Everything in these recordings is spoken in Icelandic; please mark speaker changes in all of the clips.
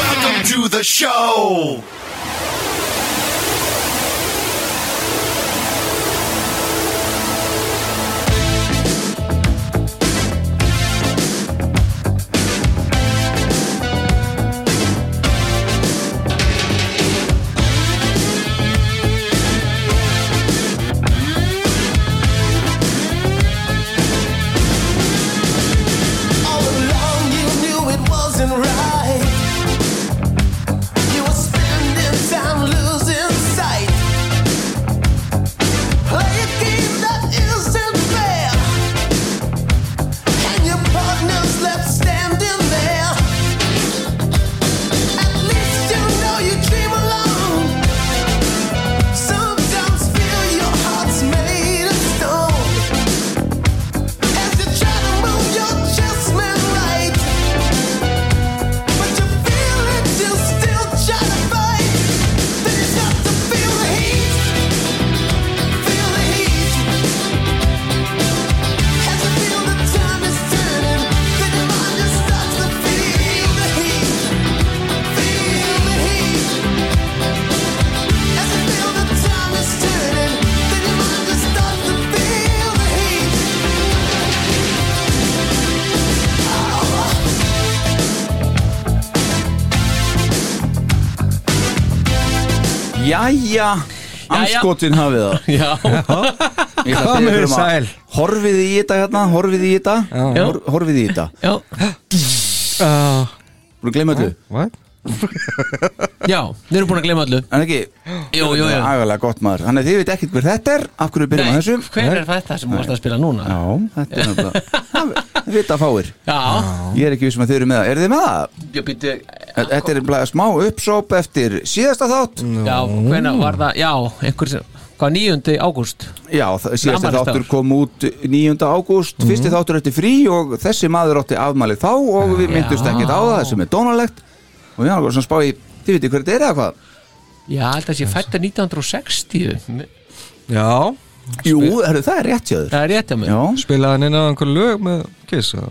Speaker 1: Welcome to the show.
Speaker 2: All along you knew it wasn't right. You were spending time losing sight. Play a game that isn't fair, and your partner's left standing there. At least you know you dream alone. Sometimes feel your heart's made of stone. As you try to move your judgment right, but you feel it, you still try to fight. Then you start to feel the heat, feel the heat. As you feel the time is turning, then your mind just starts to feel the heat, feel the heat. As you feel the time is turning, then your mind just starts to feel the heat.
Speaker 3: Jæja, anskotin hafið það
Speaker 4: Já,
Speaker 3: Ég ætla að
Speaker 5: Komið
Speaker 3: biðja ykkur um að
Speaker 5: sæl.
Speaker 3: Horfið í þetta hérna, horfið í þetta
Speaker 5: Já.
Speaker 3: Hor, Horfið í þetta
Speaker 4: já,
Speaker 5: Uh,
Speaker 3: Búin að gleyma öllu,
Speaker 5: what?
Speaker 4: já, við erum búin að gleyma allu
Speaker 3: en ekki
Speaker 4: Jú, jú, jú
Speaker 3: Ægulega gott maður, þannig að þið veit ekkert hver þetta er Af hverju við byrjum að þessu
Speaker 4: hver er þetta sem varst að spila núna?
Speaker 3: Já, þetta er nefnilega Það Vita fáir,
Speaker 4: Já,
Speaker 3: ég er ekki vissum að þið eru með það Eru þið með það?
Speaker 4: ég býtti
Speaker 3: Þetta er bara smá uppsóp eftir síðasta þátt
Speaker 4: Já, hvenær var það? Já, einhver sem Hvað, 9. ágúst?
Speaker 3: Já, það- síðasta
Speaker 4: Afmælisdagur.
Speaker 3: þáttur kom út 9. ágúst Fyrsti þáttur eftir frí og þessi maður átti afmælið þá Og við myndust
Speaker 4: Já.
Speaker 3: ekkert á það sem er dónalegt Og við erum svona að spá í, þið veitir hver þetta er eða hvað?
Speaker 4: Já, held að sé fættar 1960
Speaker 5: Já,
Speaker 3: Jú, herru, það er rétt hjá þér
Speaker 4: Það er rétt hjá mig
Speaker 3: Já,
Speaker 5: spilaði hann inn á einhver lög með Kiss eða?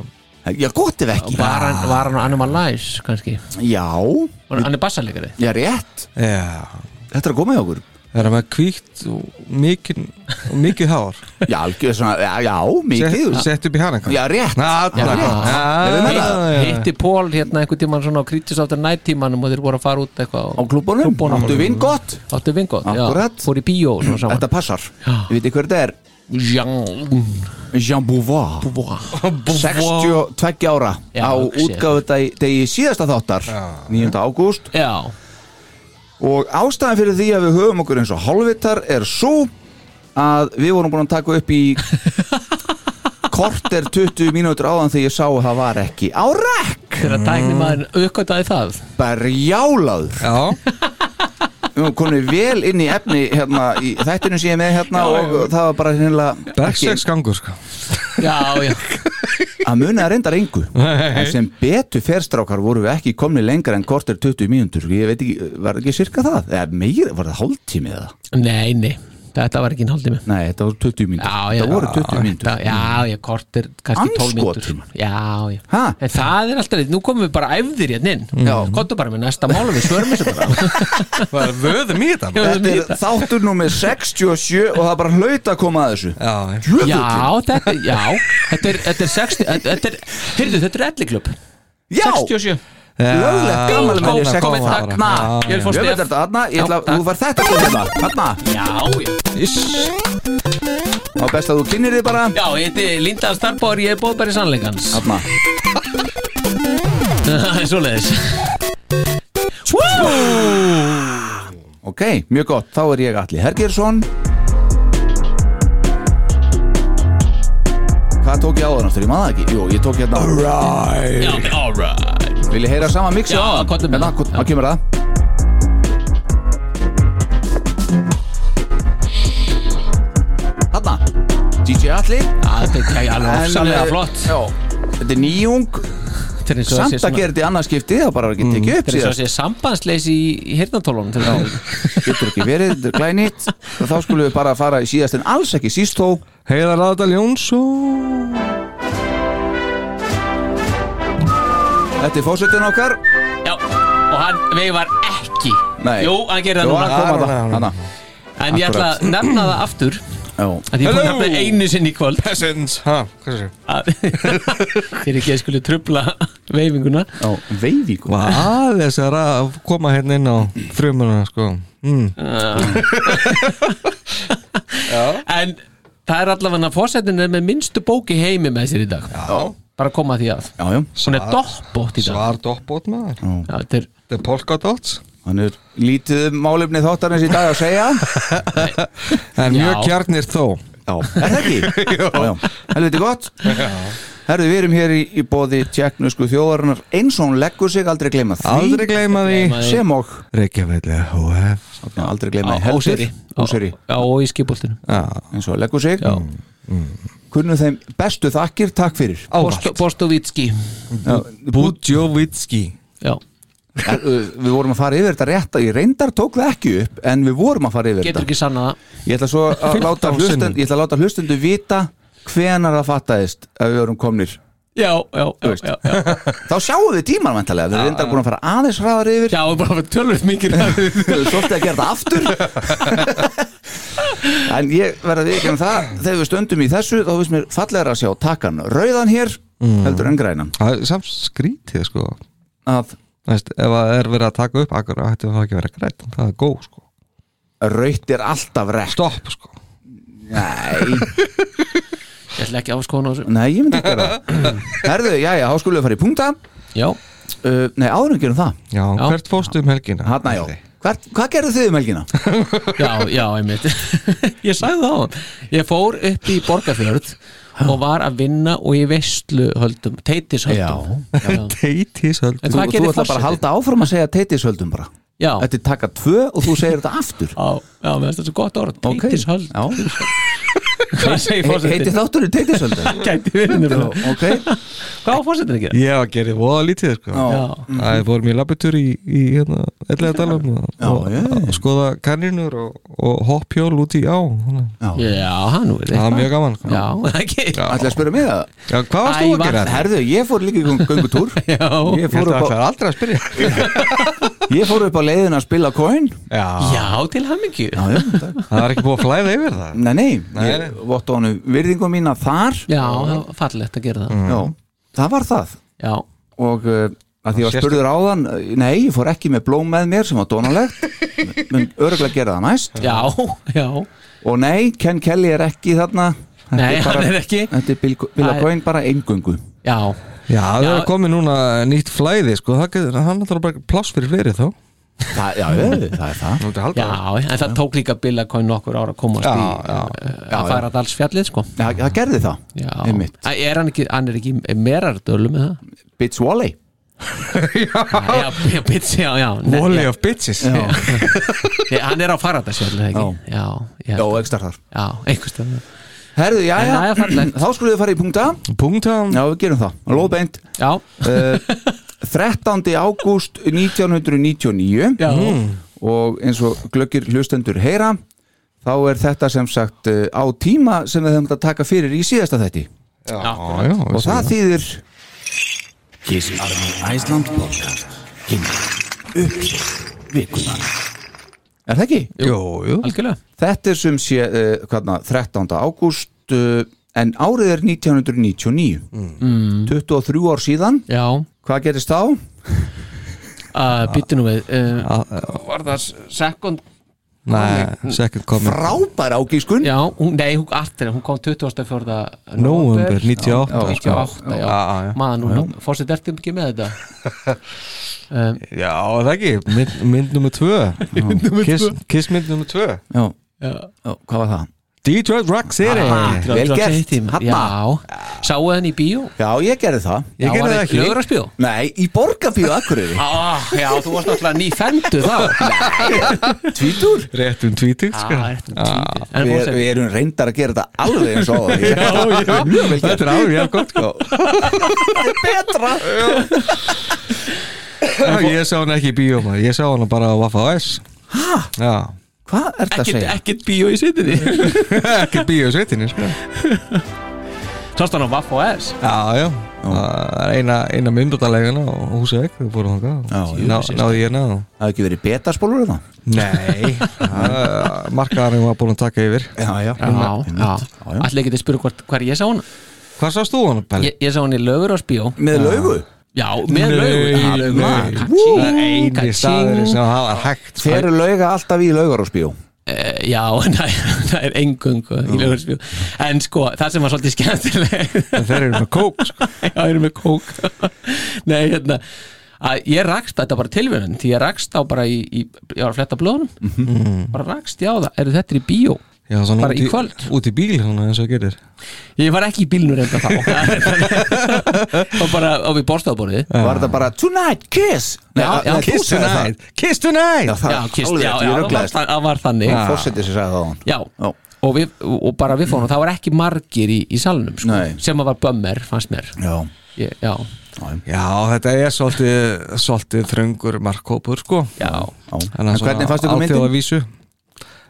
Speaker 3: já gott ef ekki
Speaker 4: Var hann, var hann á Animal Lies, kannski
Speaker 3: Já,
Speaker 4: Var Hann er bassalegari
Speaker 3: já rétt
Speaker 5: Já,
Speaker 3: Þetta er að koma hjá okkur
Speaker 5: það er hann með kvíkt og mikið, og mikið hár
Speaker 3: Já, algjör svona, já, já mikið
Speaker 5: Sett- Sett upp í hana
Speaker 3: Já, rétt
Speaker 5: Ná,
Speaker 3: Já, rétt. Erum við með það?
Speaker 5: já, já.
Speaker 4: Hitti Pól hérna einhvern tímann svona á krítistáttur nættímanum og þeir voru að fara út eitthvað
Speaker 3: Á klúbunum, áttu vinn gott
Speaker 4: Áttu vingótt, já
Speaker 3: Akkurat.
Speaker 4: Fór í bíó og svona saman
Speaker 3: Þetta passar Þið veitir hver þetta er
Speaker 4: Jean
Speaker 3: Jean Beauvoir
Speaker 4: Bois
Speaker 3: 62 ára
Speaker 4: Já,
Speaker 3: á
Speaker 4: hugsa ég.
Speaker 3: útgáfu degi, degi síðasta þáttar 9. ágúst
Speaker 4: Já,
Speaker 3: og ástæðan fyrir því að við höfum okkur eins og hálfvitar er svo að við vorum búin að taka upp í korter 20 mínútur áðan þegar ég sá að það var ekki á rekk
Speaker 4: þegar tæknir maður aukvöldaði það
Speaker 3: berjálaður
Speaker 5: Já,
Speaker 3: við vorum komin vel inn í efni hérna í þættinu sem ég er með hérna og það var bara hérna
Speaker 5: Bergseks gangur sko
Speaker 4: Já, já
Speaker 3: að muna að reynda reyngu en sem betur ferstrákar voru við ekki komni lengra en korter 20 mínútur ég veit ekki, var ekki cirka það eða meira, var það hálftími eða
Speaker 4: Nei, nei, þetta var ekki en hálftími
Speaker 3: nei, þetta voru 20 mínútur,
Speaker 4: Já, já.
Speaker 3: það voru 20
Speaker 4: Já,
Speaker 3: mínútur
Speaker 4: já, ég kortir kannski 12 mínútur
Speaker 3: Andskotin.
Speaker 4: Já, já
Speaker 3: Ha?
Speaker 4: En það er alltaf, nú komum við bara æfðir hérna inn
Speaker 3: Já.
Speaker 4: Kottu bara með næsta málum, við svörum þessu bara
Speaker 5: Var vöðum í þetta maður?
Speaker 3: þetta er þáttur númer 67 og það er bara hlaut að koma að þessu
Speaker 5: Já, já.
Speaker 3: Jöfullinn.
Speaker 4: Já, þetta, já, þetta er, þetta er 60 þetta- Þetta er, heyrðu, þetta er elliklubb
Speaker 3: já
Speaker 4: 67
Speaker 3: löglegt gamal
Speaker 5: Góð,
Speaker 3: með
Speaker 5: góð, góð, góð,
Speaker 4: takk.
Speaker 3: þarna
Speaker 5: já,
Speaker 4: Ég vil
Speaker 3: Ég
Speaker 4: fá
Speaker 3: veit
Speaker 4: stef
Speaker 3: þetta, þarna, ég ætla
Speaker 4: Já,
Speaker 3: að, þú var þetta að koma þarna, þarna
Speaker 4: Já, já
Speaker 5: Iss.
Speaker 3: Þá er best að þú finnir þið bara
Speaker 4: Já, ég heiti Linda Starbór, ég er bóðbæri sannleikans
Speaker 3: Þarna
Speaker 4: Svoleiðis
Speaker 3: Ok, mjög gott, þá er ég Atli Hergersson Hvað tók ég áður náttúrulega, ég maður ekki? Jú, ég tók hérna Alright
Speaker 4: Já, alright
Speaker 3: Vil ég heyra sama mixi?
Speaker 4: Já, komdu með
Speaker 3: Hérna,
Speaker 4: það.
Speaker 3: kom- þá kemur það Þarna DJ Atli
Speaker 4: Já, Þetta er ekki alveg
Speaker 3: En,
Speaker 4: ofsalega
Speaker 3: eh,
Speaker 4: flott
Speaker 3: Já, þetta er nýjung
Speaker 4: Þetta er eins og það sé
Speaker 3: Samt að
Speaker 4: svona- Mm,
Speaker 3: gera þetta í annað skipti, það bara var ekki tekið upp
Speaker 4: Þetta er eins og
Speaker 3: síðast
Speaker 4: það sé sambandsleysi í, í hirnatólunum til þess
Speaker 3: Getur ekki verið, þetta er glænýtt Og þá skulum við bara fara í síðast en alls ekki síst þó
Speaker 5: Heiðar Aðal Jónsson
Speaker 3: Þetta er fósettin okkar
Speaker 4: Já, og hann veifar ekki
Speaker 3: Nei.
Speaker 4: Jú, hann gerir það
Speaker 3: Jú,
Speaker 4: núna
Speaker 3: hann kom að
Speaker 5: Núna,
Speaker 3: það,
Speaker 5: núna.
Speaker 3: hann
Speaker 4: En ég ætla
Speaker 3: Akkurat.
Speaker 4: að nefna það aftur
Speaker 3: að- Já.
Speaker 4: Að ég búið að
Speaker 5: Hello.
Speaker 4: nefna það einu sinni í kvöld
Speaker 5: Peasants Ha, hvað sér?
Speaker 4: að- Fyrir ekki að skuli trubla veifinguna
Speaker 3: Já, veifingu
Speaker 5: Var aðeins að ra- koma hérna inn á frumuna sko mm.
Speaker 4: En það er allavega fórsetin er með minnstu bóki heimi með sér í dag
Speaker 3: Já,
Speaker 4: Bara að koma að því að
Speaker 3: já, já,
Speaker 4: Hún er doppbótt í dag
Speaker 5: Svar doppbót maður
Speaker 4: Já, þetta er
Speaker 5: The Polka Dots
Speaker 3: hann er lítið um málefni þáttarins í dag að segja
Speaker 5: En
Speaker 4: Já.
Speaker 5: mjög kjarnir þó
Speaker 3: Já, er það ekki? já, já, helviti gott Herðu, við erum hér í, í bóði tjekknusku þjóðarinnar eins og hún leggur sig aldrei gleyma því
Speaker 5: Aldrei gleyma því
Speaker 4: Gleyma því.
Speaker 3: sem og
Speaker 5: Reykjavíðlega HF
Speaker 3: Já, aldrei gleyma
Speaker 4: á
Speaker 3: því
Speaker 4: Óseri
Speaker 3: Óseri,
Speaker 4: Já, og í skipoltinu
Speaker 3: eins og leggur sig Mm,
Speaker 4: Já.
Speaker 3: Kunnu þeim bestu þakkir, takk fyrir
Speaker 5: Ávallt
Speaker 4: Bostovitski
Speaker 3: Já, bú-
Speaker 5: Budjovitski
Speaker 4: Já,
Speaker 3: Er, uh, Við vorum að fara yfir þetta rétt Ég reyndar tók það ekki upp En við vorum að fara yfir þetta
Speaker 4: getur ekki sanna það
Speaker 3: Ég ætla svo að
Speaker 5: 15
Speaker 3: láta, hlusten,
Speaker 5: sinnum.
Speaker 3: ég ætla að láta hlustendu vita hvenar það fattaðist að við vorum komnir
Speaker 4: Já, já, já,
Speaker 3: veist.
Speaker 4: já, já.
Speaker 3: þá sjáum við tíman vantarlega, þeir eru reyndar búin að fara aðeins hraðar yfir
Speaker 4: Já, bara fyrir tölvöld mikið ræður.
Speaker 3: svolítið að gera það aftur en ég verða að viðkjöna það þegar við stöndum í þessu þá finnst mér fallegra að sjá takkan rauðan hér
Speaker 4: Mhm.
Speaker 3: heldur en grænan
Speaker 5: Mm. Það er samt skrítið sko
Speaker 3: að
Speaker 5: Þú Veist, ef það er verið að taka upp akkur ætti það ekki að vera grætt það er góð sko
Speaker 3: rauðt er alltaf rekk
Speaker 5: stopp sko
Speaker 3: nei,
Speaker 4: Ég ætla ekki að skoða á þessu
Speaker 3: nei, ég myndi ekki gera það herðu, já, já, þá skulum við fara í punkta
Speaker 4: Já,
Speaker 3: uh, nei, áður en gerum það
Speaker 5: já, hvert fórstu um helgina
Speaker 3: Hanna, já. Hvert, hvað gerðu þið um helgina?
Speaker 4: já, já, einmitt Ég sagði það á hann Ég fór upp í Borgarfjörð og var að vinna og í veistlu höldum Teitis höldum já.
Speaker 5: teitis höld
Speaker 3: Þú,
Speaker 4: En hvað
Speaker 3: þú
Speaker 4: gerir
Speaker 3: ætla bara að
Speaker 4: forsetinn?
Speaker 3: halda áfram að segja teitishöldum bara
Speaker 4: Já,
Speaker 3: Þetta er taka tvö og þú segir þetta aftur
Speaker 4: já, já, mér finnst þetta svo gott orð
Speaker 3: Ok.
Speaker 4: Teitis höld
Speaker 3: Já.
Speaker 4: Hvað segir
Speaker 3: He- Heiti
Speaker 4: fórsetin?
Speaker 3: þátturinn teitishöldum
Speaker 4: Gæti verið nefnilega.
Speaker 3: Ok
Speaker 4: Hvað var fórsetin ekki?
Speaker 5: ég var að gera voða lítið sko
Speaker 3: Já.
Speaker 4: Já,
Speaker 5: það er fórum í labbutur í, í hérna, ellega dalum og,
Speaker 3: Já,
Speaker 5: og,
Speaker 3: já, já.
Speaker 5: og skoða kanninur og, og hoppjól út í á þannig.
Speaker 4: já, hann verið
Speaker 5: það var mjög gaman sko.
Speaker 4: Já, ekki
Speaker 3: Ætla að spyrja mig það
Speaker 5: já, hvað varst
Speaker 4: Æ,
Speaker 5: þú að
Speaker 4: var-
Speaker 5: gera þetta?
Speaker 3: Herðu, ég fór líka í göngu- göngutúr
Speaker 4: Já,
Speaker 3: Ég
Speaker 5: ég
Speaker 3: fór,
Speaker 5: ætla
Speaker 3: upp á,
Speaker 5: alltaf aldrei að spyrja
Speaker 3: ég fór upp á leiðin að spila coin
Speaker 5: já.
Speaker 4: já til hamingju
Speaker 3: Já, já, takk.
Speaker 5: það er ekki búið að flæða yfir það
Speaker 3: Nei, nei,
Speaker 5: Nei,
Speaker 3: ég
Speaker 5: nei.
Speaker 3: vottu honum virðingum mína þar
Speaker 4: Já, það var fallegt að gera það
Speaker 3: Já, það var það
Speaker 4: Já,
Speaker 3: Og uh, að því ég var
Speaker 5: Sérstök-
Speaker 3: spurður áðan uh, Nei, ég fór ekki með blóm með mér sem var donalegt Mun örgulega gera það næst
Speaker 4: já, já
Speaker 3: Og nei, Ken Kelly er ekki þarna Þetta
Speaker 4: Nei,
Speaker 3: bara,
Speaker 4: hann er ekki
Speaker 3: Þetta er Bill- Bill
Speaker 4: Æ.
Speaker 3: Coyne bara eingöngu
Speaker 4: Já,
Speaker 5: já, það er
Speaker 4: Já.
Speaker 5: komið núna nýtt flæði sko það getur, hann er bara pláss fyrir fleiri þá
Speaker 3: Þa, Já, já, það er það
Speaker 5: Nú myndi halda
Speaker 4: já,
Speaker 5: það.
Speaker 4: en það tók líka Billakóin nokkur ára að komast
Speaker 5: Já,
Speaker 4: í
Speaker 5: já,
Speaker 4: uh, að færa alls fjallið sko
Speaker 3: Já, það gerði það,
Speaker 4: Já,
Speaker 3: einmitt
Speaker 4: Æ, er hann ekki, hann er ekki í merardölu með það
Speaker 3: Bitch Wally
Speaker 4: Já, já, bitch, já, já ne-
Speaker 5: Volley
Speaker 4: já.
Speaker 5: of bitches
Speaker 4: Já. Nei, Hann er á Faradasjöld ekki? Já,
Speaker 3: Já,
Speaker 4: já, já,
Speaker 3: ekki starfar
Speaker 4: já einhvers staðar.
Speaker 3: Herðu, já,
Speaker 4: En það er
Speaker 3: já,
Speaker 4: fallegt.
Speaker 3: þá skulum við fara í punkta
Speaker 5: Punktan
Speaker 3: Já, við gerum það, lóðbeint
Speaker 4: Já,
Speaker 3: uh, 13. ágúst 1999
Speaker 4: já,
Speaker 5: Mm.
Speaker 3: og eins og glöggir hlustendur heyra þá er þetta sem sagt uh, á tíma sem við höfum að taka fyrir í síðasta þetti
Speaker 5: Já, já,
Speaker 3: og
Speaker 5: vissi
Speaker 3: það þýðir
Speaker 6: Kiss Army Iceland podcast Kynna Uppsett Vikuna
Speaker 3: Er það ekki?
Speaker 5: Jú, jú
Speaker 4: algjörlega
Speaker 3: Þetta er sem sé uh, hvaðna, 13. ágúst uh, en árið er 1999 23 ár síðan
Speaker 4: Já,
Speaker 3: hvað gerist þá?
Speaker 4: uh, býttu nú við uh, Var það second
Speaker 5: Nei, second coming
Speaker 3: frábær ágískun
Speaker 4: Já, hún, nei, hún, artir, hún kom 24.
Speaker 5: Nóvember 98
Speaker 4: Já, 98, já,
Speaker 5: Já, já, já.
Speaker 4: maður núna, fórsitt ertu ekki með þetta um,
Speaker 5: Já, er það ekki, mynd, mynd nummer tvö Kiss, kiss mynd nummer tvö
Speaker 3: Já,
Speaker 4: já.
Speaker 3: já, hvað var það?
Speaker 5: Detroit Rock City
Speaker 4: Ah,
Speaker 3: vel gert,
Speaker 4: Hanna
Speaker 3: Hanna.
Speaker 4: Já, sáu hann í bíó
Speaker 3: Já, ég gerði það
Speaker 5: Ég gerði það ekki.
Speaker 4: Lögur að spjó
Speaker 3: Nei, í borgarbíu akkurri
Speaker 4: Ah, Já, þú varst náttúrulega nýfendu þá
Speaker 3: Tvítur
Speaker 5: Rétt um tvítug
Speaker 4: Já,
Speaker 5: sko.
Speaker 4: þetta er títið. En
Speaker 3: Við
Speaker 4: fórstu-
Speaker 3: við erum reyndar að gera þetta alveg eins og áður.
Speaker 5: Já, já, þetta er alveg jafn gott sko.
Speaker 3: Betra
Speaker 5: Ég sá hann ekki í bíó maður. Ég sá hann bara á Vaffa OS Já,
Speaker 3: Hvað er þetta að
Speaker 4: ekkert,
Speaker 3: segja?
Speaker 4: ekkert bíó í sittinni
Speaker 5: ekki bíó sveitinni sko.
Speaker 4: Sást hann á Vaff og S
Speaker 5: Já, já, það er eina, eina hérna myndalegina og húsið ekki, þú fórum
Speaker 3: Já,
Speaker 5: þangað
Speaker 3: jú,
Speaker 5: Ná, Náði ég hérna náðu
Speaker 3: Það hefði ekki verið betaspólur hérna? eða?
Speaker 5: Nei Markaðarinn var búin að taka yfir
Speaker 3: Já, já,
Speaker 4: Já, já,
Speaker 3: já.
Speaker 4: allir getið spurði hvort hvar ég sá hann
Speaker 5: Hvað sást þú hann, Pelli?
Speaker 4: Ég, ég sá hann í lögur á spjó
Speaker 3: Með laugu?
Speaker 4: Já, með lögur
Speaker 5: nei. Það er eini staður sem það var hægt sko.
Speaker 3: Þeir eru lauga alltaf í laugar og spjó
Speaker 4: e, Já, nei, það er engungu í lögur á spjó En sko, það sem var svolítið skemmtileg
Speaker 5: Þeir eru með kók sko.
Speaker 4: Já, erum við kók Nei, hérna að ég rakst þetta bara tilvöðin því ég rakst á bara í, í ég var að fletta blóðunum bara rakst ég á það, eru þetta er í bíó
Speaker 5: Já, svona
Speaker 4: bara
Speaker 5: út
Speaker 4: í kvöld
Speaker 5: Út í bíl, svona eins og gerir
Speaker 4: ég var ekki í bílnur enda þá og bara á við borstaðbórið
Speaker 3: Var þetta bara Tonight Kiss? Nei,
Speaker 4: Já,
Speaker 3: að-
Speaker 4: já,
Speaker 3: nei, þú
Speaker 5: Kiss
Speaker 3: sagðir það.
Speaker 5: tonight, kiss tonight Ah,
Speaker 3: Já, það
Speaker 4: já,
Speaker 3: er
Speaker 4: kist,
Speaker 3: alveg rétt,
Speaker 4: já, já,
Speaker 3: ég
Speaker 4: það var,
Speaker 3: rugglaðist
Speaker 4: það það var þannig
Speaker 3: Fórsetið sem sagði það á hann
Speaker 4: já,
Speaker 3: Já.
Speaker 4: Og, við, og bara við fórum, það var ekki margir í, í salnum sko,
Speaker 3: Nei.
Speaker 4: sem að var bömmer, fannst mér
Speaker 3: Já,
Speaker 4: ég, já,
Speaker 5: Já, þetta er svolítið, svolítið þröngur markkópur sko
Speaker 4: já,
Speaker 3: já En hvernig fannst ykkur myndin?
Speaker 5: Alþjóða vísu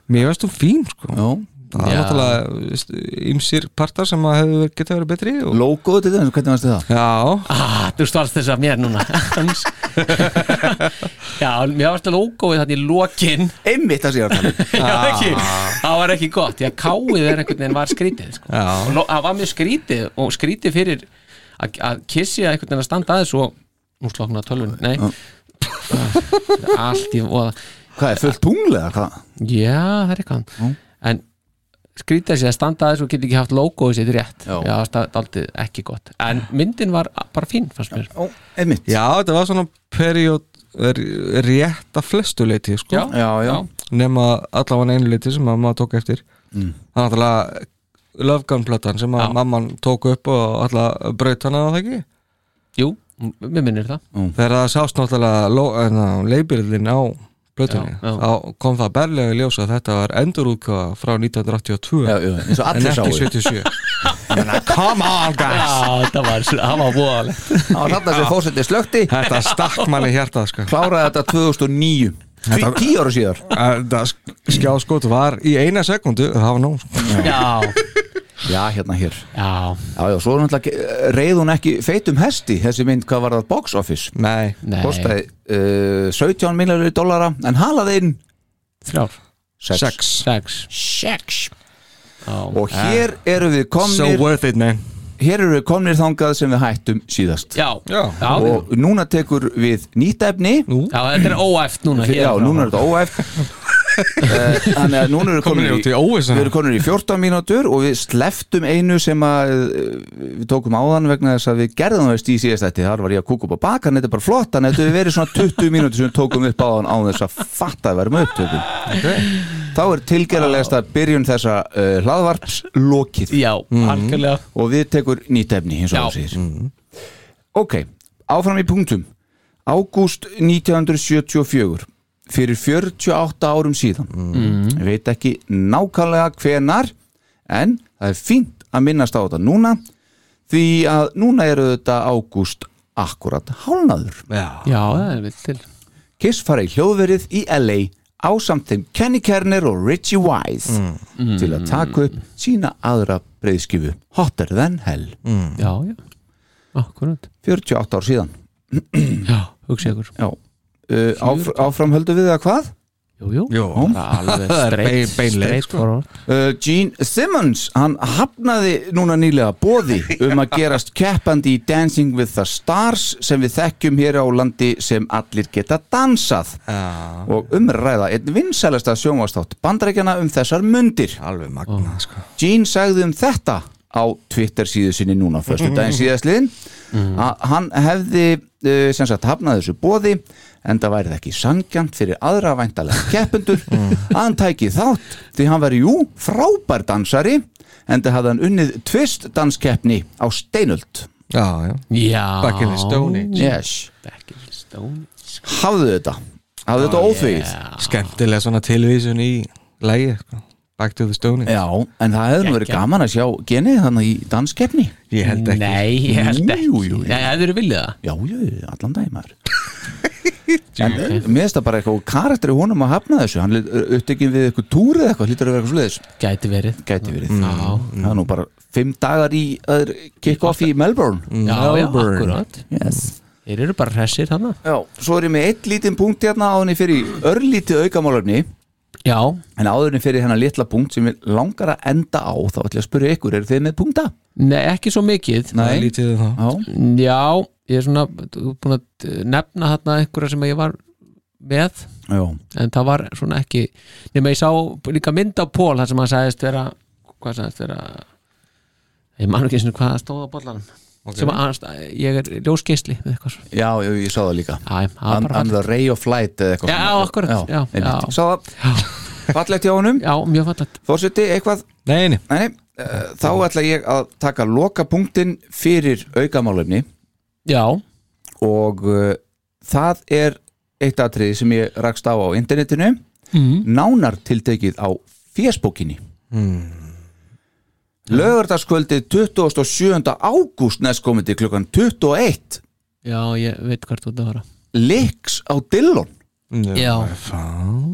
Speaker 5: Mér fannst þú fín sko
Speaker 3: Já,
Speaker 5: Það er
Speaker 4: Já.
Speaker 5: náttúrulega veist, ýmsir partar sem að hefur geta verið betri og...
Speaker 3: logoðu til þess, hvernig fannst þið það?
Speaker 5: Já,
Speaker 4: ah, þú stálst þess að mér núna Hans. já, mér varst að lókóið þannig í lokin
Speaker 3: Einmitt að um. segja það
Speaker 4: Já, ekki, það var ekki gott já, káið er einhvern veginn var skrítið sko.
Speaker 5: Já.
Speaker 4: og lo- það var mjög skrítið og skrítið fyrir að að kissi að einhvern veginn að standa aðeins og nú slokna tölvun, nei allt í voða
Speaker 3: Hvað er fullt tunglega? Hvað?
Speaker 4: já, það er eitthvað en skrítið að sé að standa aðeins og geta ekki haft logoið sitt rétt
Speaker 3: Já.
Speaker 4: já, það er aldrei ekki gott en myndin var bara fín, fannst mér
Speaker 3: Ó, einmitt
Speaker 5: já þetta var svona period r- rétt að flestu leiti sko
Speaker 3: Já, já.
Speaker 5: nema allavega einu liti sem að maður tók eftir mm. það er náttúrulega Love Gun platan sem að
Speaker 4: Já.
Speaker 5: mamman tók upp og allavega braut hana á það ekki
Speaker 4: jú, m- mér minnir það
Speaker 5: þegar það sást náttúrulega leibirillin á plötunni
Speaker 4: Já, já.
Speaker 5: þá kom það berlega í ljósa að þetta var endurúðkjöða frá 1982
Speaker 3: Já, já, eins og
Speaker 5: en
Speaker 3: allir
Speaker 5: ekki
Speaker 3: sáu
Speaker 5: 77 Menna, come on guys
Speaker 4: já, það var, það var voðaleg
Speaker 3: Það var þarna sem fórsetið slökti
Speaker 5: þetta stakk manni hjarta sko.
Speaker 3: Kláraði þetta 2009 Því tíu ára síðar
Speaker 5: þetta sk- skjáskot var í eina sekundu það var nóg sko.
Speaker 4: já,
Speaker 3: Já, hérna hér
Speaker 4: já,
Speaker 3: Já, já, svo er náttúrulega reið hún ekki feitum hesti Þessi mynd, hvað var það, box office
Speaker 5: nei,
Speaker 4: nei
Speaker 3: Kostaði uh, 17 miljónir dollara En halaði inn
Speaker 4: þrjár
Speaker 3: Sex.
Speaker 5: sex
Speaker 4: sex sex
Speaker 3: Og hér eru við
Speaker 5: Ah. so
Speaker 3: komnir
Speaker 5: worth it man
Speaker 3: Hér eru við komnir þangað sem við hættum síðast
Speaker 4: já, já,
Speaker 5: Já.
Speaker 4: já,
Speaker 3: Og núna tekur við nýtt efni
Speaker 4: þetta er óæft núna hér.
Speaker 3: Já, núna er þetta óæft Eh, Þannig að núna eru
Speaker 5: Komin
Speaker 3: komin
Speaker 5: út í óvissa.
Speaker 3: Við erum komin í 14 mínútur og við sleftum einu sem að eh, við tókum áðan vegna þess að við gerðum það í síðast þetta þar var ég að kúka upp á bakan, þetta er bara flott þannig að þetta hefur verið svona 20 mínútur sem við tókum upp áðan á þess að fatta að verðum upptökum Þá er tilgerðalegasta byrjun þessa uh, hlaðvarps lokið
Speaker 4: já, algjörlega
Speaker 3: og við tekur nýtt efni eins og
Speaker 4: Já.
Speaker 3: það segir ok, áfram í punktum ágúst 1974 fyrir 48 árum síðan ég veit ekki nákvæmlega hvenar en það er fínt að minnast á þetta núna því að núna eru þetta ágúst akkurat hálnaður
Speaker 4: já, það er vilt til
Speaker 3: Kiss fara í hljóðverið í LA á samt þeim Kenny Kerner og Richie Wise til að taka upp sína aðra breyðskifu Hotter Than Hell
Speaker 4: já, já, akkurat
Speaker 3: 48 ár síðan
Speaker 4: já, hugsa ykkur
Speaker 3: Já. Uh, áf áfram höldum við það hvað?
Speaker 4: Jú, jú,
Speaker 5: Jú.
Speaker 4: bara alveg
Speaker 5: Það er
Speaker 4: straight,
Speaker 5: bein- beinleið,
Speaker 4: straight
Speaker 5: sko.
Speaker 4: forward
Speaker 3: Uh, Gene Simmons, hann hafnaði núna nýlega bóði um að gerast keppandi í Dancing with the Stars sem við þekkjum hér á landi sem allir geta dansað
Speaker 5: Já,
Speaker 3: og umræða einn vinsælasta sjónvastátt bandarækjana um þessar mundir
Speaker 5: alveg magna sko.
Speaker 3: Gene sagði um þetta á Twitter síðu sinni núna fyrstu daginn síðastliðin að hann hefði uh, sem sagt hafnað þessu bóði en það væri það ekki sangjant fyrir aðra væntalega keppendur að hann tæki þátt því hann væri jú frábær dansari en það hafði hann unnið tvist danskeppni á steinöld
Speaker 5: Já, já
Speaker 4: Já
Speaker 5: Back in the Stone Age.
Speaker 3: yes.
Speaker 4: Back in the Stone Age.
Speaker 3: hafðu þetta hafðu þetta óþvegið
Speaker 5: Skemmtilega svona tilvísun í lægi sko. Back to the Stone Age.
Speaker 3: Já, en það hefði nú verið gaman að sjá genið hann í danskeppni
Speaker 5: Ég held ekki
Speaker 4: Nei, ég held ekki
Speaker 3: Jú, jú, jú.
Speaker 4: Nei, hefur þið viljað það
Speaker 3: Já, já, já, allan dag maður En eh, mér finnst það bara eitthvað karakter í honum að hafna þessu Hann eh, upptekinn við eitthvað túr eða eitthvað Lítur að vera eitthvað svoleiðis
Speaker 4: Gæti verið
Speaker 3: Gæti verið Það er nú bara fimm dagar í að kick-off í Melbourne
Speaker 4: Já, já, akkurat
Speaker 3: Yes
Speaker 4: Þeir eru bara hressir þarna
Speaker 3: Já, svo er ég með eitt lítinn punkt hérna áðunni fyrir í örlítið aukamálefni
Speaker 4: Já,
Speaker 3: En áðunni fyrir hennar litla punkt sem við langar að enda á Þá ætla ég að spyrja ykkur, eru þið með punkta?
Speaker 4: nei, ekki svo mikið
Speaker 5: Það er lítið um það
Speaker 3: Já,
Speaker 4: Já, ég er svona þú er búin að nefna þarna einhverja sem ég var með
Speaker 3: já,
Speaker 4: en það var svona ekki nema ég sá líka mynd á Pól þar sem hann sagðist vera hvað sagðist vera ég man ekki einu sinni hvað það stóð á bollanum sem að annars- ég er ljósgeisli með eitthvað svona
Speaker 3: já, já, ég sá það líka
Speaker 4: Æ, það var
Speaker 3: Hann
Speaker 4: bara
Speaker 3: hann
Speaker 4: fallegt.
Speaker 3: var Ray of Light eða eitthvað
Speaker 4: Já,
Speaker 3: svona.
Speaker 4: akkurat, já,
Speaker 3: einmitt.
Speaker 4: já.
Speaker 3: Sá það Fallegt hjá honum
Speaker 4: Já, mjög fallegt
Speaker 3: Fórseti, eitthvað
Speaker 5: Nei, nei,
Speaker 3: Nei, nei, eh, þá ætla ég að taka lokapunktin fyrir aukamálefni
Speaker 4: Já,
Speaker 3: og uh, það er eitt atriði sem ég rakst á á internetinu
Speaker 4: Mhm.
Speaker 3: mm. nánar tiltekið á fésbókinni mm.
Speaker 4: Hmm.
Speaker 3: Lögardagskvöldið 27. ágúst næstkomandi klukkan 21
Speaker 4: já, ég veit hvert þú ert að fara
Speaker 3: Liks á Dillon
Speaker 4: Já,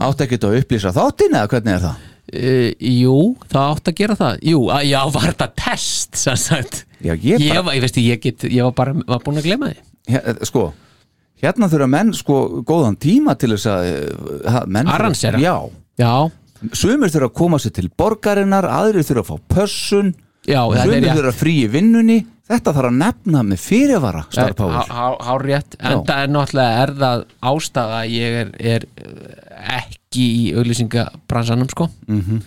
Speaker 3: Átti ekki að upplýsa þáttin eða hvernig er það?
Speaker 4: uh, jú, það átt að gera það Jú, að, já, var þetta test sem sagt
Speaker 3: Já, ég
Speaker 4: Ég,
Speaker 3: bara,
Speaker 4: var, ég veist, ég, get, ég var bara var búin að glema því
Speaker 3: hér, sko Hérna þurfa menn sko góðan tíma til þess að eh, ha- menn þurfa-
Speaker 4: Arrangera.
Speaker 3: Já,
Speaker 4: Já,
Speaker 3: Sumir þurfa að koma sér til borgarinnar, aðrir þurfa að fá pössun,
Speaker 4: já, það er
Speaker 3: sumir
Speaker 4: rétt
Speaker 3: þurfa að fríi vinnunni. Þetta þarf að nefna með
Speaker 4: Eh,
Speaker 3: fyrirvara,
Speaker 4: Há-
Speaker 3: starfpáður.
Speaker 4: há- Hár rétt, en
Speaker 3: Já.
Speaker 4: það er náttúrulega er það ástæða að ég er, er uh, ekki í auglýsingabransanum sko
Speaker 3: Mhm.
Speaker 4: -hmm.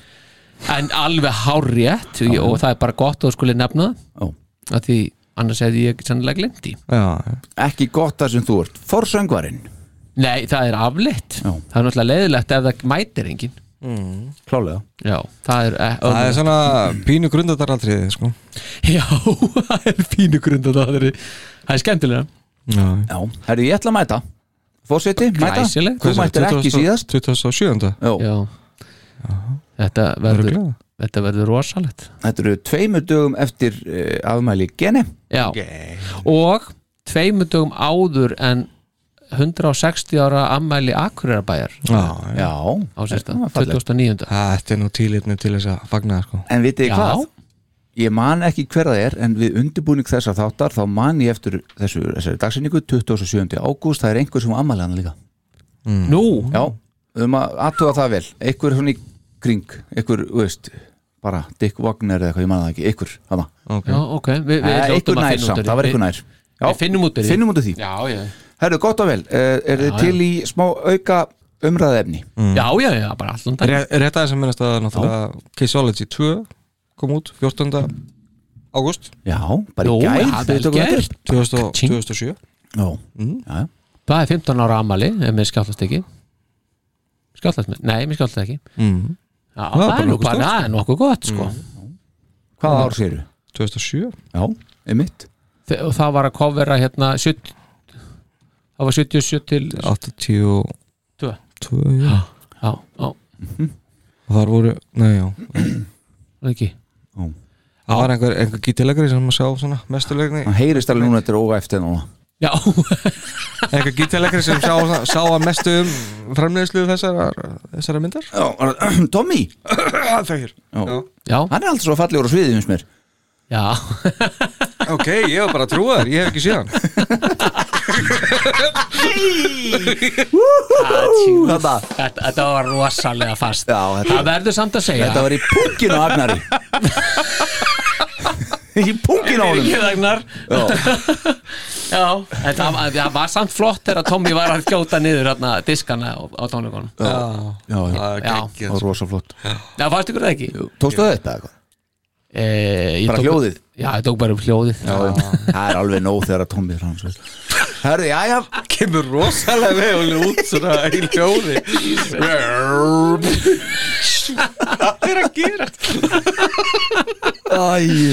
Speaker 4: en alveg hár rétt og, og það er bara gott að þú skulle nefna það að því annars hefði ég sannlega glemt í
Speaker 5: já,
Speaker 3: Ekki gott þar sem þú ert. Forsöngvarinn,
Speaker 4: Nei, það er afleitt
Speaker 3: Já.
Speaker 4: það er náttúrulega leiðilegt ef það mætir engin
Speaker 3: klálega.
Speaker 4: Já, það er, eh,
Speaker 5: það er svona pínu grundataraldriði sko.
Speaker 4: Já, það er fínu grund að það er það er skemmtilega
Speaker 5: Já, já
Speaker 3: Já, herri, ég ætla að mæta. Fórseti, mæta.
Speaker 4: Glæsilegt.
Speaker 3: Þú mættir ekki síðast.
Speaker 5: 27.
Speaker 3: Já,
Speaker 4: Já, Þetta, verður,
Speaker 5: Örugglega.
Speaker 4: þetta verður rosalegt
Speaker 3: þetta eru tveimur dögum eftir uh, afmæli geni.
Speaker 4: Já Og tveimur dögum áður en 160 ára ammæli Akureyrabæjar
Speaker 5: Já, já
Speaker 3: Já,
Speaker 4: á sérsta,
Speaker 3: það var fallegt.
Speaker 4: 2009
Speaker 5: Þetta er nú tílitni til þess að fagna sko.
Speaker 3: En vitið þið
Speaker 4: Já.
Speaker 3: hvað? Ég man ekki hver það er en við undirbúning þessar þáttar þá man ég eftir þessu, þessari dagsinningu 27. ágúst, það er einhver sem ammæli hann líka.
Speaker 4: Mm. Nú,
Speaker 3: Já, við höfum að aðtuga það vel einhver svona í kring, einhver, þú veist bara Dick Wagner eða eitthvað, ég man það ekki, einhver hana.
Speaker 4: já, ok Við, við
Speaker 3: Eh,
Speaker 4: hljótum
Speaker 3: einhver nær
Speaker 4: að finna út
Speaker 3: samt,
Speaker 4: úr
Speaker 3: það var
Speaker 4: því.
Speaker 3: einhver nær Já,
Speaker 4: Við finnum út úr því.
Speaker 3: finnum út af því
Speaker 4: Já, já,
Speaker 3: Herru, gott og vel, er, er þið
Speaker 4: já.
Speaker 3: til í smá auka umræðefni?
Speaker 4: já, já, já, bara allan dag
Speaker 5: Rétt rétt aðeins að minnast að náttúrulega Caseology 2 kom út 14. ágúst
Speaker 3: Já, bara
Speaker 4: Nú,
Speaker 3: í gær
Speaker 4: já, vel gert
Speaker 5: 2007
Speaker 3: Já, já,
Speaker 4: Það er 15 ára ammæli, ef mér skjáttast ekki Skjáttast mér, nei, mér skjáttast ekki
Speaker 5: mm.
Speaker 4: Já,
Speaker 5: er
Speaker 4: það
Speaker 5: bara
Speaker 4: er nú
Speaker 5: nokkuð
Speaker 4: bara,
Speaker 5: stórt,
Speaker 4: það er nokkuð gott, sko
Speaker 3: Mm. hvaða ár séru?
Speaker 5: 2007
Speaker 3: Já, einmitt
Speaker 4: Þe- Og það var að kofvera hérna 70, Það var 77 til
Speaker 5: 82
Speaker 4: Tvö.
Speaker 5: já.
Speaker 4: Já, já,
Speaker 5: og þar voru, nei já
Speaker 4: ekki
Speaker 5: það var einhver, einhver gítilegri sem maður sá svona mestulegni,
Speaker 3: Það heyrist alveg núna þetta er óa eftir núna
Speaker 4: Já,
Speaker 5: einhver gítilegri sem sá, sá að mestu um framleiðslu þessara, þessara myndar
Speaker 3: Já, bara, Tommy,
Speaker 5: það þegar
Speaker 4: já,
Speaker 3: hann er alltaf svo fallegur á sviðið, finnst mér
Speaker 4: já
Speaker 5: ok, ég var bara að trúa þér, ég hef ekki síðan
Speaker 3: Þetta,
Speaker 4: Þetta, þetta var rosalega fast
Speaker 3: Já, þetta-
Speaker 4: Það verður samt að segja
Speaker 3: þetta var í punginu Agnari Í punginu á honum
Speaker 4: Ég þagnar Já, en það, það var samt flott þegar Tommy var að gjóta niður hana, diskana á, á tónleikunum
Speaker 3: Já, já,
Speaker 5: Það er
Speaker 4: Já.
Speaker 5: geggjað,
Speaker 3: og rosa flott
Speaker 4: Já, fannst ykkur það ekki?
Speaker 3: Tókstu það þetta eitthvað?
Speaker 4: E, ég
Speaker 3: Bara
Speaker 4: tók-
Speaker 3: hljóðið?
Speaker 4: Já, ég tók bara upp hljóðið Já,
Speaker 3: Það er alveg nóg þegar að Tommy er hans Herði, já, já
Speaker 5: sko. kemur rosalega vel út svona í ljóði
Speaker 3: Æ,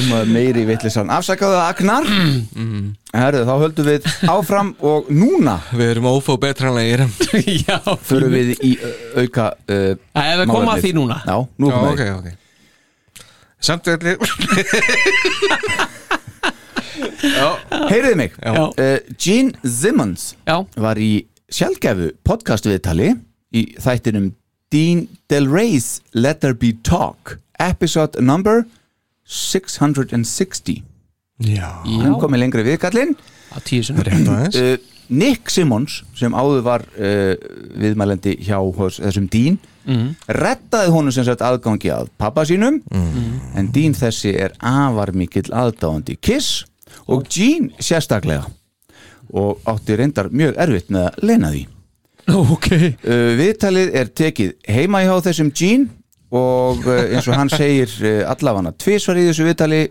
Speaker 3: maður meiri vitlisann Afsakaðu það Agnar
Speaker 4: Mm-hmm.
Speaker 3: Herðu, þá höldum við áfram og núna
Speaker 5: við erum ófó betranlegir
Speaker 4: já
Speaker 3: förum við í ö, auka uh,
Speaker 4: Það hefur komað að því núna
Speaker 3: Já, nú
Speaker 5: Já,
Speaker 3: komum
Speaker 5: ok,
Speaker 3: við
Speaker 5: ok Samt velli
Speaker 3: Heyriði mig,
Speaker 4: Já.
Speaker 3: uh, Gene Simmons
Speaker 4: Já,
Speaker 3: var í sjálfgefu podcast viðtali í þættinum Dean Del Rey's Let There Be Talk episode number 660
Speaker 5: Já
Speaker 3: hann komið lengri viðkallinn
Speaker 4: á tíu sinni
Speaker 3: uh, Nick Simmons sem áður var uh, viðmælendi hjá hos, þessum Dean rettaði honum sem sagt aðgangi að pappa sínum en Dean þessi er afar mikill aðdáandi Kiss og Gene sérstaklega og átti reyndar mjög erfitt með að lena því
Speaker 4: Ok
Speaker 3: uh, Viðtalið er tekið heima hjá þessum Gene og uh, eins og hann segir uh, allafana tvisvar í þessu viðtali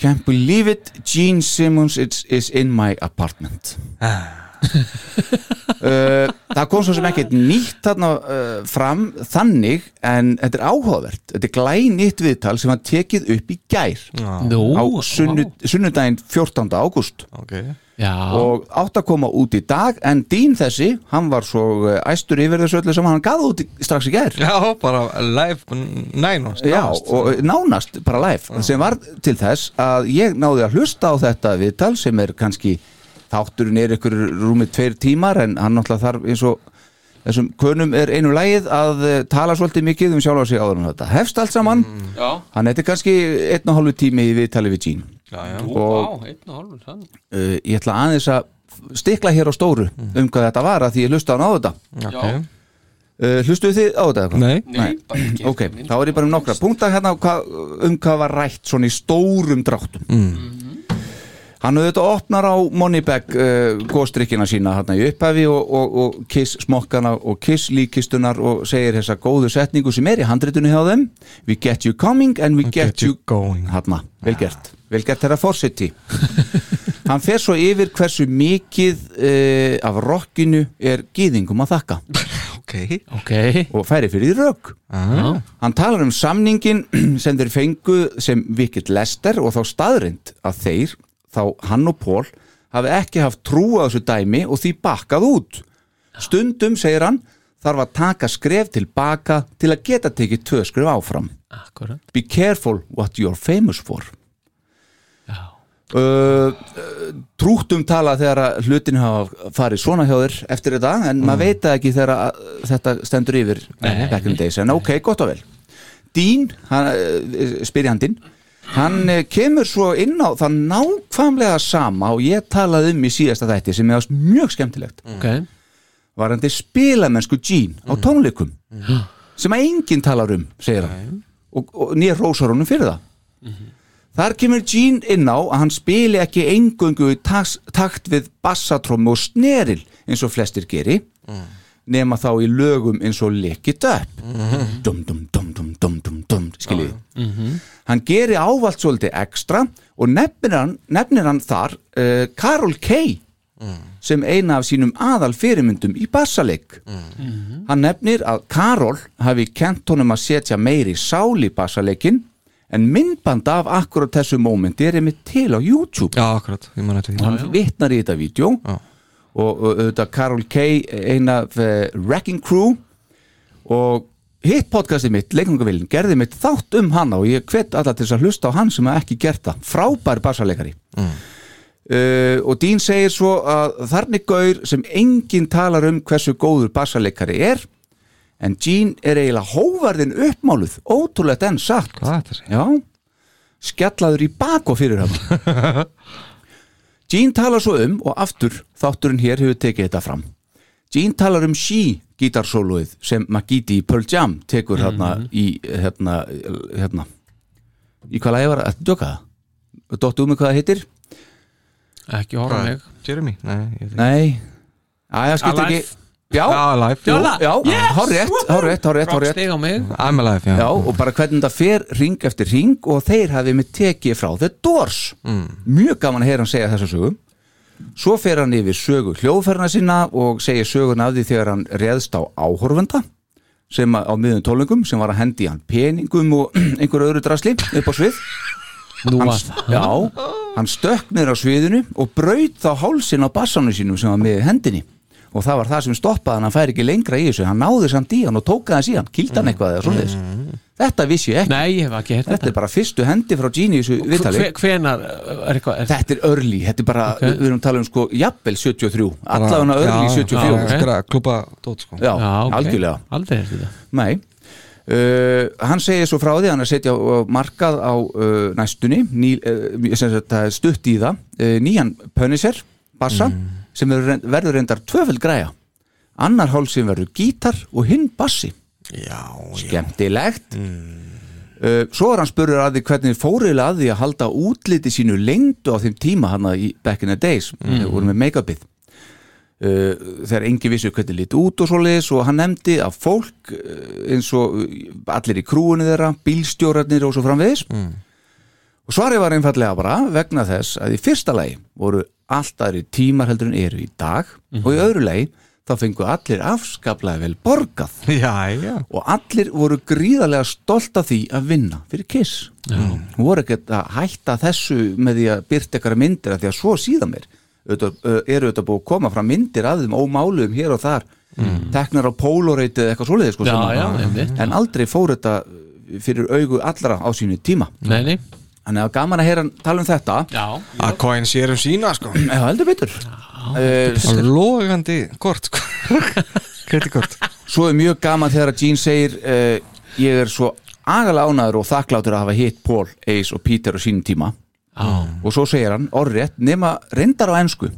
Speaker 3: Can't believe it, Gene Simmons is, is in my apartment uh, Það kom svo sem ekkert nýtt þarna uh, fram þannig en þetta er áhugavert, þetta er glænýtt viðtal sem var tekið upp í gær
Speaker 4: Nú,
Speaker 3: á sunnu, sunnudaginn 14. ágúst
Speaker 5: Ok
Speaker 4: Já,
Speaker 3: og átt að koma út í dag en Dín þessi, hann var svo eh, æstur yfir þessu öllu sem hann gaf út í, strax í gær
Speaker 5: Já, bara live nænast
Speaker 3: Já, og eh, nánast bara live sem var til þess að ég náði að hlusta á þetta viðtal sem er kannski þátturinn er ykkur rúmi tveir tímar en hann náttúrulega þarf eins og þessum kunum er einu lagið að eh, tala svolítið mikið um sjálfa sig áður en þetta hefst allt saman,
Speaker 7: Já,
Speaker 3: hann þetta er kannski einn og hálfu tími í viðtali við Dín og
Speaker 7: á, einn og hálfur sann.
Speaker 3: uh, ég ætla aðeins að stikla hér á stóru um hvað þetta var að því ég hlusta hann á þetta
Speaker 5: okay.
Speaker 3: uh, hlustuðu þið á þetta eitthvað?
Speaker 5: Nei
Speaker 7: Nei, bara ekki.
Speaker 3: ok, þá er ég bara um nokkra punktar hérna um hvað, um hvað var rætt svona í stórum dráttum mm. hann auðvitað opnar á Moneybag uh, góðstrikkina sína hérna í upphafi og, og, og kiss smokkana og kiss líkistunar og segir þessa góðu setningu sem er í handritinu hjá þeim we get you coming and we get, you Ah.
Speaker 5: going
Speaker 3: Hanna, vel gert Vel gert þeirra fórseti Hann fer svo yfir hversu mikið uh, af rockinu er gýðingum að þakka
Speaker 5: Ok
Speaker 4: ok
Speaker 3: og færi fyrir því rök
Speaker 5: ah.
Speaker 3: Hann talar um samningin sem þeir fengu sem Vikit Lester og þá staðrind að þeir, þá hann og Pól hafi ekki haft trú á þessu dæmi og því bakkað út Stundum, segir hann, þarf að taka skref til baka til að geta tekið tvö skref áfram
Speaker 4: Akkurat
Speaker 3: Be careful what you're famous for
Speaker 4: Já.
Speaker 3: Uh, trúttum tala þegar að hlutin hafa farið svona hjá þér eftir þetta en maður veit það ekki þegar að uh, þetta stendur yfir
Speaker 4: Mm. Nei.
Speaker 3: back in the days en ok, gott og vel Dín, hann, uh, spyrjandinn hann uh, kemur svo inn á það nákvæmlega sama og ég talaði um í síðasta þætti sem er mjög skemmtilegt
Speaker 4: Ok,
Speaker 3: varandi spilamennsku Gene á tónleikum sem að enginn talar um, segir hann og, og nýja rósar honum fyrir það þar kemur Gene inn á að hann spili ekki engöngu í taks, takt við bassatrómu og sneril eins og flestir geri nema þá í lögum eins og lekið upp dum dum dum dum dum dum dum skiljiði hann geri ávalt svolítið ekstra og nefnir hann, nefnir hann þar uh, Karol Kay sem eina af sínum aðal fyrirmyndum í bassaleik hann nefnir að Karol hafi kent honum að setja meiri sál í bassaleikin en myndbanda af akkurat þessu mómenti er einmitt til á YouTube
Speaker 5: Já, akkurat, ég man eftir því
Speaker 3: hann vitnar í þetta vídeo
Speaker 5: Já.
Speaker 3: og og auðvitað Karol Kay eina af eh, Wrecking Crew og hitt podcastið mitt leikungavillin gerði mitt þátt um hann og ég hvet alla til þess að hlusta á hann sem hafa ekki gert það frábær bassarleikari uh, og Dín segir svo að þarna er gaur sem enginn talar um hversu góður bassarleikari er en Dín er eiginlega hóvarðin uppmáluð ótrúlegt enn satt
Speaker 5: Hvað er þetta að segja?
Speaker 3: Já, skjallaður í bak og fyrir hann Gene talar svo um og aftur þátturinn hér hefur tekið þetta fram Gene talar um sí gítarsóluið sem Magidi í Pearl Jam tekur hérna
Speaker 4: Mhm.
Speaker 3: í hérna, hérna í hvað lagi var að döka það dottu um mig hvað það heitir
Speaker 4: ekki horfa á mig
Speaker 5: Jeremy? Nei, ég veit ekki
Speaker 3: nei, aðja skiptir ekki
Speaker 4: Alive.
Speaker 3: já,
Speaker 5: Alive, jú.
Speaker 4: Jóla.
Speaker 3: já,
Speaker 4: Yes!
Speaker 3: hárrétt, hárrétt, hárrétt,
Speaker 4: Rock
Speaker 3: hárrétt
Speaker 4: stig á mig
Speaker 5: I'm Alive, já,
Speaker 3: Já, og bara hvernig þetta fer ring eftir ring og þeir hafið með tekið frá The Doors mjög gaman að heyra hann segja þessa sögu svo fer hann yfir sögu hljóðferna sína og segir sögun af því þegar hann reðst á áhorfenda sem að- á miðum tólingum sem var að hendi hann peningum og einhverju öðru drasli upp á svið
Speaker 4: nú
Speaker 3: hann,
Speaker 4: var
Speaker 3: já, hann stökk niður á sviðinu og braut þá hálsin á bassanu sínum sem var með í hendinni og það var það sem stoppaði hann, hann færi ekki lengra í þessu hann náði samt í hann og tókaði hans í hann kildi hann eitthvað eða svoleiðis þetta vissi ég ekki,
Speaker 4: Mm. nei, ég hef ekki hert
Speaker 3: þetta er bara fyrstu hendi frá Gini í þessu viðtali
Speaker 4: hvenar uh, er eitthvað er,
Speaker 3: þetta er örli, þetta er bara,
Speaker 4: Ok.
Speaker 3: við erum að tala um sko jafnvel 73, allavega örli 74
Speaker 4: já, ok.
Speaker 5: klúpa dót sko
Speaker 3: já,
Speaker 4: já, ok.
Speaker 3: algjörlega
Speaker 4: aldrei hert þetta
Speaker 3: Nei Uh, hann segir svo frá því að hann er að setja á- á markað á uh, næstunni ný, uh, sem sagt, það er stutt í það uh, nýjan Punisher, Bassa sem verður, reynd- verður reyndar tvöföld græja annar hálsin verður gítar og hinn bassi
Speaker 5: Já,
Speaker 3: skemmtilegt uh, svo er hann spurður að því hvernig fóriðlega að því að halda útliti sínu lengdu á þeim tíma hann í Back in the Days mm. voru með make-upið uh, þegar engi vissu hvernig lít út og svoleiðis og hann nefndi að fólk uh, eins og uh, allir í krúinu þeirra bílstjórarnir og svo framvegis og svarið var einfallega bara vegna þess að í fyrsta lagi voru allt aðri tímar heldur en eru í dag og í öðru lagi þá fengu allir afskaplega vel borgað
Speaker 5: já, já
Speaker 3: og allir voru gríðarlega stolt af því að vinna fyrir Kiss Mm. hún voru ekkert að hætta þessu með því að byrta eitthvað myndir af því að svo síðan mér auðvitað, ö, eru auðvitað búið að koma fram myndir af þeim ómáluðum hér og þar teknar á polaroid eða eitthvað svoleiði sko,
Speaker 4: Mm. já,
Speaker 3: sem að-
Speaker 4: já, einmitt
Speaker 3: en aldrei fór þetta fyrir augu allra á sínu tíma
Speaker 4: nei, nei,
Speaker 3: þannig að það var gaman að heyra hann tala um þetta
Speaker 4: já
Speaker 5: Að coin sér um sína sko
Speaker 3: eða heldur betur Eh,
Speaker 5: Lógandi kort sko Kreditkort
Speaker 3: svo er mjög gaman þegar að Gene segir uh, ég er svo agalega ánæður og þakklátur að hafa hitt Paul, Ace og Peter á sínum tíma og svo segir hann orðrétt nema reyndar á ensku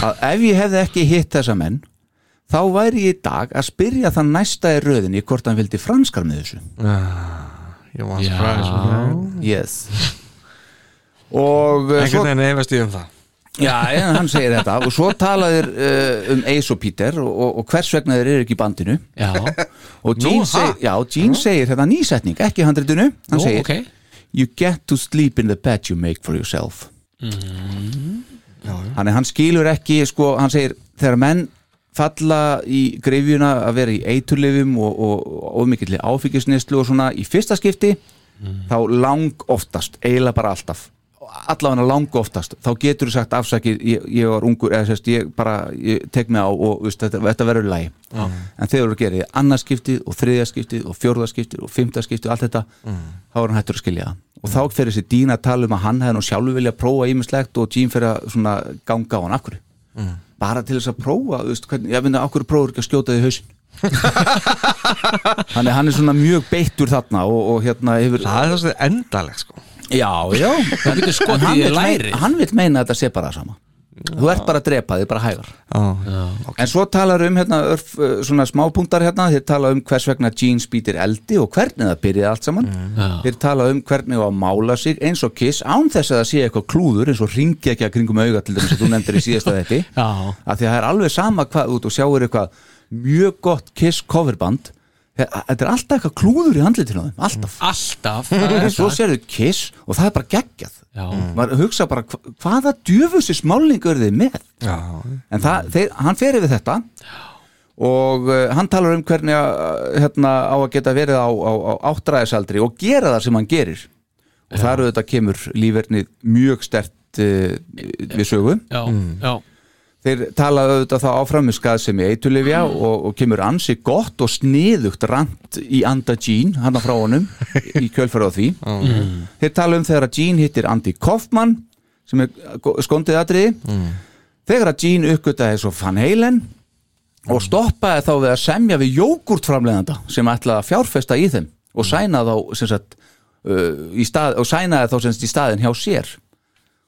Speaker 3: að ef ég hefði ekki hitt þessa menn þá væri ég í dag að spyrja þann næsta í röðinni hvort hann vildi franskar með þessu
Speaker 5: Ég var sko. surprise
Speaker 3: yes og uh, svo
Speaker 5: Mhm. Einhvern veginn efast ég um það
Speaker 3: Já, en hann segir þetta og svo talaðir uh, um Ace og Peter og, og, og hvers vegna þeir eru ekki í bandinu
Speaker 4: já,
Speaker 3: og Gene,
Speaker 5: ha?
Speaker 3: seg, já, Gene segir þetta nýsetning, ekki handritinu hann
Speaker 4: Nú,
Speaker 3: segir,
Speaker 4: ok
Speaker 3: you get to sleep in the bed you make for yourself
Speaker 4: Mhm.
Speaker 3: mm. hann, hann skilur ekki sko, hann segir, þegar menn falla í greifjuna að vera í eiturlifum og, og, og ómikilli áfengisneyslu og svona í fyrsta skipti
Speaker 4: Mhm.
Speaker 3: þá lang oftast, eiginlega bara alltaf allavega lang oftast þá getur þú sagt afsakið, ég, ég var ungur eða sérst, ég bara, ég tek mig á og veist, þetta, þetta verður lægi ja. en þegar þú gerir þið annarskiptið og þriðjaskiptið og fjórðaskiptið og fimmtaskiptið og allt þetta þá er hann hættur að skilja það og þá fyrir þessi dýna að tala um að hann hefði nú sjálfur vilja prófa ímislegt og Jean fyrir að svona ganga á hann, af hverju bara til þess að prófa, þú veist, hvernig, ég finna okkur prófur ekki að skjóta því hausin Þannig að hann er svona mjög beittur þarna og, og hérna yfir
Speaker 5: Það er það sem endalegt sko
Speaker 3: Já, já
Speaker 4: Þú getur skotið
Speaker 3: hann
Speaker 4: í
Speaker 3: vill
Speaker 4: lærið.
Speaker 3: meina- Hann vil meina að þetta sé bara það sama Þú ert bara að drepa þig, bara hægar
Speaker 5: Já,
Speaker 3: En svo talar um hérna örf, uh, svona smápuntar hérna, þeir tala um hvers vegna jeans býtir eldi og hvernig það byrjaði allt saman þeir tala um hvernig á að mála sig eins og kiss án þess að það sé eitthvað klúður eins og ringi ekki að kringum auga til þess að þú nefndir í síðasta þetta
Speaker 4: Já.
Speaker 3: að því að það er alveg sama hvað út og sjáur eitthvað mjög gott kiss coverband Þe- að- þetta er alltaf eitthvað klúður í handlitinu á þeim, alltaf
Speaker 4: Mm. alltaf það er
Speaker 3: en svo
Speaker 4: það.
Speaker 3: sérðu kiss og það er bara geggjað
Speaker 4: Já.
Speaker 3: maður hugsa bara hva, hvaða djöfusi smálningu eru þið með
Speaker 5: já
Speaker 3: en það, þeir, hann fer yfir þetta og uh, hann talar um hvernig að, hérna, á að geta verið á, á, á áttræðisaldri og gera það sem hann gerir og það eru þetta kemur lífernið mjög stert uh, við sögu
Speaker 4: já,
Speaker 3: Mm.
Speaker 4: já,
Speaker 3: þeir tala auðvitað þá áfram með skaðsemi eitulifja og, og kemur ansi gott og sniðugt rant í anda Jean, hann frá honum í kjölfæra á því þeir tala um þegar að Jean hittir Andy Kaufman sem er go- skondið atriði þegar að Jean uppgötaði svo Van Halen og stoppaði þá við að semja við jógurtframleganda sem ætlaði að fjárfesta í þeim og sæna þá sem sagt uh, í stað, og sænaði þá semst í staðin hjá sér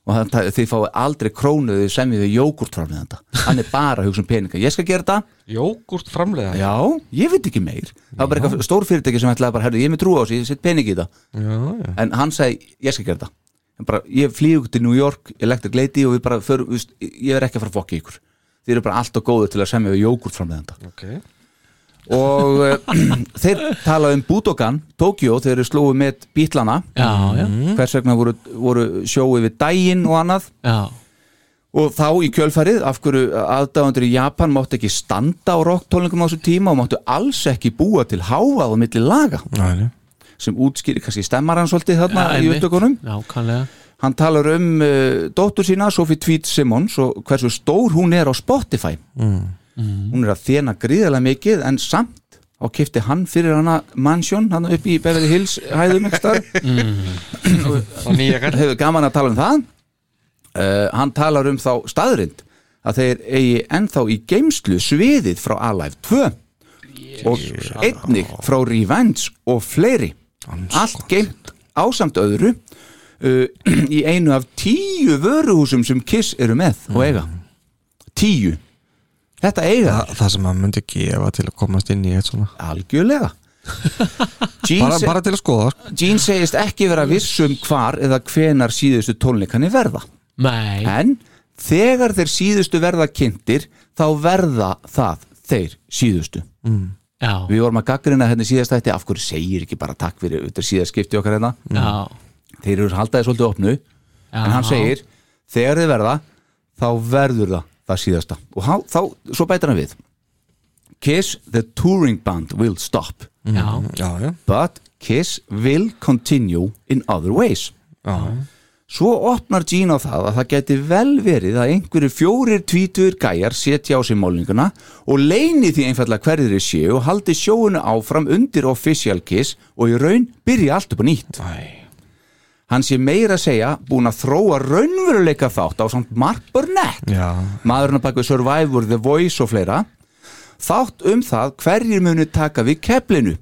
Speaker 3: og það, það, þið fáið aldrei krónu þið semjið við jógurtframlega hann er bara að hugsa um peninga, ég skal gera þetta
Speaker 5: Jógurt framlega
Speaker 3: já, ég veit ekki meir það var bara eitthvað stór fyrirtæki sem ætlaði bara, herrðu, ég er með trú á þessu, ég set pening í það
Speaker 5: já, já.
Speaker 3: en hann sagði, ég skal gera það En bara, ég flýg til New York, Electric Lady og við bara, för, við, ég er ekki að fara að fokka í ykkur þið eru bara alltaf góðu til að semja við jógurtframleganda
Speaker 5: Okay.
Speaker 3: og eh, þeir talaði um Budokan, Tokyo, þeir eru slóið með bítlana,
Speaker 4: já, já,
Speaker 3: hvers vegna voru, voru sjóið við daginn og annað
Speaker 4: já
Speaker 3: og þá í kjölfarið, af hverju aðdáðundur í Japan máttu ekki standa á rocktólingum á þessu tíma og máttu alls ekki búa til hávað og milli laga
Speaker 5: Næ,
Speaker 3: sem útskýri kannski stemmar hann svolítið þarna
Speaker 4: Já,
Speaker 3: í
Speaker 4: einmitt.
Speaker 3: upptökunum
Speaker 4: Nákvæmlega
Speaker 3: hann talar um uh, dóttur sína, Sophie Tweed Simmons og hversu stór hún er á Spotify
Speaker 4: Mm.
Speaker 5: Mm.
Speaker 3: hún er að þjena gríðarlega mikið en samt á kifti hann fyrir hana mansion hann upp í Beverly Hills hæðum ekstar
Speaker 4: Mm.
Speaker 5: Og nýja kall
Speaker 3: hefur gaman að tala um það uh, hann talar um þá staðrind að þeir eigi ennþá í geimslu sviðið frá Alive 2 og einnig frá Revenge og fleiri allt geimt ásamt öðru uh, í einu af tíu vöruhúsum sem Kiss eru með
Speaker 5: Mm.
Speaker 3: og eiga tíu þetta eiga
Speaker 5: Þa, Það sem maður myndi gefa til að komast inn í eitt svona
Speaker 3: algjörlega Gene
Speaker 5: bara,
Speaker 3: se-
Speaker 5: bara til að skoða sko.
Speaker 3: Gene segist ekki vera vissum hvar eða hvenar síðustu tónleikani verða
Speaker 4: Nei,
Speaker 3: en þegar þeir síðustu verða kynntir þá verða það þeir síðustu
Speaker 4: já,
Speaker 3: við vorum að gaggrina hérna í síðasta þetta af hverju segir ekki bara takk fyrir þetta er síðast skipti okkar hérna
Speaker 4: já
Speaker 3: þeir eru haldaði svolítið opnu en hann segir þegar þeir verða þá verður það það síðasta og há, þá, svo bætir hann við Kiss the touring band will stop
Speaker 4: Já,
Speaker 5: Já, já,
Speaker 3: but Kiss will continue in other ways
Speaker 5: já
Speaker 3: Svo opnar Gene á það að það geti vel verið að einhverju fjórir tvítur gæjar setja á sig málninguna og leini því einfallega hverjir þeir séu og haldi sjóunu áfram undir official kiss og í raun byrja allt upp á nýtt.
Speaker 5: Æ,
Speaker 3: Hann sé meira að segja búin að þróa raunveruleika þátt á samt Mark Burnett,
Speaker 5: já,
Speaker 3: maðurinn að baka við Survivor, The Voice og fleira, þátt um það hverjir munu taka við keflinu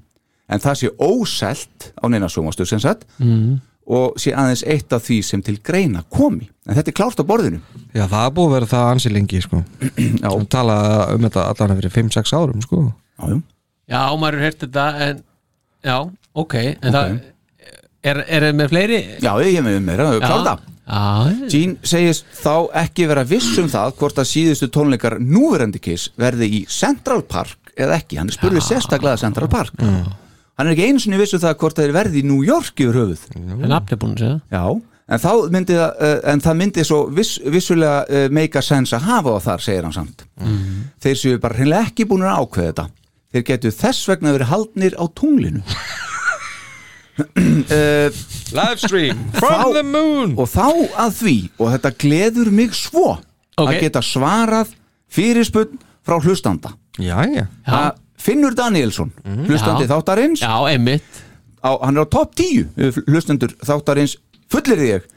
Speaker 3: en það sé óselt á neina sjómastu sem sagt mm. og sé aðeins eitt af því sem til greina komi en þetta er klárt á borðinu
Speaker 5: já, það er búið að vera það ansi lengi sko.
Speaker 3: já,
Speaker 5: Hún talaði um þetta allan fyrir 5-6 árum sko.
Speaker 3: já, já.
Speaker 4: já maður hefur hert þetta en, Já, ok En það, er, er það með fleiri?
Speaker 3: já ég hef með mér að klárt það
Speaker 4: Já,
Speaker 3: Jean segist þá ekki vera viss um það hvort að síðustu tónleikar núverandi kiss verði í Central Park eða ekki, hann er spurðið sérstaklega Central Park hann er ekki einu sinni viss um það hvort þeir verði í New York yfir höfuð
Speaker 4: en nafn er búin að segja
Speaker 3: Já, en, þá myndi, það, eh, en það myndi svo viss, vissulega eh, make a sense að hafa það þar, segir hann samt
Speaker 4: Mhm.
Speaker 3: Þeir séu bara hreinlega ekki búin að ákveða þetta Þeir getu þess vegna verið haldnir á tunglinu Eh,
Speaker 5: Livestream
Speaker 3: Þá-
Speaker 5: from the moon
Speaker 3: Og þá að því, og þetta gleður mig svo
Speaker 4: Ok.
Speaker 3: að geta svarað fyrirspunn frá hlustanda
Speaker 5: Já, já,
Speaker 3: Að Finnur Danielsson, hlustandi
Speaker 4: Mhm. Já.
Speaker 3: þáttarins
Speaker 4: Já, einmitt
Speaker 3: á, hann er á topp 10 yfir hlustendur þáttarins fullir ég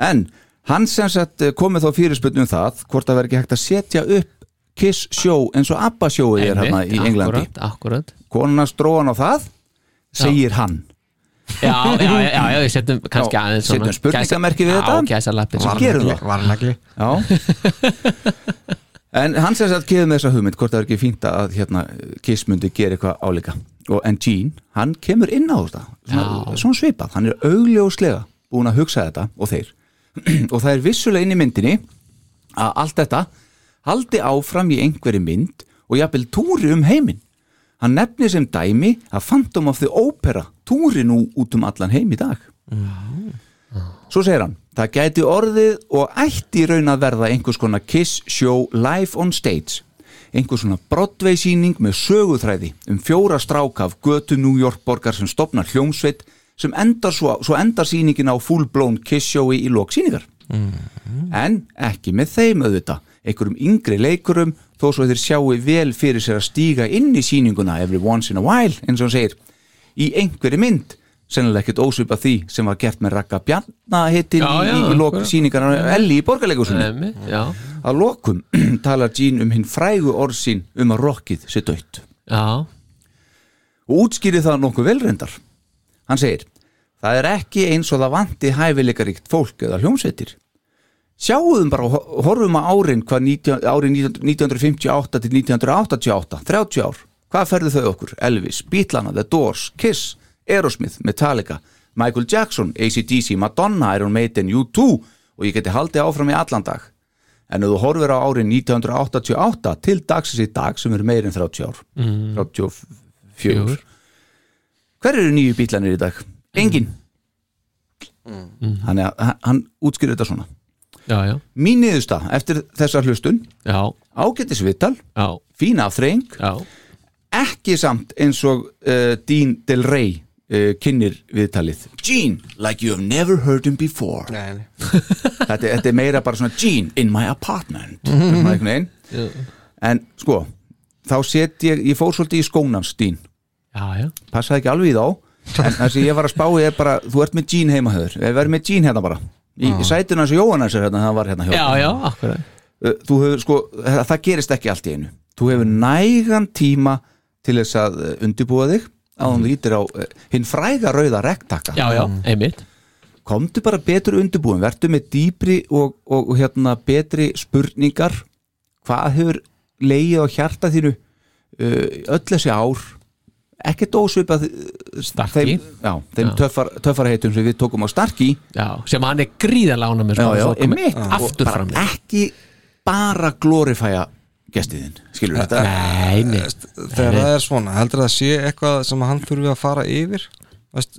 Speaker 3: en hann sem sagt eh, komið þá fyrirspunni um það hvort það verður ekki hægt að setja upp Kiss sjó eins og Abba sjóið er hérna í Englandi
Speaker 4: Akkurat, akkurat
Speaker 3: konuna stróan á það segir hann
Speaker 4: Já, já, já, já, já, við setjum kannski
Speaker 3: Já,
Speaker 4: aðeins
Speaker 3: setjum spurningamerki við þetta.
Speaker 4: Já, gæsa lappir
Speaker 3: Varnagli. Gerum það.
Speaker 5: varnagli
Speaker 3: já en hann sem sagt kefið með þessa hugmynd hvort það verður ekki fínt að hérna, Kiss myndi gera eitthvað álíka og en Gene, hann kemur inn á þetta svona,
Speaker 4: Já.
Speaker 3: svona svipað, hann er augljóslega búin að hugsa þetta og þeir og það er vissulega inn í myndinni að allt þetta haldi áfram í einhverju mynd og jafnvel túri um heiminn hann nefnir sem dæmi að Phantom of the Opera túri nú út um allan heim í dag svo segir hann það gæti orðið og ætti í raun að verða einhvers konar kiss show live on stage einhvers svona Broadway síning með söguþræði um fjóra stráka af götu New York borgar sem stopnar hljómsveit sem endar svo, svo endar síningin á full blown kiss showi í lok síningar en ekki með þeim auðvita einhverjum yngri leikurum þó svo þeir sjáu vel fyrir sér að stíga inn í síninguna every once in a while eins og hann segir, í einhverju mynd sennilega ekkert ósvipa því sem var gert með Raka Bjarna hittin
Speaker 4: Já,
Speaker 3: í,
Speaker 4: já,
Speaker 3: í lok
Speaker 4: einhverja.
Speaker 3: síningarna á Elli í borgarleikursunni
Speaker 4: Einmitt, já,
Speaker 3: að lokum talar Jean um hinn frægu orð sín um að rockið sé dött
Speaker 4: já
Speaker 3: og útskýri það nokkuð velrendar hann segir það er ekki eins og það vanti hæfileikaríkt fólk eða hljómsveitir sjáum bara, og horfum á árin hvað 19, árin 19 1958 til 1988, 30 ár hvað ferðu þau okkur? Elvis, Beatlana, The Doors, Kiss, Aerosmith, Metallica Michael Jackson, ACDC, Madonna, Iron Maiden, U2 og ég geti haldið áfram í allan dag en ef þú horfir á árin 1988 til dagsins í dag sem eru meir en 30 ár 34 hver eru nýju bílanir í dag? engin
Speaker 4: Mm.
Speaker 3: hann, er, hann, hann útskýrur þetta svona
Speaker 4: já, já,
Speaker 3: mín niðursta eftir þessa hlustun
Speaker 4: já,
Speaker 3: ágætis viðtal,
Speaker 4: já,
Speaker 3: fína afþreying
Speaker 4: já.
Speaker 3: ekki samt eins og uh, Dean Del Rey uh, kynir viðtalið Gene, like you have never heard him before
Speaker 5: Nei, nei.
Speaker 3: þetta, þetta er meira bara svona Gene in my apartment svona einhvern veginn
Speaker 4: Já,
Speaker 3: en sko, þá set ég ég fór svolítið í skónans Dean
Speaker 4: já, já.
Speaker 3: passaði ekki alveg í þá en það sem ég var að spá í er bara þú ert með Gene heima höður, við verðum með Gene hérna bara í ah. sætinu hans og Jóhann hans er hérna það var hérna hjá
Speaker 4: Já, já, akkurat
Speaker 3: Uh, þú hefur sko, það það gerist ekki allt í einu þú hefur nægan tíma til þess að uh, undirbúa þig á hún lítir á uh, hinn fræga rauða rektakka,
Speaker 4: Já, já, einmitt
Speaker 3: komdu bara betur undirbúin verður með dýpri og, og hérna betri spurningar hvað hefur leið á hjarta þínu uh, öll þessi ár ekki dósvipað uh,
Speaker 4: Starkey.
Speaker 3: þeim, já, þeim
Speaker 4: Já.
Speaker 3: töffar, töffarheitum sem við tókum á starki
Speaker 4: Já, sem hann er gríðarlega sko, ánum
Speaker 3: já, já, einmitt
Speaker 4: Aftur
Speaker 3: bara
Speaker 4: fram í.
Speaker 3: ekki bara glorifæja gestiðin, skilur þetta
Speaker 4: Nei, nei
Speaker 5: Þegar það er svona, heldur það sé eitthvað sem hann þurfi að fara yfir Veist,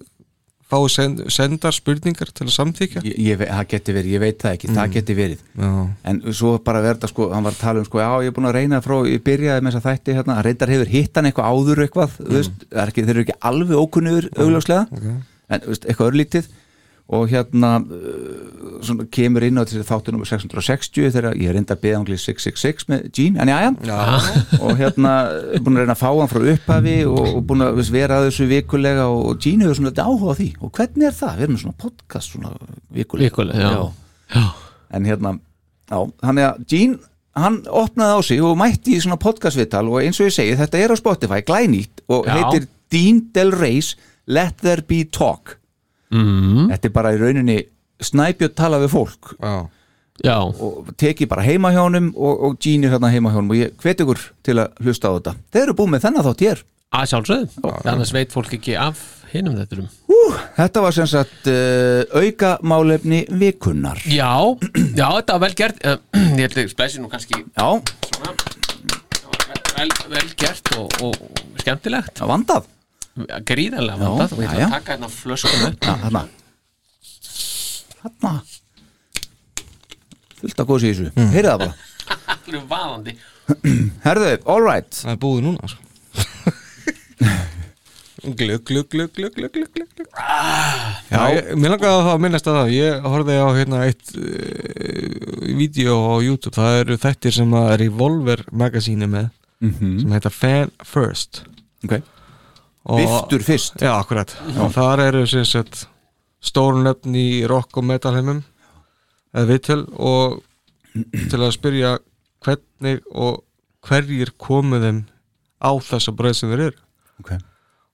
Speaker 5: Fáu send, sendar spurningar til að samþykja
Speaker 3: ég, ég, ve- það geti verið, ég veit það ekki, það geti verið
Speaker 5: Já,
Speaker 3: en svo bara verða sko, hann var að tala um sko, já ég er búin að reyna frá, ég byrjaði með þess að þætti hérna, hann reyndar hefur hitt hann eitthvað áður eitthvað, þú veist, það er ekki, þeir eru ekki alveg ókunniður augljóslega, en þú veist, eitthvað örlítið og hérna uh, svona, kemur inn á þessi þáttu nummer 660 þegar ég er reyndar að beða um 666 með Gene, en já, og hérna búin að reyna að fá hann frá upphafi og, og búin að veist, vera að þessu vikulega og, og Gene hefur svona þetta áhuga á því og hvernig er það? Við erum með svona podcast svona vikulega,
Speaker 4: Vikulega, já. Já,
Speaker 3: en hérna, já, þannig að Gene, hann opnaði á sig og mætti í svona podcastviðtal og eins og ég segi þetta er á Spotify, glænýtt og
Speaker 4: Já.
Speaker 3: heitir Dean Del Reys Let There Be Talk mm.
Speaker 4: Mhm.
Speaker 3: þetta er bara í rauninni snæbjörn tala við fólk
Speaker 5: já
Speaker 4: já,
Speaker 3: og teki bara heima hjá honum og, og Gene er hérna heima hjá honum og ég hvet ykkur til að hlusta á þetta þeir eru búið með þennan þátt hér
Speaker 4: að sjálfsögðu Annars veit fólk ekki af hinum þetta
Speaker 3: Hú, þetta var sem sagt uh, auka málefni vikunnar
Speaker 4: Já, já, þetta var vel gert Eh, Ég held að splæsi nú kannski
Speaker 3: já,
Speaker 4: vel, vel gert og, og skemmtilegt
Speaker 3: það vandað
Speaker 4: Gríðarlega
Speaker 3: Já,
Speaker 4: vandað og ég ætla
Speaker 3: jæja.
Speaker 4: að taka hérna flöskuna
Speaker 3: Já, þarna Þarna Fullt að góðs í þessu, mm. heyrðu það bara
Speaker 4: Allir vaðandi
Speaker 3: Herðu, all right
Speaker 5: Það er búið núna sko. Glugg, glugg, glugg, glugg, glugg, glugg, glugg, glugg. Já, ég, mér langaði að það að minnast að það Ég horfði á hérna eitt uh, Vídeó á YouTube Það eru þættir sem að Revolver Magazine er með Sem heitar Fan First
Speaker 3: okay.
Speaker 5: og,
Speaker 3: Biftur fyrst
Speaker 5: Já, akkurat Og þar eru sem sagt Stórun nöfn í rock og metal heimum Eða viðtöl Og til að spyrja Hvernig og hverjir komu þeim Á þessa bröð sem þeir eru
Speaker 3: okay.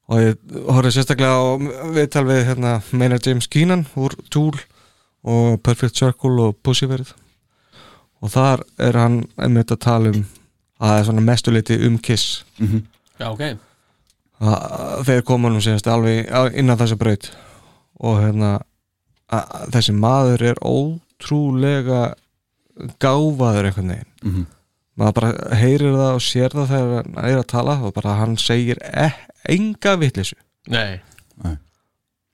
Speaker 5: og ég horfði sérstaklega á viðtal við hérna Maynard James Keenan úr Tool og Perfect Circle og Pussyverð og þar er hann einmitt að tala um að það er svona mestuleiti um Kiss
Speaker 4: Já, ok
Speaker 5: að þeir koma nú síðast alveg á- inn á þessa braut og hérna að- að þessi maður er ótrúlega gáfaður einhvern veginn
Speaker 3: Mhm.
Speaker 5: maður bara heyrir það og sér það þegar hann er að tala og bara hann segir e enga vitleysu
Speaker 4: Nei,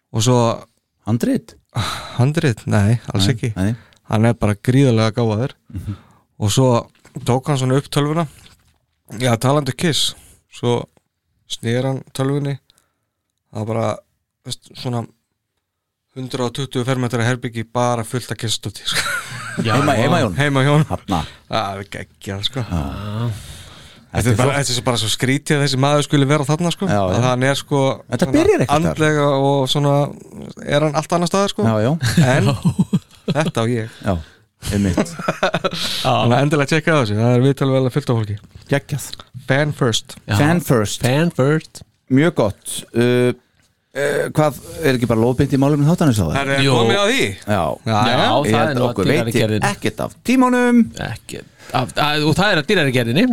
Speaker 5: og svo
Speaker 3: Handrit
Speaker 5: handrið, nei, alls ekki
Speaker 3: Nei.
Speaker 5: hann er bara gríðarlega gáðaður
Speaker 3: Mhm.
Speaker 5: og svo tók hann svona upp tölvuna já, talandi um kiss svo snýr hann tölvunni það var bara veist, svona 120 fermetra herbyggi bara fullt að kiss stóti sko.
Speaker 4: já,
Speaker 3: Heima, heima hjón
Speaker 5: heima hjón
Speaker 3: Hanna
Speaker 5: það er geggjað sko
Speaker 3: Ah. Þetta
Speaker 5: Þetta
Speaker 3: er
Speaker 5: er, bara, þetta er bara svo skrítið að þessi maður skuli vera þarna sko
Speaker 3: Já, já.
Speaker 5: að hann er sko
Speaker 3: Þetta
Speaker 5: svona
Speaker 3: byrjar ekkert þar.
Speaker 5: andlega og svona er hann allt annað staðar sko
Speaker 3: Já, já,
Speaker 5: en þetta á ég
Speaker 3: já Einmitt
Speaker 5: Þannig að endilega tjekka á þessu, það er viðtalið vel að fylta fólki
Speaker 3: Gekkjað
Speaker 5: Fan first
Speaker 4: já.
Speaker 3: Fan first
Speaker 4: Fan first
Speaker 3: Mjög gott uh, uh, hvað, er ekki bara lofbynd í málum þáttanins á það?
Speaker 5: Það er
Speaker 4: Jú.
Speaker 5: komið að því
Speaker 3: Já, Ég
Speaker 4: Já, það
Speaker 3: held
Speaker 4: er
Speaker 3: að
Speaker 4: nú að
Speaker 3: okkur veit ég
Speaker 4: dýrarigerðin
Speaker 3: ekkert af tímanum
Speaker 4: ekki, af, að, og það er að dýrarigerðinni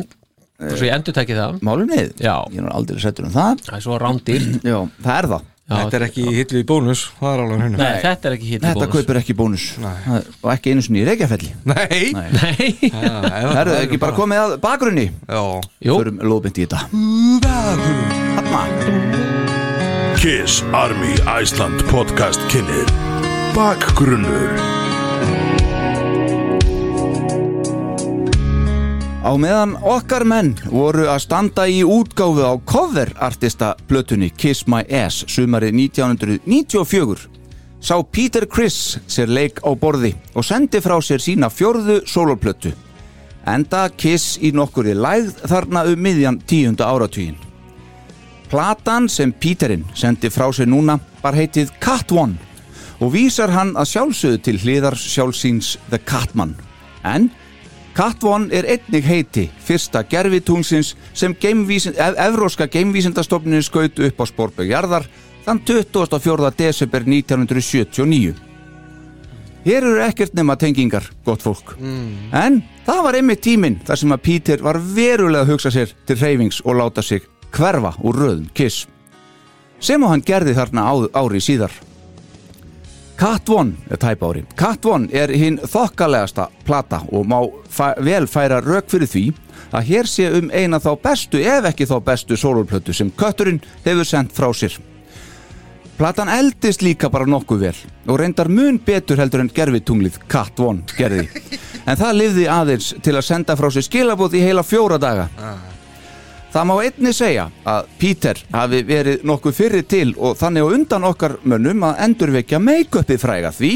Speaker 4: svo ég endur tekið það
Speaker 3: Málumnið,
Speaker 4: Já.
Speaker 3: ég er nú aldrei settur um það
Speaker 4: það er svo rándýr
Speaker 3: Já, það er það
Speaker 5: Þetta er ekki hillu í bónus, það er alveg hennu
Speaker 4: nei, þetta er ekki hitt
Speaker 3: Þetta kaupir ekki bónus Það er- og ekki einu sinni í Reykjafelli
Speaker 5: Nei, Nei.
Speaker 4: nei,
Speaker 3: Það eru ekki bara komið að bakgrunni
Speaker 5: Já,
Speaker 4: Jú.
Speaker 3: Förum lofbynd í þetta Þarna,
Speaker 8: Kiss Army Iceland podcast kynir Bakgrunnur
Speaker 3: Á meðan okkar menn voru að standa í útgáfu á coverartista plötunni Kiss My Ass sumari 1994 sá Peter Criss sér leik á borði og sendi frá sér sína fjörðu soloplötu enda Kiss í nokkurri lægð þarna um miðjan tíunda áratugin. Platan sem Peterinn sendi frá sér núna var heitið Cat One og vísar hann að sjálfsögðu til hliðar sjálfsíns The Catman en Cat One er einnig heiti fyrsta gerfitungsins sem geimvísind, ev Evróska geimvísindastofninu skaut upp á Spórbegjarðar þann 24. desember 1979. Hér eru ekkert nema tengingar, gott fólk. En það var einmitt tíminn þar sem að Peter var verulega að hugsa sér til reyfings og láta sig hverfa úr röðum kiss. Sem og hann gerði þarna á, ári síðar. Cat One er tæpa ári. Cat One er hinn þokkalegasta plata og má fæ, vel færa rauk fyrir því að hér sé um eina þá bestu ef ekki þá bestu sólulplötu sem kötturinn hefur sendt frá sér. Platan eldist líka bara nokkuð vel og reyndar mun betur heldur en gerfitunglið Cat One gerði. En það lifði aðeins til að senda frá sér skilabóð í heila fjóra daga. Það má einni segja að Peter hafi verið nokkuð fyrri til og þannig á undan okkar mönnum að endurvekja make-upið fræga því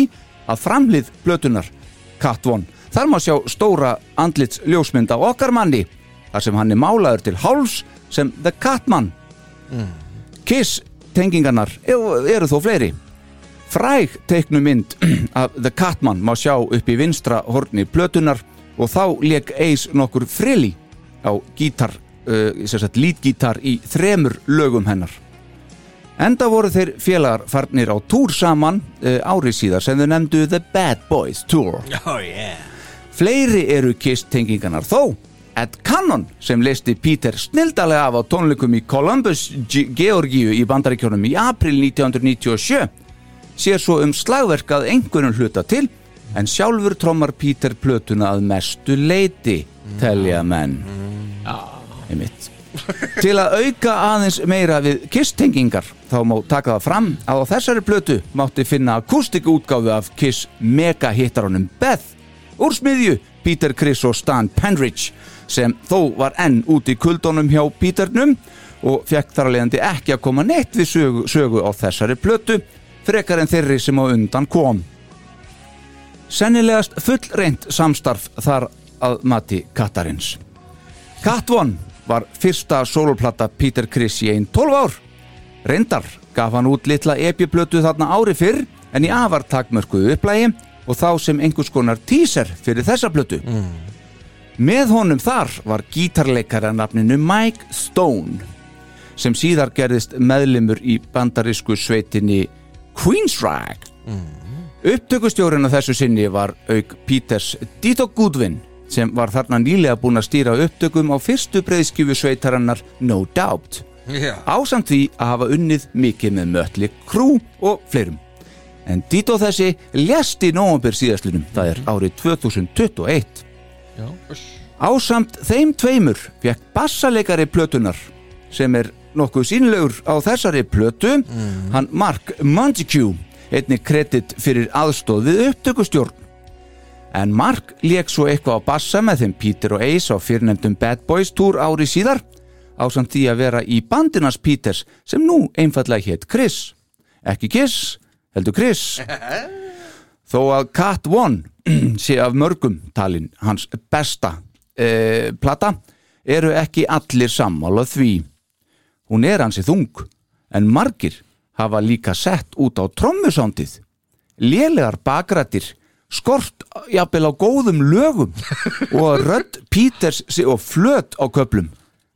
Speaker 3: að framlið blötunar Cat One. Þar má sjá stóra andlits ljósmynd af okkar manni þar sem hann er málaður til háls sem The Catman. Kiss tengingarnar eru þó fleiri. Fræg teiknumynd af The Catman má sjá upp í vinstra horni plötunar og þá leik Ace nokkur frilli á gítar, uh, sem sagt lítgítar í þremur lögum hennar. Enda voru þeir félagar farnir á túr saman uh, ári síðar sem þau nefndu The Bad Boys Tour.
Speaker 5: oh, yeah.
Speaker 3: Fleiri eru kiss-tengingarnar þó. Ed Cannon sem leisti Peter snildalega af á tónleikum í Columbus, G Georgíu í bandaríkjónum í april 1997 sér svo um slagverkað einhvernum hluta til en sjálfur trommar Peter plötuna að mestu leiti telja menn. Einmitt. Til að auka aðeins meira við Kiss-tengingar þá má taka það fram að á þessari plötu mátti finna akústikútgáfu af Kiss mega-hittarunum Beth úr smiðju Peter Criss og Stan Penridge sem þó var enn úti í kuldónum hjá Peternum og fekk þar að leiðandi ekki að koma neitt við sögu, sögu á þessari plötu frekar en þeirri sem á undan kom. Sennilegast fullreint samstarf þar að mati Katarins. Cat One var fyrsta soloplata Peter Criss í einn 12 ár. Reyndar gaf hann út litla epjublötu þarna ári fyrr en í afar takmörkuðu upplægi og þá sem einhvers konar teaser fyrir þessa blötu. Með honum þar var gítarleikari að nafninu Mike Stone sem síðar gerðist meðlimur í bandarísku sveitinni Queensrÿche. Upptökustjórinn á þessu sinni var auk Peters Dito Goodwin sem var þarna nýlega búin að stýra upptökum á fyrstu breyðskjöfu sveitarinnar No Doubt
Speaker 5: Já.
Speaker 3: ásamt því að hafa unnið mikið með mötli krú og fleirum. En Dito þessi lést í nóvambir síðastlunum, það er árið 2021. Ásamt þeim tveimur fekk bassaleikari plötunar sem er nokkuð sínlegur á þessari plötu hann Mark Montague einnig kredit fyrir aðstóð við upptökustjórn en Mark leik svo eitthvað á bassa með þeim Peter og Ace á fyrirnefndum Bad Boys Tour ári síðar ásamt því að vera í bandinas Peters sem nú einfallega hétt Chris ekki Kiss, heldur Chris þó að Cat One sé af mörgum talin hans besta e, plata eru ekki allir sammála því hún er hansi þung en margir hafa líka sett út á trommusándið lélegar bakrættir skort jafnvel á góðum lögum og rödd Peters sé- og flöt á köplum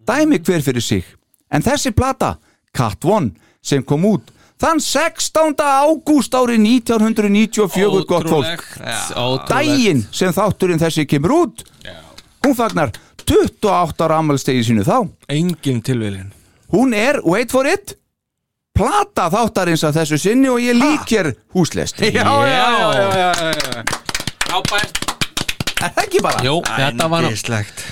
Speaker 3: dæmi hver fyrir sig en þessi plata, Cat One sem kom út þann 16. ágúst árið 1994 gott fólk
Speaker 4: Ótrúlegt, ótrúlegt.
Speaker 3: daginn sem þátturinn þessi kemur út hún fagnar 28 ára ammælstegi sínu þá
Speaker 5: Engin tilviljun
Speaker 3: hún er, wait for it plata þáttarins að þessu sinni og ég líkjer húslest já,
Speaker 4: já, Frábært
Speaker 3: ekki bara
Speaker 4: Jú, þetta var
Speaker 5: Íslegt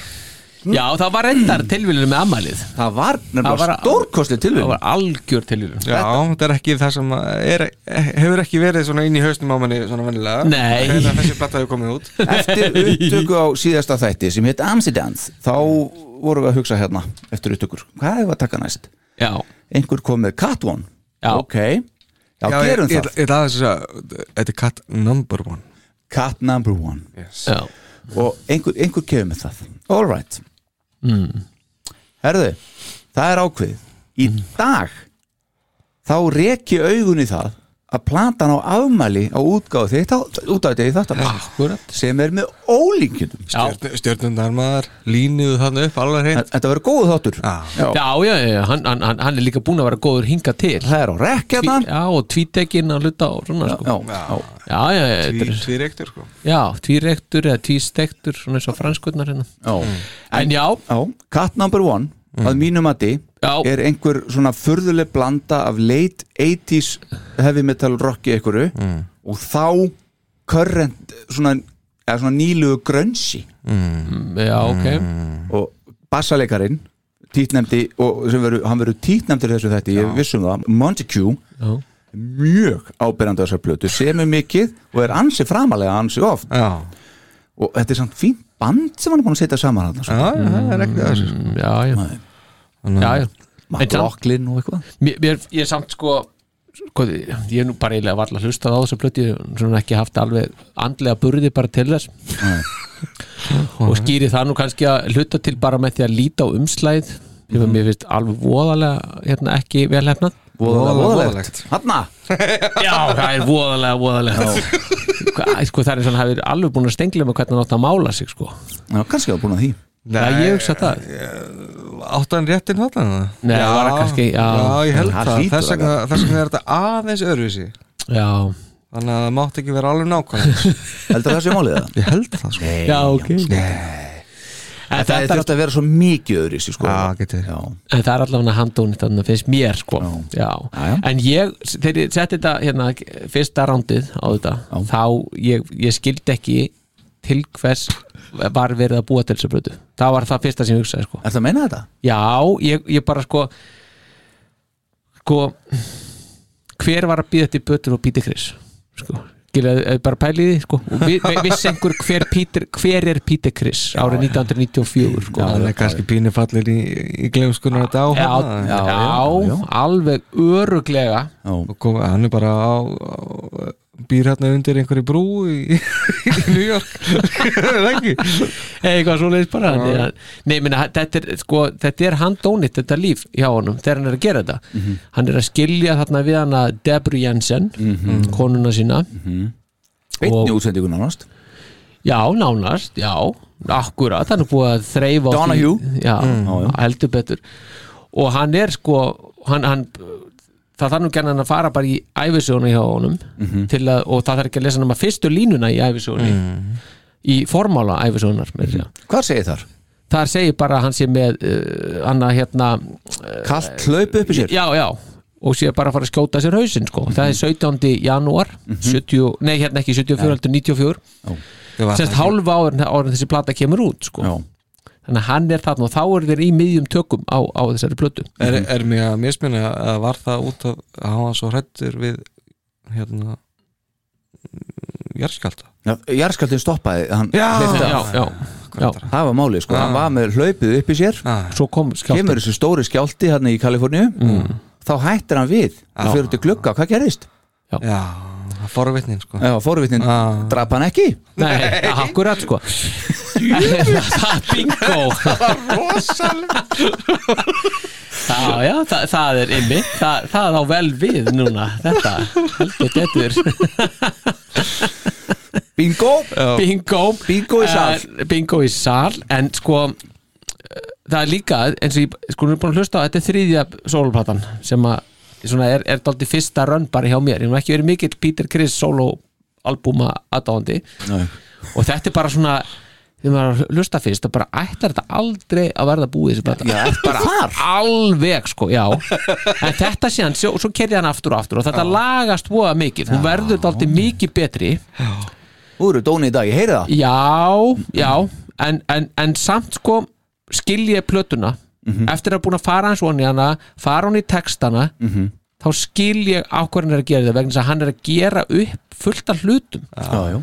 Speaker 4: Já, það var reyndar tilvílun með ammælið
Speaker 3: það var
Speaker 4: Það var-
Speaker 3: nefnilega stórkostið
Speaker 4: Það
Speaker 3: tilvíð
Speaker 4: var algjör tilvílun
Speaker 5: Já, þetta er ekki það sem að er, hefur ekki verið svona inn í haustum á manni svona vennilega
Speaker 4: Nei.
Speaker 5: Þegar þessi platta hefur komið út
Speaker 3: eftir upptöku á síðasta þætti sem heit Amsterdams þá vorum við að hugsa hérna eftir upptökur hvað hefur að taka næst?
Speaker 4: Já,
Speaker 3: einhver kom með Cat One
Speaker 4: Já.
Speaker 3: ok, já,
Speaker 5: ég-
Speaker 3: gerum
Speaker 5: ég-
Speaker 3: það
Speaker 5: Ég ætla aðeins að segja, þetta er cut number one
Speaker 3: Cat Number One
Speaker 4: já
Speaker 3: og einhver, einhver kefur með það all right mm. herðu, það er ákveðið
Speaker 4: Mm.
Speaker 3: í dag þá reki augun í það að platan á afmæli á útgáðu þitt á- út af þetta í
Speaker 4: Ah.
Speaker 3: þetta
Speaker 4: Akkúrat.
Speaker 3: sem er með ólíkjum
Speaker 4: Já,
Speaker 5: Stjörnundar maður, línuðu þannig upp alveg hreint
Speaker 3: þetta verður góð þáttur
Speaker 5: Já.
Speaker 3: Já.
Speaker 4: já, já, já, já. Hann, hann, hann- hann er líka búin að vera góður hinga til
Speaker 3: það er á rekkjana
Speaker 4: Já, og tvítekinn að hluta og svona sko.
Speaker 3: já, já.
Speaker 4: Já, já, já, þetta er-
Speaker 5: Tvíreiktur sko
Speaker 4: já tvírektur eða tvístektur svona eins og franskutnar hérna En já,
Speaker 3: Já, Cat Number One að mínu mati
Speaker 4: Já.
Speaker 3: er einhver svona furðuleg blanda af late 80s heavy metal rocki einhverju og þá current svona, eða svona nýlugu grönsi
Speaker 4: mm, já, ok
Speaker 3: og bassaleikarin títnemdi og sem veru, hann verður títnemdir þessu þetta, ég vissum það Montague,
Speaker 4: Já,
Speaker 3: mjög ábyrjandi á þessar plötu, semur mikið og er ansi framalega ansi oft
Speaker 5: Já,
Speaker 3: og þetta er samt fínt band sem hann er búin að setja saman hann
Speaker 5: já, já, það er ekki þessu sko.
Speaker 4: mm, já, já, já, já. En samt-
Speaker 3: McLaughlin og eitthvað
Speaker 4: mér, mér, ég er samt sko sko, ég er nú bara eiginlega varla hlustað á þessu plötu, ég hef svona ekki haft alveg andlega burði bara til þess og skýri það nú kannski að hluta til bara með því að líta á umslæð sem mm. mér finnst alveg voðalega hérna, ekki vel hefnað
Speaker 3: voðalega,
Speaker 5: Voðalega
Speaker 3: voðalegt Hanna,
Speaker 4: já, það er voðalega, voðalega Hva- sko, það er svona, það er alveg búin að stengla með hvernig hann átt að mála sig sko
Speaker 3: já, kannski hafa búin að því
Speaker 4: það ég hugsa það,
Speaker 5: Áttan réttin þarna eða?
Speaker 4: Nei, það var kannski- já.
Speaker 5: ég held
Speaker 3: Það
Speaker 5: það,
Speaker 3: hlýtur
Speaker 5: þess vegna, þess vegna er þetta aðeins öðruvísi
Speaker 4: já,
Speaker 5: Þannig að það mátt ekki vera alveg nákvæmlega
Speaker 3: heldur það sé málið það?
Speaker 5: Ég held það sko
Speaker 4: já, ok En
Speaker 3: það
Speaker 4: þetta
Speaker 3: er
Speaker 4: er
Speaker 3: þurft að vera svo mikið öðru sko.
Speaker 5: Já, getur.
Speaker 3: já,
Speaker 4: en Eh, það er allavega handónið þannig að finnst mér sko já.
Speaker 3: Já, já.
Speaker 4: en ég, þegar ég setti þetta hérna, fyrsta rándið á þetta
Speaker 3: Já.
Speaker 4: þá ég, ég skildi ekki til hvers var verið að búa til þessu brötu það var það fyrsta sem ég hugsaði sko
Speaker 3: er það að meina þetta?
Speaker 4: já, ég, ég bara sko sko hver var að býða þetta í bötur og býti kris sko Skilja, bara pæliði, sko Og vi, vi- vissi einhver hver, Peter, hver er Píti Kris árið 1994 sko.
Speaker 5: Það er kannski pínu fallir í, í glemskunar þetta á hérna.
Speaker 4: já, hérna,
Speaker 5: hana.
Speaker 4: já,
Speaker 3: já, já.
Speaker 4: alveg öruglega
Speaker 3: já,
Speaker 5: og kom, hann er bara á, á býr hérna undir einhverju brú í, í New York er það ekki
Speaker 4: eitthvað svo leiðis bara Þannig að- nei, minna, þetta, er, sko, þetta er handónit þetta líf hjá honum þegar hann er að gera þetta hann er að skilja þarna við hana Debru Jensen, konuna sína
Speaker 3: beitni
Speaker 4: Og-
Speaker 3: útsendingu nánast
Speaker 4: já, nánast, já akkurat, hann er búið að þreifa á því-
Speaker 3: Donahue.
Speaker 4: já,
Speaker 3: Mm. já, já.
Speaker 4: heldur betur og hann er sko hann, hann, það þarf nú gerðan hann að fara bara í æfisjónu hjá honum
Speaker 3: Mhm.
Speaker 4: til að, og það þarf ekki að lesa nema fyrstu línuna í æfisjónu
Speaker 3: Mm.
Speaker 4: í formála æfisjónar mm -hmm.
Speaker 3: hvað segir þar?
Speaker 4: þar segir bara að hann sé með uh, annað hérna
Speaker 3: kallt hlaup uppi sér?
Speaker 4: já, já, og sé bara að fara að skjóta sér hausinn sko, það er
Speaker 3: Mhm.
Speaker 4: 17. janúar 70, nei hérna ekki 74 heldur 94,
Speaker 5: Ég var
Speaker 4: sérst
Speaker 5: það ekki.
Speaker 4: hálfa áður áður en þessi plata kemur út sko
Speaker 3: já,
Speaker 4: þannig að hann er þarna og þá er þeir í miðjum tökum á, á þessari plötu
Speaker 5: er, er mér að misminna að var það út af að hann var svo hrættur við hérna jarðskjálta
Speaker 3: já jarðskjaldin stoppaði hann
Speaker 5: Já.
Speaker 3: hleypti
Speaker 4: já,
Speaker 3: af.
Speaker 4: já, já,
Speaker 3: það var málið, sko,
Speaker 5: Já.
Speaker 3: hann var með hlaupið uppi sér
Speaker 5: ah,
Speaker 4: svo kom
Speaker 3: kemur
Speaker 4: skjálftin
Speaker 3: þessi stóri skjálti hann í Kaliforníu þá hættir hann við og fyrir til glugga, hvað gerðist?
Speaker 5: já, það forvitnin sko
Speaker 3: já, fóruvitnin
Speaker 5: Já.
Speaker 3: drap hann ekki
Speaker 4: nei, akkurat sko það er bingo það var rosalega já, já, það, það er ymmi það, það á vel við núna þetta, heldur betur
Speaker 3: bingo,
Speaker 4: bingo
Speaker 3: Bingo í sal.
Speaker 4: Eh, bingo í sal, en sko eh, það er líka, eins og ég sko, nú er búin að hlusta á, þetta er þriðja sólplatan sem að svona er, er dálítið fyrsta rönn bara hjá mér, ég hef nú ekki verið mikill Peter Criss solo albúma aðdáandi og þetta er bara svona þegar maður er að hlusta fyrst það bara ætlar þetta aldrei að verða búið þessi blata já, bara alveg sko, já en þetta sé hann, svo, svo kerði hann aftur og aftur og þetta lagast voða mikið, hún verður dálítið mikið betri
Speaker 3: Þú eru dóni í dag, ég heyri það
Speaker 4: já, já en, en, en samt sko skil ég plötuna eftir að búin að fara hans vonni hana fara hún í textana þá skil ég á hvernig er að gera það vegna þess að hann er að gera upp fullt af hlutum
Speaker 3: Já, já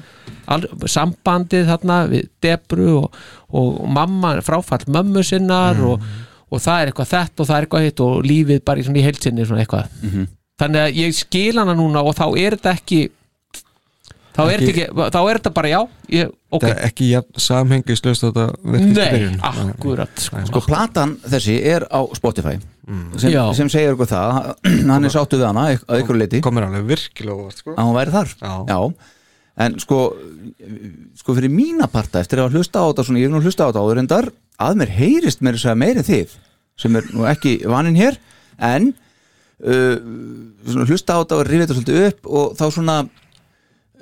Speaker 4: Al, sambandið þarna við Debru og, og mamma, fráfall mömmu sinnar og, og það er eitthvað þetta og það er eitthvað hitt og lífið bara í, svona í heilsinni svona eitthvað þannig að ég skil hana núna og þá er þetta ekki þá er þetta
Speaker 5: Ekki-
Speaker 4: ekki, þá er þetta bara já ég, ok,
Speaker 5: Það er ekki jafn samhengi slöst þetta virkist í
Speaker 4: nei,
Speaker 5: byrjun.
Speaker 4: akkurat sko.
Speaker 3: Sko, platan þessi er á Spotify sem,
Speaker 4: Já.
Speaker 3: sem segir okkur það hann er sáttu við hana eik- að ykkur leiti
Speaker 5: Komir alveg virkilega óvart sko.
Speaker 4: Ah.
Speaker 3: að hún væri þar
Speaker 5: Já.
Speaker 3: en sko, sko fyrir mína parta eftir að hlusta á þetta svona, ég er nú að hlusta á þetta áður en þar að mér heyrist mér þess að meiri þið sem er nú ekki vaninn hér en uh, svona, hlusta á þetta og rifið þetta svolítið upp og þá svona uh,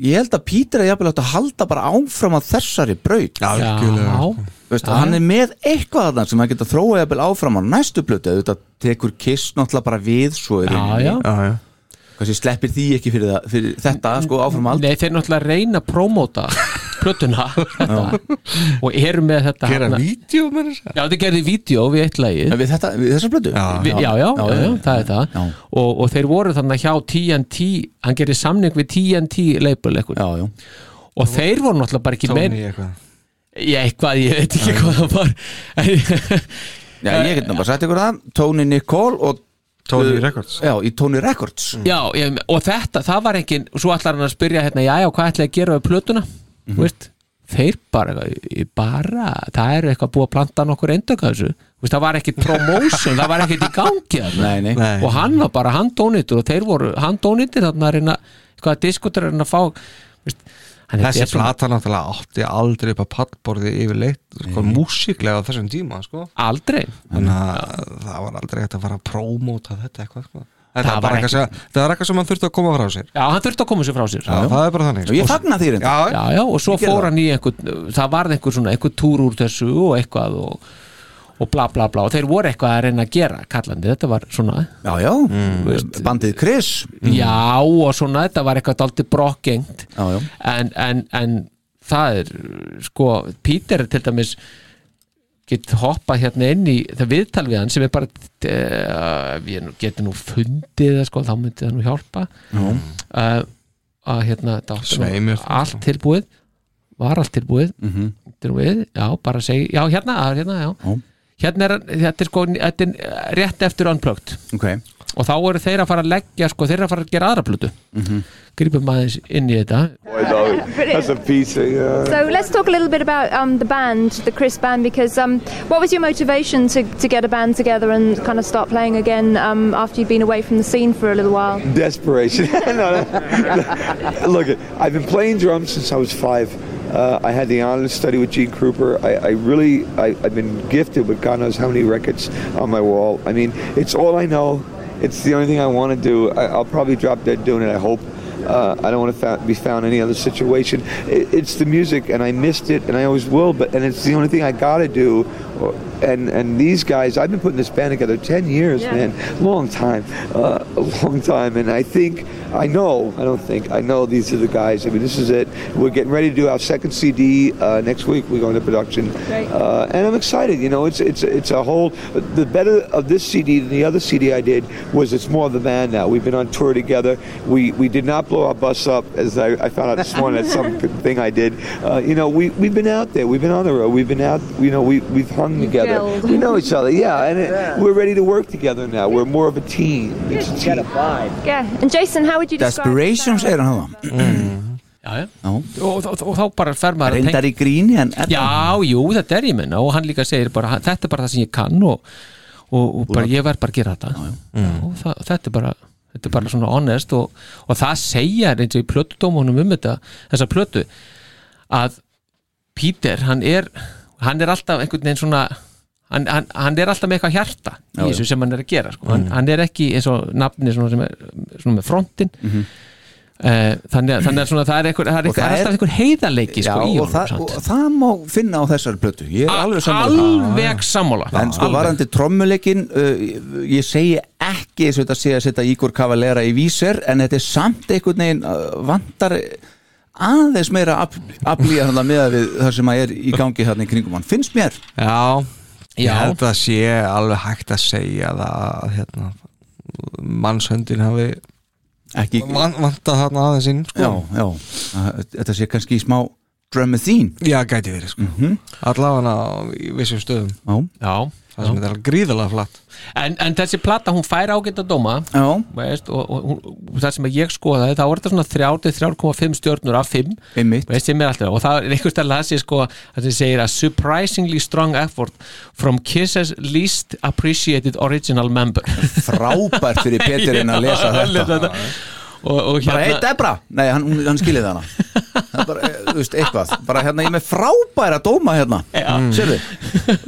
Speaker 3: ég held að Pítur er jafnvel átt að halda bara áfram að þessari braut
Speaker 4: já,
Speaker 5: Algjörlega.
Speaker 3: Veist, hann er með eitthvað þarna sem hann geta þróa jafnvel áfram á næstu blötu þetta tekur kiss náttúrulega bara við svo er
Speaker 4: já, já
Speaker 5: Já, já.
Speaker 3: kannski sleppir því ekki fyrir, það, fyrir þetta sko áfram allt
Speaker 4: Nei, þeir náttúrulega reyna að prómóta plötuna þetta, og eru með þetta
Speaker 5: Gera
Speaker 4: hérna-
Speaker 5: vídeo með þess
Speaker 4: Já, þeir gerði vídeo við eitt lagið
Speaker 3: En Við, þetta, við þessar blödu?
Speaker 5: Já.
Speaker 4: Vi, já, já, já, já, það er það
Speaker 3: Já.
Speaker 4: og, og þeir voru þannig hjá TNT hann gerir samning við TNT label eitthvað.
Speaker 3: Já, já.
Speaker 4: og þeir voru náttúrulega bara ekki
Speaker 5: Tóni
Speaker 4: meir
Speaker 5: eitthvað
Speaker 4: ég eitthvað, ég veit ekki hvað það var
Speaker 3: Já, ég get nú bara sagt ykkur það Tony Nicole og uh,
Speaker 5: Tóni Records
Speaker 3: Já, í Tony Records
Speaker 4: já, ég, og þetta, það var engin svo ætlar hann að spyrja hérna, já, já, hvað ætlaði að gera við plötuna, mm veist þeir bara, eitthvað, bara það eru eitthvað búið að planta nokkur endöka þessu Þú veist, það var ekkit promotion, það var ekkit í gangi þarna.
Speaker 3: Nei, nei,
Speaker 5: Nei.
Speaker 4: og hann var bara handónýttur og þeir voru handónýttir þarna að reyna eitthvað að diskutur að reyna að fá veist, hann
Speaker 5: Þessi
Speaker 4: þetta
Speaker 5: plata náttúrulega átti aldrei upp að pallborði yfirleitt sko, músiklega á þessum tíma sko.
Speaker 4: aldrei
Speaker 5: þannig að það var aldrei hægt að fara að prómóta þetta eitthvað sko. Þetta
Speaker 4: var
Speaker 5: var bara
Speaker 4: ekki-
Speaker 5: eitthvað sem- það var eitthvað sem hann þurfti að koma frá sér
Speaker 4: já, hann þurfti að koma sér frá sér
Speaker 5: það er bara þannig sko.
Speaker 3: Og ég fagna þér
Speaker 5: já,
Speaker 3: enda
Speaker 4: já, já, og svo
Speaker 3: Ég gerði
Speaker 4: fór
Speaker 3: það.
Speaker 4: hann í einhvern það varð einhver svona, einhver túr úr þessu og eitthvað og, og bla bla bla og þeir voru eitthvað að reyna að gera kallandi, þetta var svona
Speaker 3: Já, já,
Speaker 4: Mm. veist. Mm.
Speaker 3: bandið Chris
Speaker 4: já og svona, þetta var eitthvað daldi brokkengt
Speaker 3: Já, já.
Speaker 4: en, en, en það er sko, Peter til dæmis get hoppað hérna inn í það viðtal við hann sem er bara uh, við nú- getum nú fundið það sko, þá myndi það nú hjálpa
Speaker 3: Já.
Speaker 4: uh, að hérna þetta átti nú
Speaker 5: Svei mér.
Speaker 4: allt tilbúið var allt tilbúið mm -hmm. við, já, bara segi, já hérna, það er hérna já.
Speaker 3: Já.
Speaker 4: hérna er, þetta er sko þetta er eh, rétt eftir unplugged
Speaker 3: Ok,
Speaker 4: og þá eru þeir að fara að leggja sko, þeir eru að fara að gera aðra plötu mm -hmm. grípum aðeins inn í þetta
Speaker 9: So let's talk a little bit about um, the band, the Chris band, because um, what was your motivation to, to get a band together and kind of start playing again um, after you'd been away from the scene for a little while?
Speaker 10: Desperation. No, no. Look, I've been playing drums since I was five. Uh, I had the honor to study with Gene Krupa. I, I really, I, I've been gifted with God knows how many records on my wall. I mean, it's all I know. It's the only thing I want to do. I, I'll probably drop dead doing it. I hope. Uh, I don't want to fa- be found in any other situation. It, it's the music, and I missed it, and I always will. But and it's the only thing I got to do. Or- And and these guys, I've been putting this band together ten years,
Speaker 9: Yeah.
Speaker 10: man long time, uh, a long time. And I think, I know, I don't think, I know these are the guys. I mean, this is it. We're getting ready to do our second CD uh, next week. We go into production,
Speaker 9: Great.
Speaker 10: uh, and I'm excited. You know, it's it's it's a whole. The better of this CD than the other CD I did was it's more of the band now. We've been on tour together. We we did not blow our bus up, as I, I found out this morning. That's something I did. Uh, you know, we we've been out there. We've been on the road. We've been out. You know, we we've hung together.
Speaker 9: gelled.
Speaker 10: We know each other. Yeah, and it, we're ready to work together now. We're more of a team. It's a team.
Speaker 9: Yeah. And Jason, how would you describe the
Speaker 3: Desperations
Speaker 9: sound?
Speaker 3: er hann það
Speaker 4: já, já.
Speaker 3: Já.
Speaker 4: Og, og, og, og þá bara fer maður að
Speaker 3: Reyndar í gríni en er
Speaker 4: já, jú, þetta er ég menna og hann líka segir bara, hann- þetta er bara það sem ég kann og, og, og bara, ég verð bara að gera þetta já, og það, þetta er bara þetta er bara svona honest og, og það segja eins og í plötudómunum um þetta þessa plötu að Peter, hann er hann er alltaf einhvern veginn svona hann, hann, hann er alltaf með eitthvað hjarta
Speaker 3: Já, Mm.
Speaker 4: í þessu sem hann er að gera sko. hann, hann er ekki eins og nafni svona, sem er svona með frontin mm þannig, að- þannig að svona, það er, eitthvað, það er
Speaker 3: Mhm. Og
Speaker 4: eitthvað,
Speaker 3: það er-
Speaker 4: alltaf einhver heiðarleiki
Speaker 3: Já,
Speaker 4: sko, í
Speaker 3: og,
Speaker 4: honum
Speaker 3: það,
Speaker 4: samt. Ah,
Speaker 3: og það má finna á þessari plötu Ég er
Speaker 4: Al-
Speaker 3: alveg sammála
Speaker 4: alveg sammála
Speaker 3: En sko
Speaker 4: Alveg.
Speaker 3: varandi trommuleikin uh, ég segi ekki eins og þetta sé að setja Ígor Kavalera í vísir en þetta er samt einhvern veginn uh, vantar aðeins meira aflýja hann með við það sem að er í gangi hérna í kringum hann finnst mér
Speaker 5: Já,
Speaker 3: Já.
Speaker 5: ég held að sé alveg hægt að segja það að hérna, mannshöndin hafi
Speaker 3: ekki
Speaker 5: van, vantað þarna aðeins inn sko.
Speaker 3: Já, já, að- þetta sé kannski í smá dramathín
Speaker 5: Já, gæti verið sko. mm
Speaker 3: -hmm.
Speaker 5: Allavega í vissum stöðum
Speaker 3: Já,
Speaker 4: Já,
Speaker 5: Það sem þetta er gríðalega flatt
Speaker 4: en, en þessi plata, hún fær ágætt að dóma
Speaker 3: Já.
Speaker 4: veist, og, og, og, og það sem ég skoðaði þá er þetta svona 3-3,5 stjörnur af 5
Speaker 3: Einmitt.
Speaker 4: veist, sem er alltaf, og það er einhvers stærlega það sé sko, það sem segir að surprisingly strong effort from Kiss's least appreciated original member
Speaker 3: frábært fyrir Peter en að lesa
Speaker 4: Já,
Speaker 3: þetta
Speaker 4: og, og hérna-
Speaker 3: bara hey Debra, nei hann, hún- hann skilið hana Það er bara, eh, þú veist, eitthvað bara hérna, ég er með frábæra dóma hérna sérðu,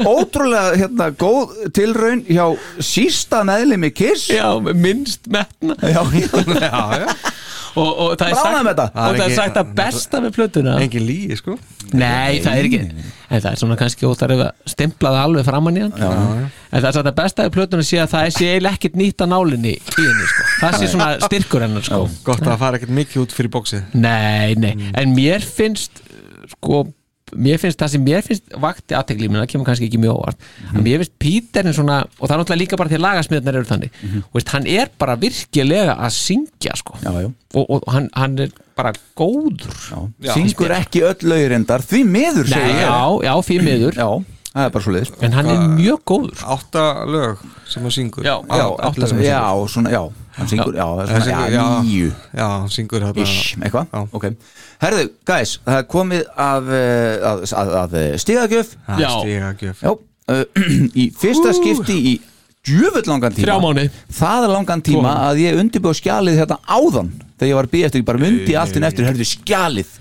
Speaker 3: ótrúlega hérna, góð tilraun hjá sísta meðlimi Kiss
Speaker 4: Já, minnst metna
Speaker 3: já, hérna.
Speaker 5: Já, já,
Speaker 4: og, og það er
Speaker 3: Bráðum
Speaker 4: sagt,
Speaker 3: þetta.
Speaker 4: og það er sagt að besta með plötuna
Speaker 5: engin lígi sko
Speaker 4: Nei, það er ekki En það er svona kannski óþarf að stimpla það alveg framann í hann En það er satt að besta í plötunum sé að það sé eiginlega ekkert nýtt að nálinni í henni sko. Það sé svona styrkur hennar sko.
Speaker 5: Gott að það fara ekkert mikið út fyrir bóksið
Speaker 4: Nei, nei,
Speaker 3: Mm.
Speaker 4: en mér finnst sko, mér finnst það sem mér finnst vakti aðtekli minna, það kemur kannski ekki mjög óvart
Speaker 3: Mm.
Speaker 4: að mér finnst Píterin svona og það er náttúrulega líka bara því að lagasmiðnar eru þannig mm veist, hann er bara virkilega að syngja sko.
Speaker 3: Mhm. já, já,
Speaker 4: og, og hann, hann er bara góður
Speaker 3: já. syngur ekki öll laugurindar því miður,
Speaker 4: Nei,
Speaker 3: segi ég
Speaker 4: já, já, fyrir miður
Speaker 3: já, það er bara svo liður
Speaker 4: en hann er mjög góður
Speaker 5: Átta lög sem hún syngur
Speaker 4: Já,
Speaker 5: Á-
Speaker 3: já,
Speaker 5: öll
Speaker 3: átta
Speaker 5: lög
Speaker 3: sem
Speaker 5: hún
Speaker 3: já, svona, já, hann syngur já, það er
Speaker 5: syngur.
Speaker 3: svona,
Speaker 5: Hann syngur,
Speaker 3: já,
Speaker 5: já.
Speaker 3: nýju
Speaker 5: syngur. Já, hún syngur þarna
Speaker 3: Ish, eitthvað,
Speaker 5: Já.
Speaker 3: ok Herðu, guys, það er komið af, eh, að, að, að stigagjöf
Speaker 4: Já.
Speaker 5: Stigagjöf
Speaker 3: Já, uh, í fyrsta skipti í djöfull langan tíma
Speaker 4: Þrjá mánuði.
Speaker 3: Það er langan tíma
Speaker 4: Tvo.
Speaker 3: að ég undirbjóð skjalið hérna áðan Þegar ég var að býja eftir, ég bara myndi alltinn eftir Herðu skjalið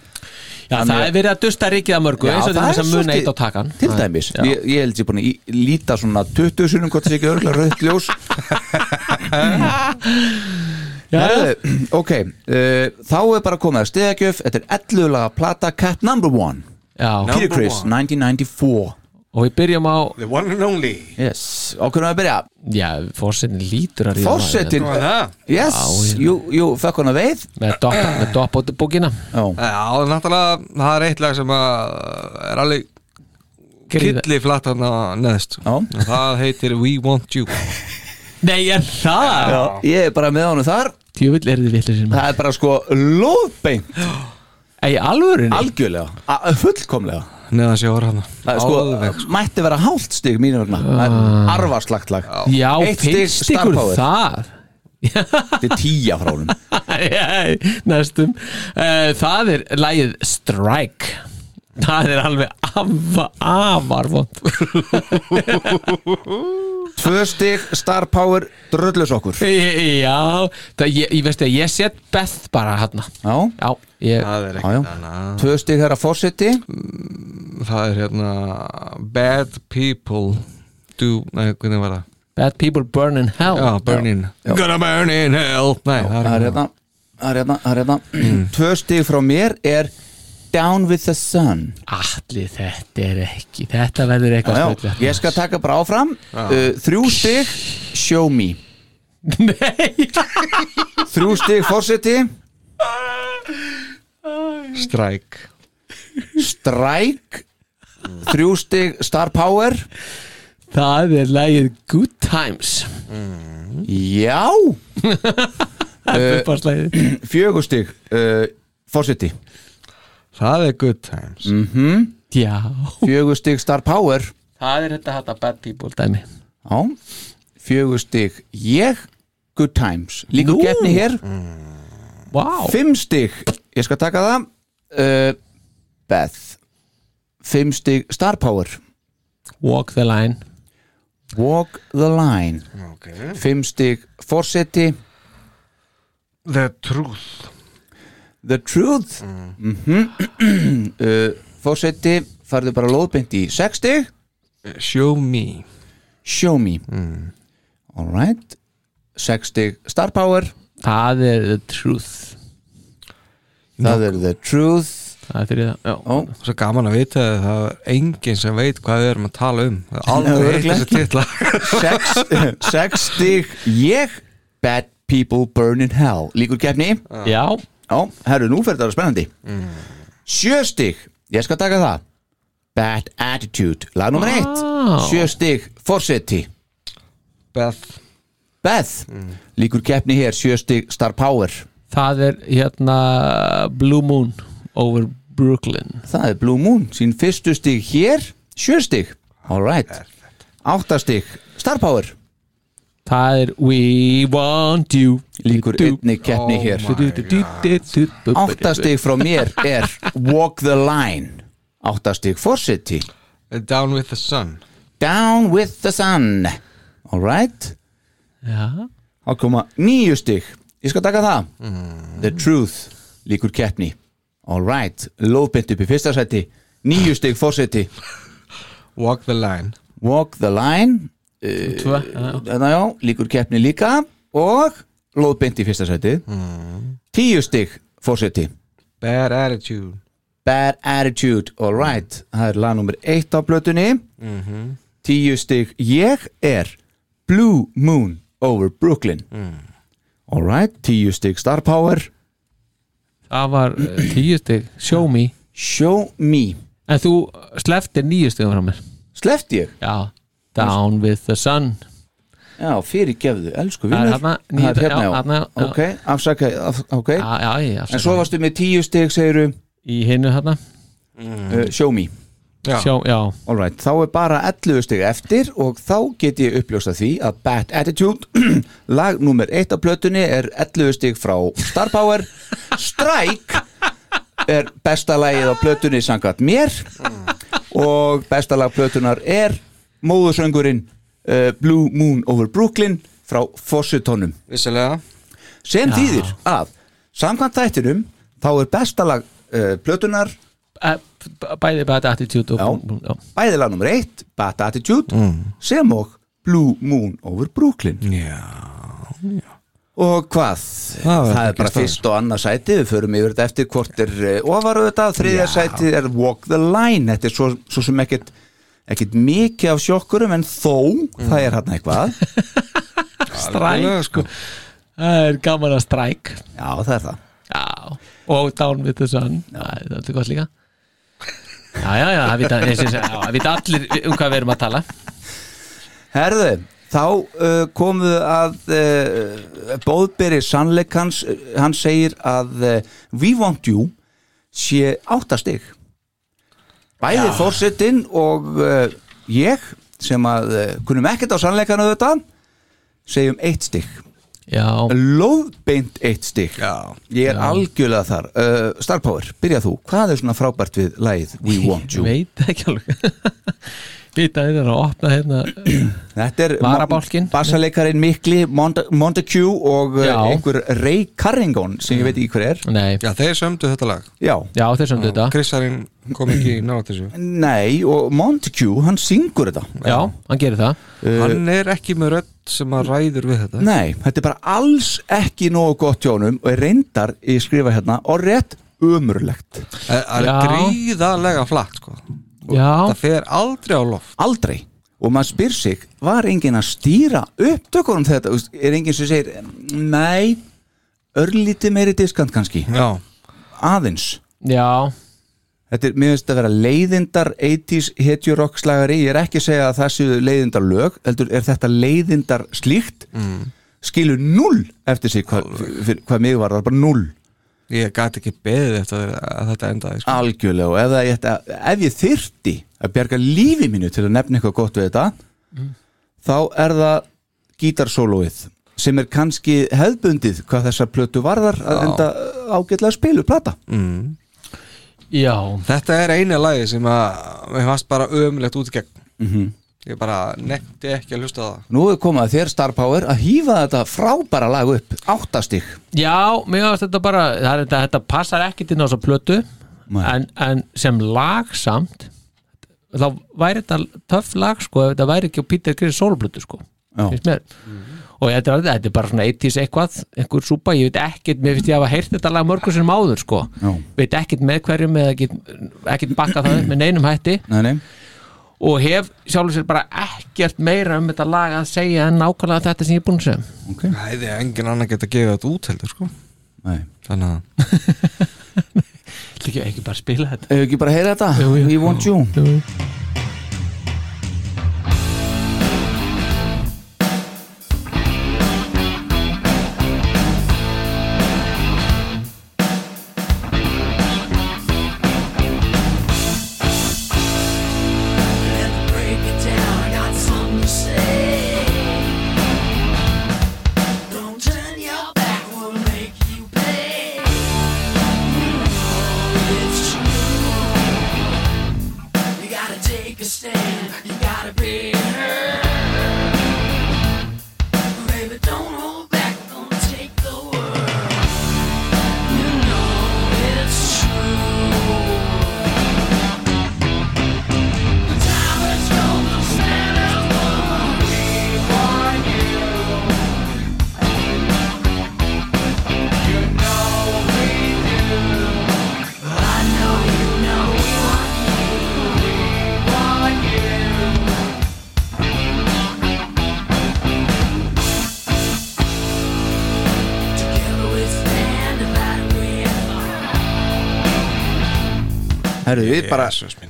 Speaker 4: Já,
Speaker 3: Þannig
Speaker 4: það
Speaker 3: að-
Speaker 4: er verið að dusta rikið að mörgu eins og
Speaker 3: það
Speaker 4: þeim
Speaker 3: er
Speaker 4: sem muna
Speaker 3: svolítið-
Speaker 4: eitt á takan
Speaker 3: Til dæmis,
Speaker 4: Já.
Speaker 3: ég, ég held ég búin að í- líta svona 20 sunum hvort það sé ekki örgulega rauðt ljós Herðu, Eh, ok uh, Þá er bara komið að stiðagjöf Þetta er 11 laga plata Cat Number One
Speaker 4: Já,
Speaker 3: Peter Chris, 1994
Speaker 4: og við byrjum á
Speaker 5: The one and only
Speaker 3: Yes, okkur erum við að byrja
Speaker 4: Já, fórsetin lítur að ríða maður.
Speaker 3: Forsetinn.
Speaker 5: Hvað var það?
Speaker 3: Yes,
Speaker 4: Já, já.
Speaker 3: jú, jú, fekk hana veið
Speaker 4: Með dopp, með dopp á bókina
Speaker 3: Já,
Speaker 5: Já, náttúrulega, það er eitt lag sem að er alveg
Speaker 4: Gríða-
Speaker 5: killi flatt hann að neðst
Speaker 3: Já.
Speaker 5: Það heitir We Want You
Speaker 4: Nei, er það?
Speaker 3: ég er bara með honum þar
Speaker 4: Tjúvill er þið villir sem
Speaker 3: Það er bara sko lóðbein
Speaker 4: Ei, alvörunni?
Speaker 3: Algjörlega, A- fullkomlega
Speaker 5: Neðan sjóður hann
Speaker 3: Það er sko, mætti vera hálft stig mínu vegna Það er arfarslagt lag
Speaker 4: Já,
Speaker 3: Eitt stig
Speaker 4: finnst
Speaker 3: star
Speaker 4: ykkur
Speaker 3: power.
Speaker 4: það?
Speaker 3: Þetta er tíja frá honum
Speaker 4: Jæ, Næstum Eh, Það er lagið Strike Það er alveg afa, afar vond
Speaker 3: Tvö stig, star power, dröllus okkur
Speaker 4: Já, það, ég, ég veist að ég set Beth bara hérna
Speaker 3: Já,
Speaker 4: Já, ég,
Speaker 5: Það er
Speaker 3: já, já.
Speaker 5: ekkert annað
Speaker 3: tvö stig herra fórseti
Speaker 5: Það er hérna Bad people do, nei, hvernig var það?
Speaker 4: Bad people burn in hell
Speaker 5: Já, burn in
Speaker 3: Já.
Speaker 5: Gonna burn in hell Nei, það
Speaker 3: Það er
Speaker 5: er
Speaker 3: hérna, það er hérna, það er hérna Tvö stig frá mér er Down with the sun
Speaker 4: Allir þetta er ekki Þetta verður
Speaker 3: Já,
Speaker 4: eitthvað
Speaker 3: já, ég skal taka bara áfram uh, Þrjú stig, show me Nei Þrjú stig, fórseti
Speaker 5: Strike
Speaker 3: Strike Þrjú stig, star power
Speaker 4: Það er lagið Good Times
Speaker 3: Já
Speaker 4: uh,
Speaker 3: Fjögur stig, uh, fórseti
Speaker 5: Það er good times
Speaker 4: Já
Speaker 3: Fjögur stig, star power
Speaker 4: Það er þetta þetta bad people dæmi
Speaker 3: Já Fjögur stig, ég Good times, líka
Speaker 4: Nú.
Speaker 3: getni hér
Speaker 4: Vá
Speaker 3: Fimm stig, ég skal taka það uh, Beth Fimm stig, star power
Speaker 4: Walk the line
Speaker 3: Walk the line Fimm stig Forseti
Speaker 5: The truth
Speaker 3: The truth Mhm. mm. uh, Forseti farðu bara lóðbeint í sex stig
Speaker 5: Show me
Speaker 3: Show me mm. Alright 6 stig star power
Speaker 4: Það er the truth
Speaker 3: Það er the truth Oh,
Speaker 4: Það er þriða, já
Speaker 3: Ó.
Speaker 5: Svo gaman að vita að það er enginn sem veit hvað við erum að tala um Það er
Speaker 3: Nei,
Speaker 5: aldrei eitt
Speaker 3: örugglega
Speaker 5: þessi titla
Speaker 3: 6 stig ég Bad people burn in hell Líkur keppni
Speaker 4: Já
Speaker 3: Já, herru, nú fyrir það að vera spennandi Mm. Sjö stig, ég skal taka það Bad attitude, lag nummer eitt
Speaker 4: Vá.
Speaker 3: Sjö stig, forseti
Speaker 5: Beth
Speaker 3: Beth, líkur keppni hér Sjö stig, star power
Speaker 4: Það er hérna Blue Moon over Brooklyn
Speaker 3: Það er Blue Moon, sín fyrstu stig hér Sjö stig, all right Átta stig, star power
Speaker 4: Það er We Want You
Speaker 3: Líkur einni keppni
Speaker 5: Oh
Speaker 3: hér Átta stig frá mér er Walk the line Átta stig, forseti
Speaker 5: Uh, Down with the sun
Speaker 3: Down with the sun All right
Speaker 4: Já,
Speaker 3: Þá koma nýju stygg Ég skal taka það The truth líkur keppni All right, lóðbynd upp í fyrsta sæti Nýju stygg fórseti
Speaker 5: Walk the line
Speaker 3: Walk the line
Speaker 4: tvö
Speaker 3: Þannig já, líkur keppni líka Og lóðbynd í fyrsta sæti
Speaker 4: Mm.
Speaker 3: Tíu stygg fórseti
Speaker 5: Bad attitude
Speaker 3: Bad attitude, all right Það er lag nummer eitt á blötunni
Speaker 4: Mhm.
Speaker 3: Tíu stygg Ég er Blue Moon over Brooklyn
Speaker 4: Mm.
Speaker 3: All right, tíu stygg star power
Speaker 4: Það var eh, tíu stig, show me
Speaker 3: Show me
Speaker 4: En þú sleftir nýju stigum frá mér
Speaker 3: Sleft ég?
Speaker 4: Já, Down with the Sun
Speaker 3: Já, fyrirgefðu, elsku
Speaker 4: Það
Speaker 3: vinnur
Speaker 4: er þarna,
Speaker 3: Það er
Speaker 4: níu-
Speaker 3: hérna,
Speaker 4: já,
Speaker 3: já,
Speaker 4: þarna, já. Ah,
Speaker 3: Ok, afsaka, af, ok
Speaker 4: Já, já, já
Speaker 3: En svo varstu með tíu stig, segiru
Speaker 4: Í hinnu hérna
Speaker 3: uh, Show me
Speaker 5: Já.
Speaker 4: Sjá, já,
Speaker 3: All right, þá er bara 11 stig eftir og þá get ég uppljósta því að Bad Attitude lag nummer 1 á plötunni er 11 stig frá Star Power Strike er besta lagið á plötunni sangat mér og besta lag plötunar er móðusöngurinn uh, Blue Moon over Brooklyn frá Fossutónum
Speaker 5: Vissilega
Speaker 3: sem þýðir að samkvæmt þættinum þá er besta lag uh, plötunar
Speaker 4: Eh, b- bæði bad attitude og
Speaker 3: Já. bæði lag nummer 1, Bad Attitude
Speaker 5: Mm.
Speaker 3: sem og Blue Moon over Brooklyn
Speaker 5: Já
Speaker 3: og hvað,
Speaker 5: Það
Speaker 3: það,
Speaker 5: er
Speaker 3: er bara
Speaker 5: ekki staðar.
Speaker 3: fyrst og annað sæti, við förum yfir þetta eftir hvort er eh, ofar auðvitað, þriðja sæti er Walk the Line, þetta er svo, svo sem ekkit ekkit mikið af sjokkurum en þó,
Speaker 5: Mm.
Speaker 3: það er hann eitthvað já,
Speaker 5: Algjörlega,
Speaker 4: Stræk
Speaker 5: sko.
Speaker 4: Það er gaman að stræk
Speaker 3: það er það
Speaker 4: Já, og down with the sun Æ, Það er alltaf gott líka Já, já, já, það vita, ég syns- já, það vita allir um hvað við erum að tala
Speaker 3: Herðu, þá uh, komuðu að uh, Bóðberi sannleik hans, hann segir að uh, We Want You sé áttastig Bæði fórsetin og uh, ég sem að uh, kunum ekkert á sannleikana þetta segjum eitt stig
Speaker 4: Já,
Speaker 3: Lóðbeint eitt stig
Speaker 5: Já
Speaker 3: Ég er algjörlega þar uh, Star Power, byrja þú, hvað er svona frábært við lagið We Want
Speaker 4: ég
Speaker 3: You?
Speaker 4: veit ekki alveg Vita þeir eru að opna hérna
Speaker 3: Þetta er
Speaker 4: Varabálkinn.
Speaker 3: Bassaleikarin Mikli, Monta- Montague og Já.
Speaker 4: Já.
Speaker 3: einhver Ray Carrington sem ég veit ekki hver er
Speaker 4: Nei,
Speaker 5: Já, þeir sömdu þetta lag
Speaker 3: Já,
Speaker 4: já, þeir sem þetta
Speaker 5: Krissarinn kom ekki nátt þessu
Speaker 3: nei og Montague, hann syngur þetta
Speaker 4: Já, hann gerir það
Speaker 5: Hann er ekki með rödd sem að ræður við þetta
Speaker 3: Nei, þetta er bara alls ekki nógu gott hjónum og er reyndar í skrifa hérna og rétt umurlegt
Speaker 5: Það er
Speaker 4: Já.
Speaker 5: gríðarlega flatt sko. Og
Speaker 4: Já.
Speaker 5: Það fer aldrei á loft
Speaker 3: Aldrei Og maður spyr sig, var enginn að stýra upptökunum þetta? Þú veist, Er enginn sem segir, nei, örlítið meiri diskant kannski,
Speaker 5: Já,
Speaker 3: aðeins
Speaker 4: Já,
Speaker 3: Þetta er, mér finnst að vera leiðindar 80s hetjurokkslagari, ég er ekki að segja að það séu leiðindar lög, heldur er þetta leiðindar slíkt skilur null eftir sig hvað, fyr- hvað mig var, það var bara null
Speaker 5: ég gat ekki beðið eftir að þetta endaði sko.
Speaker 3: algjörlega og ef, það- ég ætti að- ef ég þyrti að bjarga lífi mínu til að nefna eitthvað gott við þetta þá er það gítarsólóið sem er kannski hefðbundið hvað þessa plötu varðar að enda uh, ágætlega spilu plata
Speaker 4: já,
Speaker 5: Þetta er eina lagi sem að mér fannst bara ömulegt út í gegn Ég bara nefndi ekki að hlusta á það
Speaker 3: Nú er komið að þér Star Power að hýfa þetta frábæra lag upp áttastig
Speaker 4: já Mér ást þetta bara, það er, þetta, þetta passar ekki til náttúrulega plötu en, en sem lag samt þá væri þetta töff lag sko ef þetta væri ekki á Peter Chris sólblötu sko
Speaker 3: Já.
Speaker 4: finnst mér og þetta er, alveg- þetta er bara svona 80s eitthvað einhver súpa, ég veit ekkert, mér finnst ég hafa heyrt þetta lag mörgur sem áður sko
Speaker 3: Já.
Speaker 4: veit ekkert með hverjum eða ekkert, ekkert bakka það upp með neinum hætti
Speaker 3: Nei, nei.
Speaker 4: og hef sjálfur sér bara ekkert meira um þetta lag að segja en nákvæmlega þetta sem ég er búin að segja
Speaker 3: okay.
Speaker 5: Það hefði engin annar geta að gefa þetta út heldur sko
Speaker 3: Nei.
Speaker 5: Þannig að
Speaker 4: ekki, ekki bara spila þetta
Speaker 3: Hefur ekki bara heyrað þetta? We want you
Speaker 11: Break it down, I got something to say. Don't turn your back, we'll make you pay. Oh, it's true. You gotta take a stand, you gotta be heard. Baby, don't hold back, don't take the world. You know it's true.
Speaker 3: Herru, við bara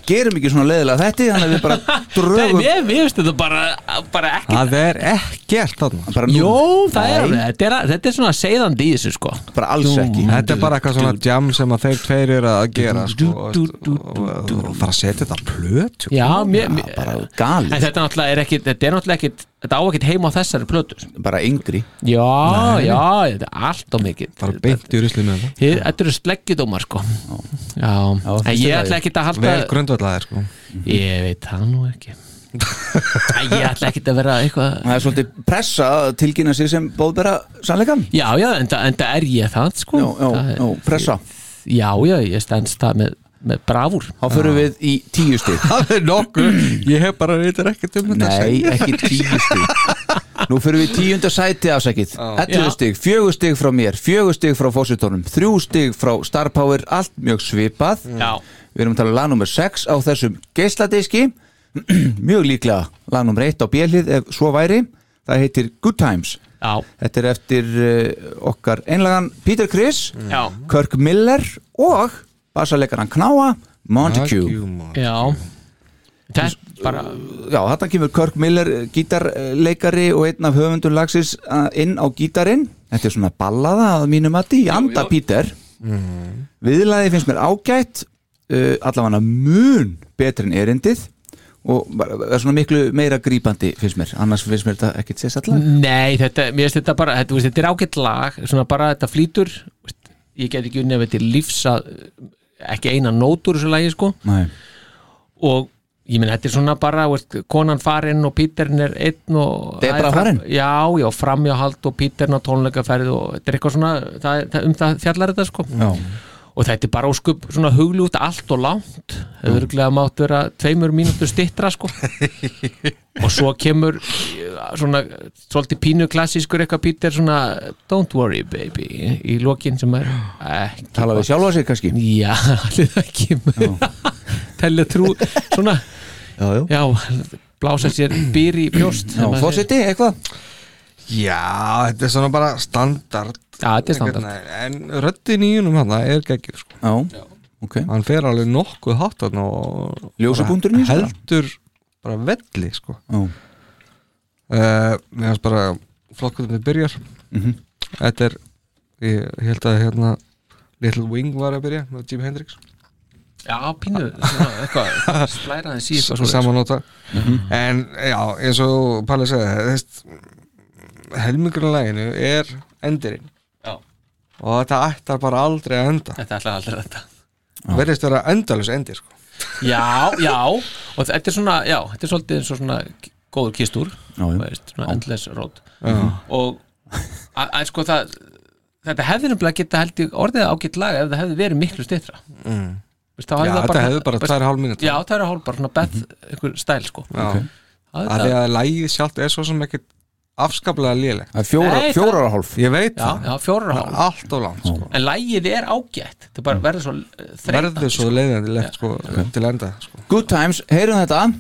Speaker 3: gerum ekki svona leiðilega þetta Þannig að við bara
Speaker 4: Nei,
Speaker 3: drögum
Speaker 4: mér mér finnst þetta bara, bara ekki
Speaker 5: Það er ekkert þarna
Speaker 3: bara
Speaker 4: Jó,
Speaker 3: nú
Speaker 4: það er alveg, þetta er, þetta er svona seiðandi í þessu sko
Speaker 3: Bara alls ekki
Speaker 5: Þetta er bara eitthvað svona jam sem að þeir tveir eru að gera sko, og, og, og, og fara að setja þetta á plötu
Speaker 4: Já, mér, mér,
Speaker 3: Bara
Speaker 4: en
Speaker 3: galið
Speaker 4: þetta náttúrulega er ekki þetta er náttúrulega ekki, þetta á ekki heima á þessari plötu sko.
Speaker 3: Bara yngri
Speaker 4: Já, já, þetta er allt og mikið
Speaker 5: fara beint í ruslið með það
Speaker 4: Þið- Þetta eru sleggjudómar sko Já, en
Speaker 3: finnst
Speaker 4: ég
Speaker 3: þér
Speaker 4: ætla ekki að halda
Speaker 5: Vel grundvallaðir sko
Speaker 4: Ég veit það nú ekki En Ég ætla ekki að vera eitthvað
Speaker 3: Það er svolítið pressa að tilkynna sig sem bóðbera sannleikan
Speaker 4: Já, já, en það er ég það sko
Speaker 3: Jó, jó,
Speaker 4: Það er-
Speaker 3: jó, pressa
Speaker 4: já, já, ég stendst það með, með bravúr
Speaker 3: Þá förum við í tíu stig
Speaker 5: Það er nokkuð Ég hef bara reytir ekkert um þetta að
Speaker 3: Nei,
Speaker 5: segja.
Speaker 3: ekki tíu stig Nú fyrir við í tíunda sæti afsækið 11
Speaker 4: Já.
Speaker 3: stig, fjögur stig frá mér fjögur stig frá fósitónum, þrjú stig frá Star Power, allt mjög svipað
Speaker 4: Já,
Speaker 3: Við erum að tala um lag nummer 6 á þessum geisladiski Mjög líklega lag nummer 1 á bjölið ef svo væri Það heitir Good Times
Speaker 4: já,
Speaker 3: Þetta er eftir uh, okkar einlagan Peter Criss,
Speaker 4: já,
Speaker 3: Kirk Miller og bassarleikaran Knáa Montague.
Speaker 5: Fuck you, man.
Speaker 4: já. Þetta bara
Speaker 3: Já, þarna kemur Kirk Miller eh, gítarleikari og einn af höfundum lagsins eh, inn á gítarinn. Þetta er svona ballaða að mínum að því, anda Peter. Mhm. Viðlaði finnst mér ágætt, uh, allavega mun betri en erindið og bara- er svona miklu meira grípandi finnst mér, annars finnst mér þetta ekkit sérstallega.
Speaker 4: Nei, þetta, mér finnst þetta bara þetta, þú veist, þetta er ágætt lag, svona bara þetta flýtur þú veist, ég get ekki unni að þetta lífs að ekki eina nótur þessu lagi sko
Speaker 3: Nei,
Speaker 4: og ég minn þetta er svona bara þú veist, konan farin og Píterin er einn og
Speaker 3: Debra
Speaker 4: það er fram-
Speaker 3: farin?
Speaker 4: já, já, framjáhald og Píterin á tónleikaferð og þetta er eitthvað svona það, það, um það fjallar þetta sko
Speaker 3: já,
Speaker 4: og þetta er bara óskup svona hugljútt allt og langt það er örglega mátt vera tveimur mínútur stittra sko og svo kemur eh, svona svolítið pínu klassískur eitthvað Píter svona don't worry baby í, í lokin sem er ekki
Speaker 3: tala við sjálfa sig kannski.
Speaker 4: já, allir það kemur telja trú svona
Speaker 3: Já, já.
Speaker 4: já, blása sér býr í brjóst
Speaker 3: Já,
Speaker 4: sem að-
Speaker 3: fórseti, eitthvað?
Speaker 5: Já, þetta er svona bara standard
Speaker 4: Já, þetta er standard.
Speaker 5: En röddin í húnum hann er geggjur sko
Speaker 3: Já, ok
Speaker 5: Hann fer alveg nokkuð hátt hann og
Speaker 3: Ljósapunkturinn í þessu,
Speaker 5: Heldur bara velli sko
Speaker 3: Já,
Speaker 5: uh, mér finnst bara flokkuðum við byrjar
Speaker 3: Mhm.
Speaker 5: þetta er, ég held að hérna Little Wing var að byrja með Jimi Hendrix
Speaker 4: já, pínu svona, eitthvað slæra þessi eitthvað svoleiðis.
Speaker 5: samanóta
Speaker 3: Mhm.
Speaker 5: en já, eins og Palli segði helmingurinn læginu er endurinn
Speaker 4: Já.
Speaker 5: og þetta ættar bara aldrei að enda
Speaker 4: þetta ætlaði aldrei þetta
Speaker 5: verðist vera endalus endir sko.
Speaker 4: já, já og þetta er svona, já, þetta er svolítið eins og svona góður kistur,
Speaker 3: já,
Speaker 4: þú
Speaker 3: já.
Speaker 4: veist, svona endless road og að, að sko
Speaker 11: Mm.
Speaker 4: það þetta hefði nefnilega geta held ég orðið ágætt lag ef það hefði verið miklu stýttra Veist, þá hefði
Speaker 5: Já,
Speaker 4: það
Speaker 5: þetta hefði bara tvær og hálf mínútur.
Speaker 4: já, tvær og hálf, bara svona bett
Speaker 11: Mhm.
Speaker 4: einhver stæl sko
Speaker 5: Já.
Speaker 4: Það er
Speaker 5: að því
Speaker 4: það.
Speaker 5: að lægið sjálft er svo sem ekkit afskaplega lélegt
Speaker 3: Það er fjórar- Nei, það- fjórar og hálf.
Speaker 5: Ég veit
Speaker 4: Já,
Speaker 5: það
Speaker 4: já, fjórar og
Speaker 5: Það er
Speaker 4: hálf.
Speaker 5: Allt of langt sko.
Speaker 4: en lægið er ágætt það
Speaker 11: Mm.
Speaker 4: bara verður svo eh, þreytandi
Speaker 5: Verður svo leiðandi legt sko, til enda sko.
Speaker 3: Good times, heyrum þetta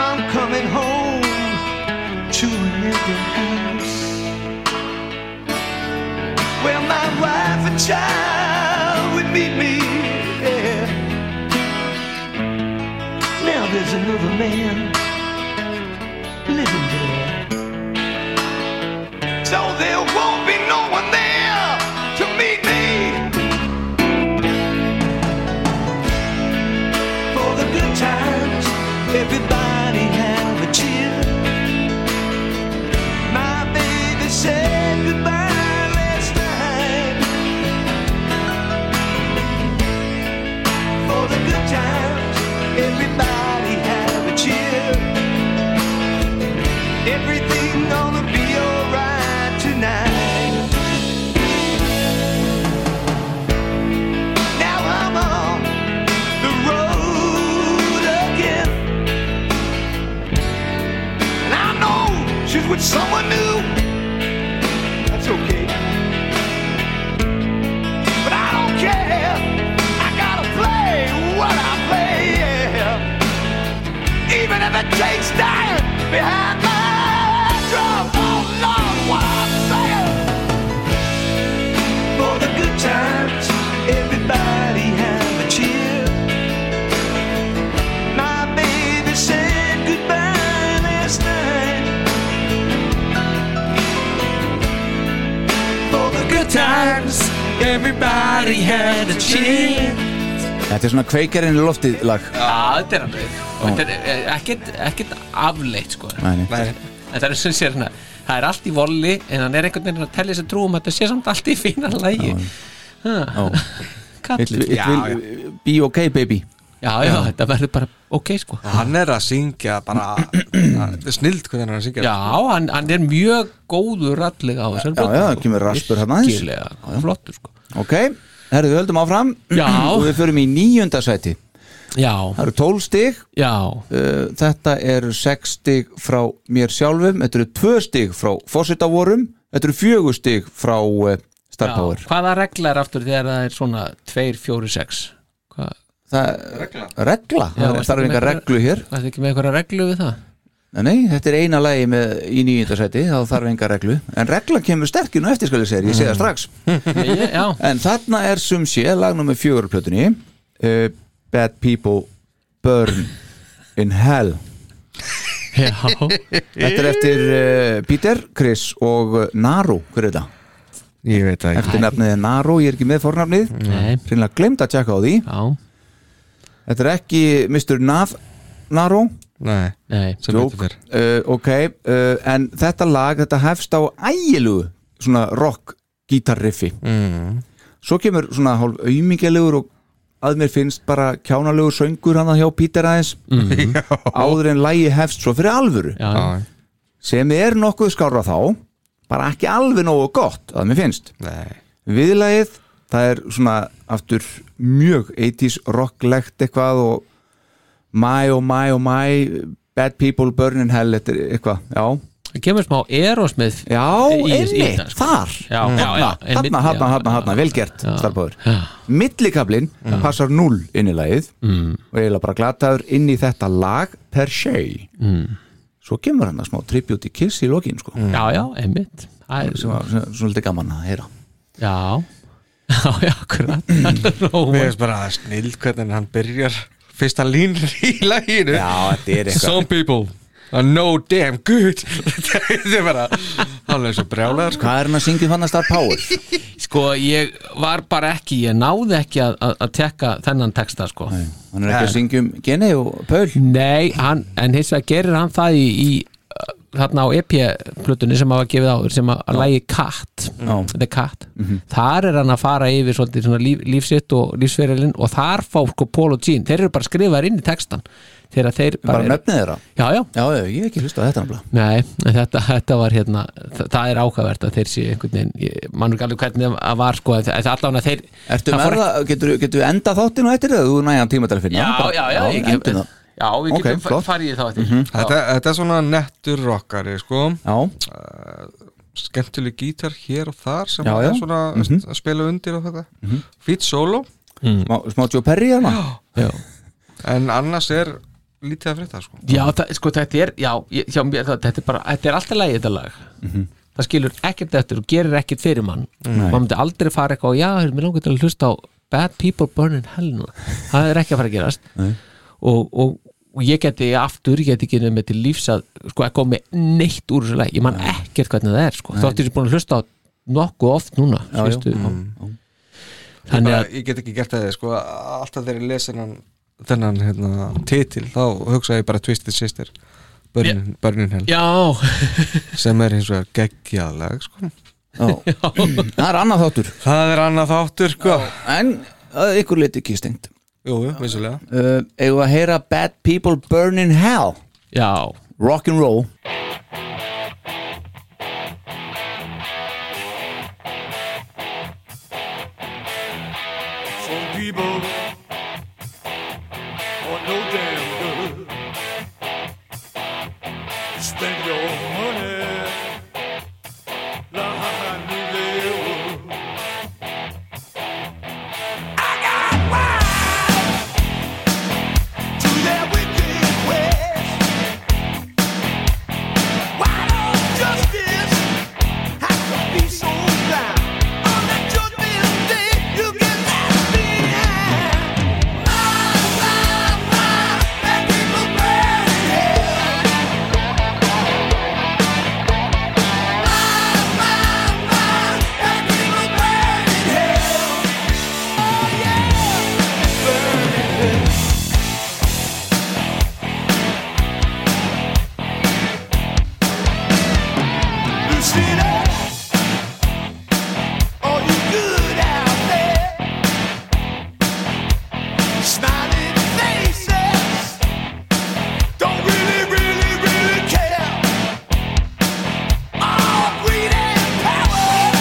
Speaker 11: I'm coming home to an empty house where my wife and child would meet me. Yeah. Now there's another man living there, so there won't be no one there to meet me for the good times. Everybody have a cheer. My baby said goodbye last night. For the good times, everybody have a cheer. Everything gonna be alright tonight. Now I'm on the road again. And I know she's with someone new. That's okay. But I don't care. I gotta play what I play. Yeah. Even if it takes dying behind my drum. Oh Lord, what I'm saying. For the good times, everybody have a cheer. My baby said goodbye last night. For the good times, everybody had a cheer.
Speaker 3: Þetta er svona kveikarinn í loftið lag
Speaker 4: Já, þetta er alveg og þetta er eh, ekkert, ekkert afleitt sko
Speaker 3: Nei, nei.
Speaker 4: Þetta er- þetta er sem sé hérna það er allt í volli en hann er einhvern veginn að tellja sér trúum að þetta sé samt allt í fína lægi
Speaker 3: Já. It,
Speaker 4: kallið
Speaker 3: it will be okay baby
Speaker 4: já, já, þetta verður bara ok sko
Speaker 5: Hann er að syngja bara Það er snild hvernig hann er að syngja
Speaker 4: Já, hann, hann er mjög góður allega á þessar
Speaker 3: Já, já, það kemur raspur hann aðeins
Speaker 4: Virkilega flottur sko
Speaker 3: Ok, herðu, við höldum áfram
Speaker 4: Já.
Speaker 3: Og við förum í níunda sæti
Speaker 4: Já,
Speaker 3: Það eru 12 stig
Speaker 4: já,
Speaker 3: Uh, Þetta eru 6 stig frá mér sjálfum Þetta eru 2 stig frá fósitavorum Þetta eru 4 stig frá uh,
Speaker 4: já.
Speaker 3: Star Power
Speaker 4: Hvaða regla er aftur þegar það er svona 2, 4, 6 Hvað
Speaker 3: Það, regla, það er starf engar reglu hér
Speaker 4: Það er ekki með einhverja reglu við það
Speaker 3: Nei, Nei, þetta er eina lagi með, í nýjöndasæti þá þarf enga reglu, en regla kemur sterkinu eftir skal ég segja, ég sé það strax
Speaker 4: Ég- Já,
Speaker 3: en þarna er sum sé, lag nummer fjögur á plötunni uh, Bad People Burn in Hell
Speaker 4: já
Speaker 3: Þetta er eftir uh, Peter, Chris og uh, Naru, hver er þetta?
Speaker 5: Ég veit það ekki
Speaker 3: Eftir nafnið er Naru, ég er ekki með fornafnið
Speaker 4: Nei,
Speaker 3: Hreinlega glemt að tjekka á því
Speaker 4: já,
Speaker 3: Þetta er ekki Mr. Nav Naru
Speaker 5: Nei,
Speaker 4: nei
Speaker 5: sem
Speaker 3: Jók,
Speaker 5: betur fyrr
Speaker 3: uh, ok, uh, en þetta lag þetta hefst á ægilugu svona rock gítarriffi
Speaker 5: mm.
Speaker 3: svo kemur svona hálf aumingjalegur og að mér finnst bara kjánalegur söngur hann hjá Peter aðeins áður en lagi hefst svo fyrir alvöru
Speaker 4: Mhm. Já,
Speaker 5: Já,
Speaker 3: sem er nokkuð skára þá bara ekki alveg nógu gott að mér finnst
Speaker 5: Nei
Speaker 3: viðlagið, það er svona aftur mjög 80s rocklegt eitthvað og my oh my oh my bad people burn in hell þetta er eitthvað, já
Speaker 4: það kemur smá erosmið
Speaker 3: Já,
Speaker 4: Í- í
Speaker 3: einmitt,
Speaker 4: þetta, sko.
Speaker 3: þar
Speaker 4: Já, já,
Speaker 3: Þarna,
Speaker 4: já, einmitt,
Speaker 3: þarna,
Speaker 4: já,
Speaker 3: þarna, þarna,
Speaker 4: já,
Speaker 3: þarna, vel gert
Speaker 4: já.
Speaker 3: starfbóður Millikablin passar 0 inn í lagið
Speaker 4: Mm.
Speaker 3: og eiginlega bara glataður inn í þetta lag per se
Speaker 4: Mm.
Speaker 3: Svo kemur hann að smá tribute í Kiss í lokin sko
Speaker 4: Já, já, einmitt Það er-
Speaker 3: sem var svona svona lítið gaman að heyra
Speaker 4: Já, já, já, akkurat Það er
Speaker 5: Mér
Speaker 4: rómur.
Speaker 5: finnst bara snild hvernig hann byrjar Fyrsta línur í læginu
Speaker 3: þetta er
Speaker 5: Some people are no damn good Þetta er bara Hann er svo brjálæður sko
Speaker 3: Hvað er hann að syngja þannig að um Star Power?
Speaker 4: Sko, sko ég var bara ekki ég náði ekki að, að, að tekka þennan texta sko Nei,
Speaker 3: hann er ekki að syngja um geni og pöl
Speaker 4: Nei, hann, en hins vegar gerir hann það í, í uh, þarna á EP-plutunni sem hafa gefið áður sem að, að lægi Cat, The Cat
Speaker 3: Mhm.
Speaker 4: þar er hann að fara yfir svolítið svona líf, lífsitt og lífsferilinn og þar fá sko Paul og Gene, þeir eru bara skrifaðir inn í textan þegar þeir
Speaker 3: bara
Speaker 4: eru-
Speaker 3: nöfnið þeirra
Speaker 4: Já, já,
Speaker 3: já, já, ég hef ekki hlustað á þetta nefnilega
Speaker 4: Nei, en þetta, þetta var hérna það, það er ákavert að þeir séu einhvern veginn ég- man er ekki alveg hvernig það var sko en það allan að þeir
Speaker 3: Ertu
Speaker 4: það
Speaker 3: með
Speaker 4: fór
Speaker 3: það, getur, getur við enda þáttin og eftir það, þú er nægjan tíma til að finna
Speaker 4: Já,
Speaker 3: hann bara-
Speaker 4: já, já, ég
Speaker 3: endum
Speaker 4: get-
Speaker 3: það.
Speaker 4: Já, við
Speaker 3: Ok,
Speaker 4: getum okay,
Speaker 3: flott. Mhm.
Speaker 4: farið í þá eftir
Speaker 5: þetta, þetta er svona nettur rockari sko.
Speaker 3: já.
Speaker 5: skemmtileg gítar hér og þar sem
Speaker 3: Já,
Speaker 5: já,
Speaker 3: já.
Speaker 5: er svona
Speaker 3: Mhm.
Speaker 5: að spila undir og þetta fýtt solo
Speaker 4: Mm.
Speaker 3: Smá, smá Joe Perry hérna
Speaker 4: Já.
Speaker 5: en annars er lítið að frétta sko.
Speaker 4: Já, það, sko, þetta er, já, ég- já mér, það, þetta er bara, þetta er alltaf lægið þetta lag það skilur ekkert eftir og gerir ekkert fyrir mann
Speaker 5: Nei.
Speaker 4: maður myndi aldrei fara eitthvað, já, mér langar til að hlusta á Bad People Burn in Hell núna. það er ekki að fara að gerast
Speaker 3: Nei.
Speaker 4: og, og, og ég geti aftur, ég geti ekki nefnir til lífs að, sko, að koma með neitt úr þessu lag, ég man ekkert hvernig það er sko,
Speaker 5: Nei.
Speaker 4: þáttir ég búin að hlusta á nokkuð oft núna,
Speaker 5: Já, já.
Speaker 4: síðustu
Speaker 5: Mm,
Speaker 4: Þannig
Speaker 5: bara,
Speaker 4: að-
Speaker 5: ég get ekki gert það sko. alltaf þegar ég les þennan, þennan hérna, titil þá hugsa ég bara Twisted Sister Burnin, yeah. Burnin Hell
Speaker 4: Já
Speaker 5: sem er hins vegar geggjaðleg sko.
Speaker 3: það er annað þáttur
Speaker 5: það er annað þáttur sko.
Speaker 3: en að ykkur liti ekki stengt
Speaker 5: jú, jú, vissulega
Speaker 3: uh, eigum við að heyra Bad People Burn in Hell
Speaker 4: já.
Speaker 3: rock and roll
Speaker 2: Some people are no damn good. Spend your money like I knew they would. I got wise to their wicked ways. Why don't justice have to be so blind? On that judgment day, you can left behind. Smiling faces don't really, really, really care. All greed and power,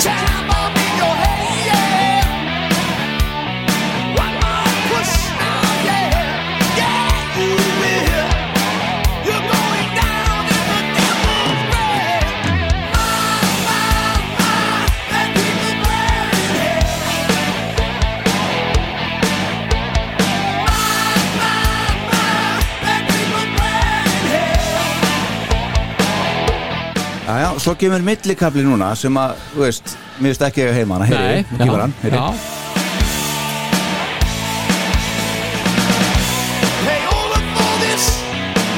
Speaker 2: time up in your head, yeah. One more push, oh yeah, yeah, you will. You're going down in the devil's bed. My, my, my, that people burn in hell.
Speaker 3: já, já, svo kemur millikabli núna sem að, þú veist, mér veist ekki að heima hana
Speaker 4: Nei,
Speaker 3: heyri,
Speaker 4: já,
Speaker 3: kýfur hann, heyri
Speaker 4: já.
Speaker 2: Pay over for this,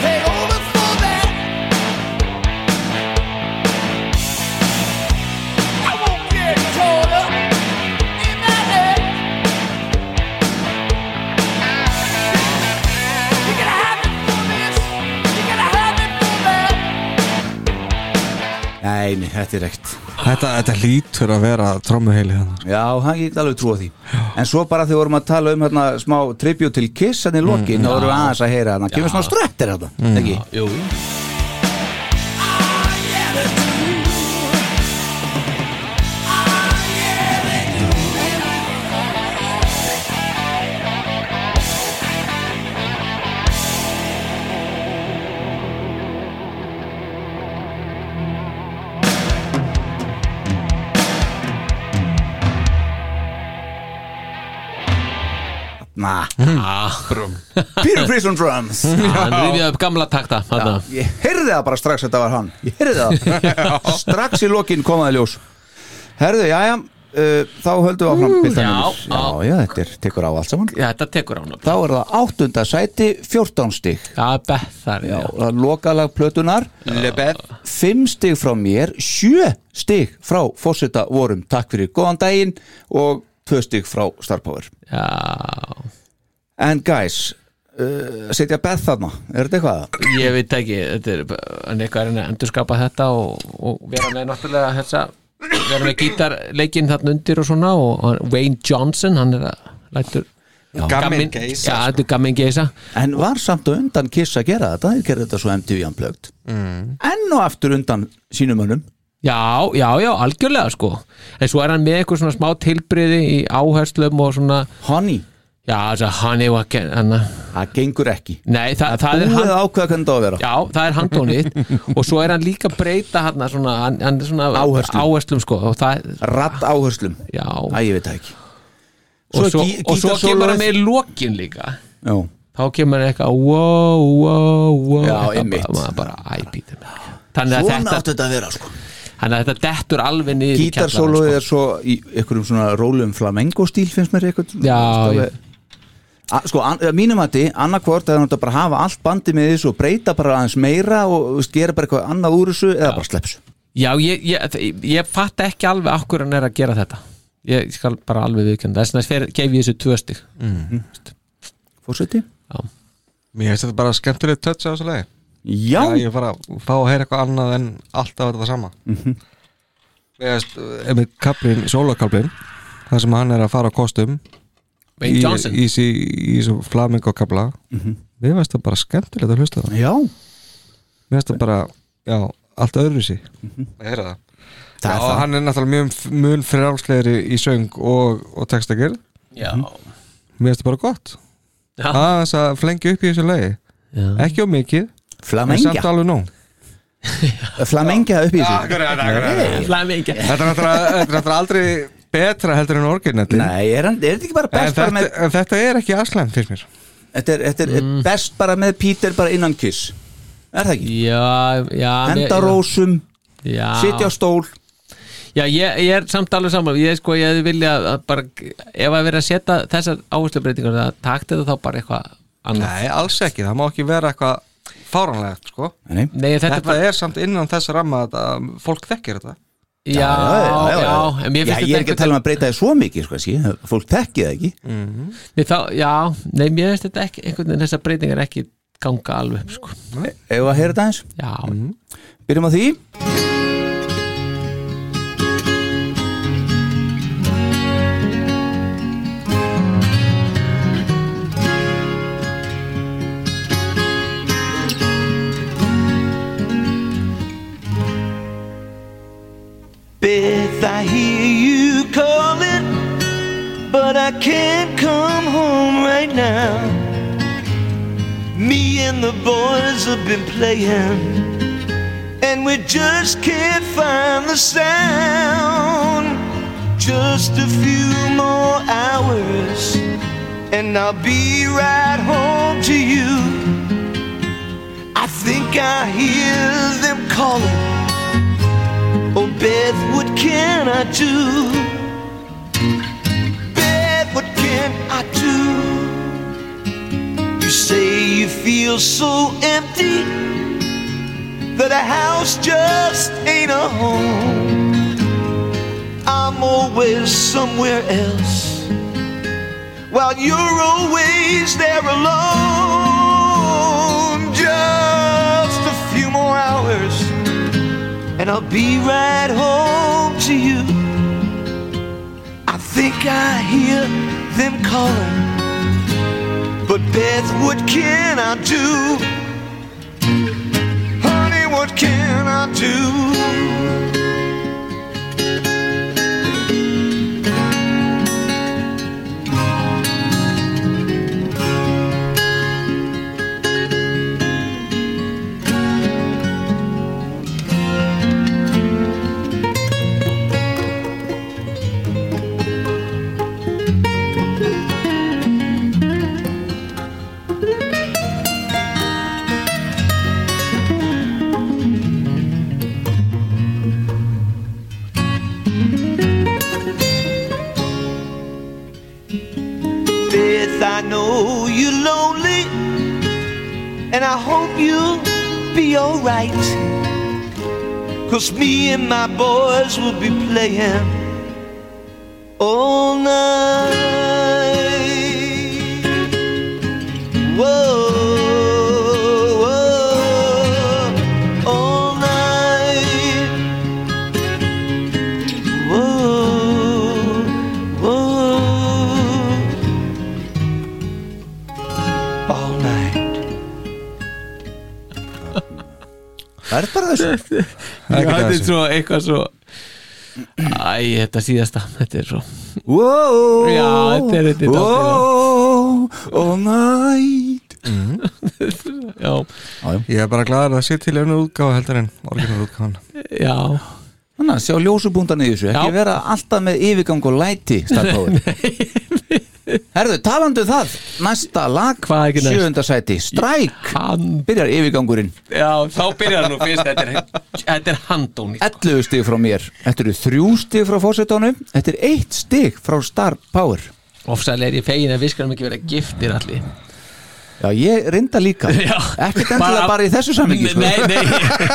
Speaker 2: pay over for that. I won't get caught up in that net. You gotta have it for this, you gotta have it for that.
Speaker 3: Nei, nei, þetta er ekkert
Speaker 5: þetta, þetta hlýtur að vera trommuheili þannig
Speaker 3: Já, hann get alveg trúa því En svo bara þegar vorum að tala um hérna smá tribut til Kiss hann í lokin, þá vorum við aðeins að heyra hann kemur svona strettir hérna,
Speaker 4: Mm.
Speaker 3: ekki?
Speaker 4: Jú
Speaker 3: Na,
Speaker 4: Brum
Speaker 3: Peter Prison Drums
Speaker 4: Hann rifjaði upp gamla takta þarna.
Speaker 3: Ég heyrði það bara strax að þetta var hann Ég heyrði það Strax í lokin komaði ljós Herðu, jæja, uh, þá höldum við áfram
Speaker 4: Mm,
Speaker 3: piltar
Speaker 4: já,
Speaker 3: mínir.
Speaker 4: á.
Speaker 3: já, já, þetta er, tekur á allt saman
Speaker 4: Já, þetta tekur á hann
Speaker 3: Þá er það áttunda sæti, 14 stig
Speaker 4: Já, Bethar
Speaker 3: Já, það er lokalag plötunar Lebeth 5 stig frá mér, 7 stig frá fórseta vorum Takk fyrir góðan daginn og 2 stig frá Star Power
Speaker 4: Já
Speaker 3: En guys, uh, setja Beth þarna, er þetta eitthvað?
Speaker 4: Ég veit ekki, þetta er en eitthvað er henni að endurskapa þetta og, og vera með náttúrulega þessa vera með gítarleikinn þarna undir og svona og, og Wayne Johnson, hann er að lætur
Speaker 3: Gamminn
Speaker 4: geisa Já, þetta er gammin geisa
Speaker 3: En var samt og undan Kiss að gera þetta, þeir gerði þetta svo MTV anplögt mm. Enn og aftur undan sínum önum
Speaker 4: Já, já, já, algjörlega sko En svo er hann með eitthvað svona smá tilbriði í áherslum og svona
Speaker 3: Honey
Speaker 4: Já, þess að honey var ekki hann
Speaker 3: Það gengur ekki
Speaker 4: Nei, það, það er
Speaker 3: Búið
Speaker 4: hann
Speaker 3: að ákveða hvernig það á að vera
Speaker 4: Já, það er handónið og svo er hann líka að breyta hann svona, hann, hann svona
Speaker 3: Áherslum.
Speaker 4: áherslum sko, og það,
Speaker 3: Ratt áherslum
Speaker 4: já,
Speaker 3: Æ, ég veit það ekki
Speaker 4: og svo,
Speaker 3: gí-
Speaker 4: og svo kemur hann
Speaker 3: gítarsólóið-
Speaker 4: með í lokin líka
Speaker 3: Já,
Speaker 4: þá kemur hann eitthvað wow, wow, wow
Speaker 3: Já,
Speaker 4: Þetta
Speaker 3: einmitt.
Speaker 4: bara, maður bara, æ, býtum þannig að
Speaker 3: svona
Speaker 4: þetta,
Speaker 3: áttu þetta að vera sko
Speaker 4: þannig að þetta dettur alveg niður í sko.
Speaker 3: Gítarsóluð
Speaker 4: kjallarann,
Speaker 3: er svo í einhverjum svona rólum flamengo stíl finnst mér eitthvað
Speaker 4: Já, já.
Speaker 3: A, sko, an, að mínum að þið, annarkvort að það bara að hafa allt bandi með þessu og breyta bara aðeins meira og veist, gera bara eitthvað annað úr þessu eða bara slepp þessu
Speaker 4: sko. já, ég, ég, ég, ég fatt ekki alveg akkur hann er að gera þetta ég skal bara alveg viðkjönda þess vegna fer- gef ég þessu tvö stig
Speaker 3: Fórseti?
Speaker 5: Mér finnst þetta bara skemmtilegt touch á þessu lagi
Speaker 3: Já,
Speaker 5: Já, Ég er bara að fá að heyra eitthvað annað en alltaf þetta sama
Speaker 3: Mhm.
Speaker 5: Mér finnst, einmitt kaplinn, sólakaplinn Það sem hann er að fara á kostum
Speaker 4: Wayne
Speaker 5: í-
Speaker 4: Johnson. Mhm.
Speaker 5: Í sí- í þessu flamingo kapla Mér finnst það bara skemmtilegt að hlusta á það
Speaker 3: já,
Speaker 5: Mér finnst það bara, já, allt öðru sí
Speaker 4: Mhm.
Speaker 5: Ég heyra það
Speaker 3: það
Speaker 5: Já,
Speaker 3: er það
Speaker 5: hann er náttúrulega mjög mun frálslegri í söng og, og textakir
Speaker 4: já,
Speaker 5: Mér finnst það bara gott
Speaker 4: Já.
Speaker 5: Aðeins að flengja upp í þessu lagi
Speaker 4: já.
Speaker 5: Ekki á mikið, en samt
Speaker 3: Flamengja,
Speaker 5: alveg nóg
Speaker 3: flamengja upp í þessu
Speaker 5: Akkurat, akkurat
Speaker 4: Flamingja.
Speaker 5: Þetta er náttúrulega þetta er náttúrulega aldrei betra heldur en orginallin en,
Speaker 3: Nei, er, hann- er þetta ekki bara best
Speaker 5: þetta,
Speaker 3: bara með
Speaker 5: en þetta er ekki aslæm fyrir mér
Speaker 3: Þetta er, þetta er best bara með Peter bara innan kiss Er það ekki?
Speaker 4: Mm. já, já
Speaker 3: Henda rósum,
Speaker 4: já.
Speaker 3: sitja á stól
Speaker 4: Já, ég, ég er samt alveg saman ég sko, ég hefði vilja að bara ef að vera að setja þessar áherslubreytingar það takti þetta þá bara eitthvað annað
Speaker 5: Nei, alls ekki, það má ekki vera eitthvað fáranlegt sko
Speaker 3: Nei,
Speaker 4: Nei, þetta,
Speaker 5: Þetta
Speaker 4: er bara
Speaker 5: er samt innan þess ramma að að fólk þekkir þetta
Speaker 4: já, já, já, en mér
Speaker 3: Já,
Speaker 4: finnst
Speaker 3: ég er ekki að tala um að breyta þið svo mikið sko, sí, fólk tekki það ekki
Speaker 4: mér þá, Já, nei, mér finnst þetta ekki einhvern veginn þessar breytingar ekki ganga alveg upp, sko.
Speaker 3: Ef að heyra þetta eins,
Speaker 4: Já,
Speaker 3: Mm, byrjum á því
Speaker 2: Beth, I hear you calling, but I can't come home right now. Me and the boys have been playing, and we just can't find the sound. Just a few more hours, and I'll be right home to you. I think I hear them calling. Oh, Beth, what can I do? Beth, what can I do? You say you feel so empty that a house just ain't a home. I'm always somewhere else while you're always there alone. Just a few more hours and I'll be right home to you. I think I hear them calling, but Beth, what can I do? Honey, what can I do?
Speaker 12: and I hope you'll be alright. Cause me and my boys will be playing all night. Whoa, whoa, all night. Whoa, whoa. all night
Speaker 3: Það er bara þessu
Speaker 4: Já, þetta er svo eitthvað svo Æ, þetta síðasta Þetta er svo
Speaker 3: Whoa,
Speaker 4: Já, þetta er þetta er dálítið
Speaker 3: Whoa, all night
Speaker 4: Já.
Speaker 5: Ég er bara glæður að það sé til einu útgáfa heldur en orginar útgáfan
Speaker 4: Já
Speaker 3: Þannig að sjá ljósubúndan í þessu Ekki
Speaker 5: Já.
Speaker 3: vera alltaf með yfirgang og læti Starfóður Herðu, talandu um það Næsta lag,
Speaker 4: næst?
Speaker 3: sjöundasæti Stræk, byrjar yfirgangurinn
Speaker 4: Já, þá byrjar nú fyrst Þetta er, þetta er handóni
Speaker 3: 11 stig frá mér Þetta eru þrjú stig frá fórsetónu Þetta er eitt stig frá Star Power
Speaker 4: Ofsæli er ég fegin að viskarum ekki verið giftir allir
Speaker 3: Já, ég reynda líka Ekkert endilega bara í þessu samingi sko.
Speaker 4: Nei, nei,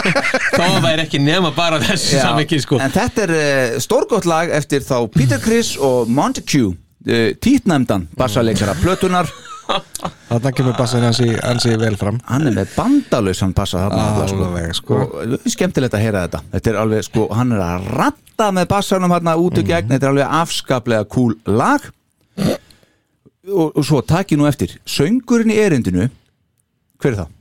Speaker 4: þá væri ekki nema bara þessu
Speaker 3: Já,
Speaker 4: samingi sko
Speaker 3: En þetta er uh, stórgótt lag eftir þá Peter Criss og Montague uh, Títnæmdan bassaleikara plötunar
Speaker 5: Þarna kemur bassin hans í, hans í vel fram
Speaker 3: Hann er með bandalausan bassa þarna
Speaker 5: Alveg, sko.
Speaker 3: Og eh, skemmtilegt að heyra þetta Þetta er alveg, sko, hann er að ratta með bassanum hérna út og gegn Þetta er alveg afskaplega cool lag og, og svo takk ég nú eftir Söngurinn í erindinu Hver er það?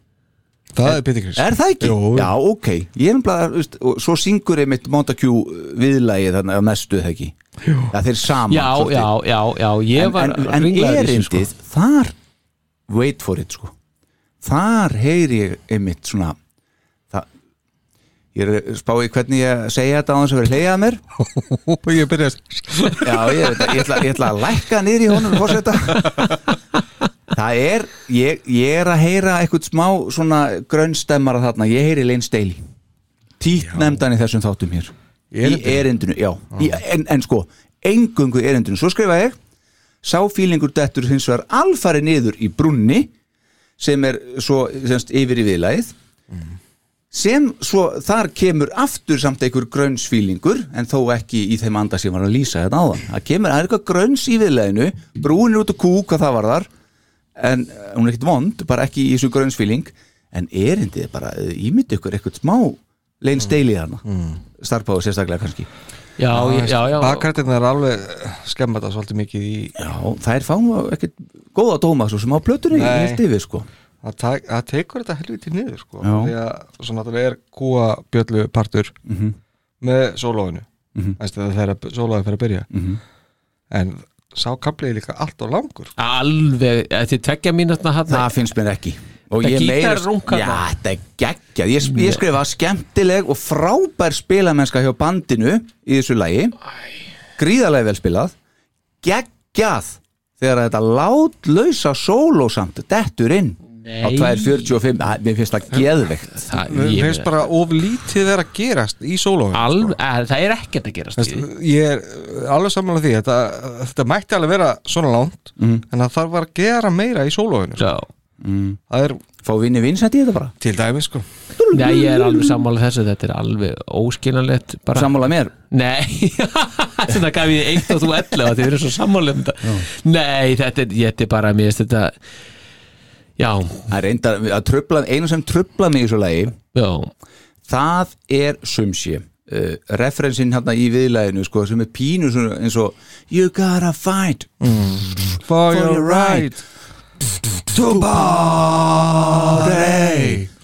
Speaker 5: Það er Peter Criss
Speaker 3: Er það ekki?
Speaker 5: Jó.
Speaker 3: Já, ok Ég er umlað, veist, og svo syngur einmitt Montague viðlagi þannig að mestu það ekki Jú. Já, þeir saman
Speaker 4: Já,
Speaker 3: svolítið.
Speaker 4: já, já, já, ég
Speaker 3: En-
Speaker 4: var
Speaker 3: En, en
Speaker 4: ringlaður í þessu, sko.
Speaker 3: erindið, þar wait for it, sko Þar heyri ég einmitt svona það, Ég er spáði hvernig ég segja þetta á þess að vera hleyjað mér
Speaker 5: Og ég byrja að
Speaker 3: Já, ég, veit það, ég, ætla, ég ætla að lækka niður í honum fórseta Það er, ég, ég er að heyra eitthvað smá svona grönnstemmara þarna, ég heyri Lein Steili Týtt nefndan í þessum þáttum hér Í erindinu, já í, en, en sko, engungu erindinu Svo skrifa ég Sá fílingur dettur hins vegar alfari niður í brunni sem er svo semst, yfir í viðlæðið sem svo þar kemur aftur samt einhver grönnsfílingur en þó ekki í þeim anda sem var að lýsa þetta áðan það kemur það er eitthvað grönns í viðleginu brúin er út að kú hvað það var þar en eh, hún er ekkert vond, bara ekki í þessu grönnsfíling en erindið er bara ímyndi ykkur eitthvað smá leins deili þarna mm. starfbáðu sérstaklega kannski
Speaker 4: Já, já, já, já.
Speaker 5: Bakkartirna er alveg skemmat það svolítið mikið í
Speaker 3: Já, það er fáum ekkert góða dóma svo sem á plötunni
Speaker 5: Nei.
Speaker 3: heilt yfir sko
Speaker 5: Það tak- það tekur þetta helviti niður sko
Speaker 3: Já.
Speaker 5: Því að svo náttúrulega er kúa bjöllu partur
Speaker 3: Mhm.
Speaker 5: með sólóinu
Speaker 3: Mhm.
Speaker 5: Æstu það þegar sólóinu fer að byrja
Speaker 3: Mhm.
Speaker 5: En sá kaplið líka allt og langur
Speaker 4: Alveg, þetta er tveggja mínutna hann
Speaker 3: Það finnst mér ekki og
Speaker 4: Þetta
Speaker 3: ég meira
Speaker 4: gítarrunk
Speaker 3: já,
Speaker 4: þarna.
Speaker 3: þetta er geggjað ég, ég skrifa skemmtileg og frábær spilamennska hjá bandinu í þessu lagi gríðarlega vel spilað geggjað þegar þetta látlausa sóló samt dettur inn á 2.45 Æ, mér finnst það geðveikt
Speaker 5: Mér finnst bara of lítið vera að gerast í sólóinu
Speaker 3: sko.
Speaker 4: Alveg, eh, það er ekkert að gerast í því.
Speaker 5: Ég er uh, alveg sammála því þetta, þetta mætti alveg vera svona langt En það þarf að gera meira í sólóinu
Speaker 4: Já
Speaker 3: mm.
Speaker 5: Það er
Speaker 3: Fá vinni vinsætti í þetta bara
Speaker 5: Til dæmi sko
Speaker 4: Nei, ég er alveg sammála þessu, þetta er alveg óskiljanlegt bara...
Speaker 3: Sammála mér?
Speaker 4: Nei, þetta gaf ég eitt og þú ellefa, þið eru svo sammála um þetta Nei, þetta er, ég er bara, mér finnst þetta Já
Speaker 3: Það er enda að trubla, einu sem trubla mig í þessu lagi
Speaker 4: Já
Speaker 3: Það er sumsi uh, referensin hérna í viðlæðinu sko, sem er pínu svona eins og You gotta fight
Speaker 5: For
Speaker 3: your
Speaker 5: your right
Speaker 3: to body Það,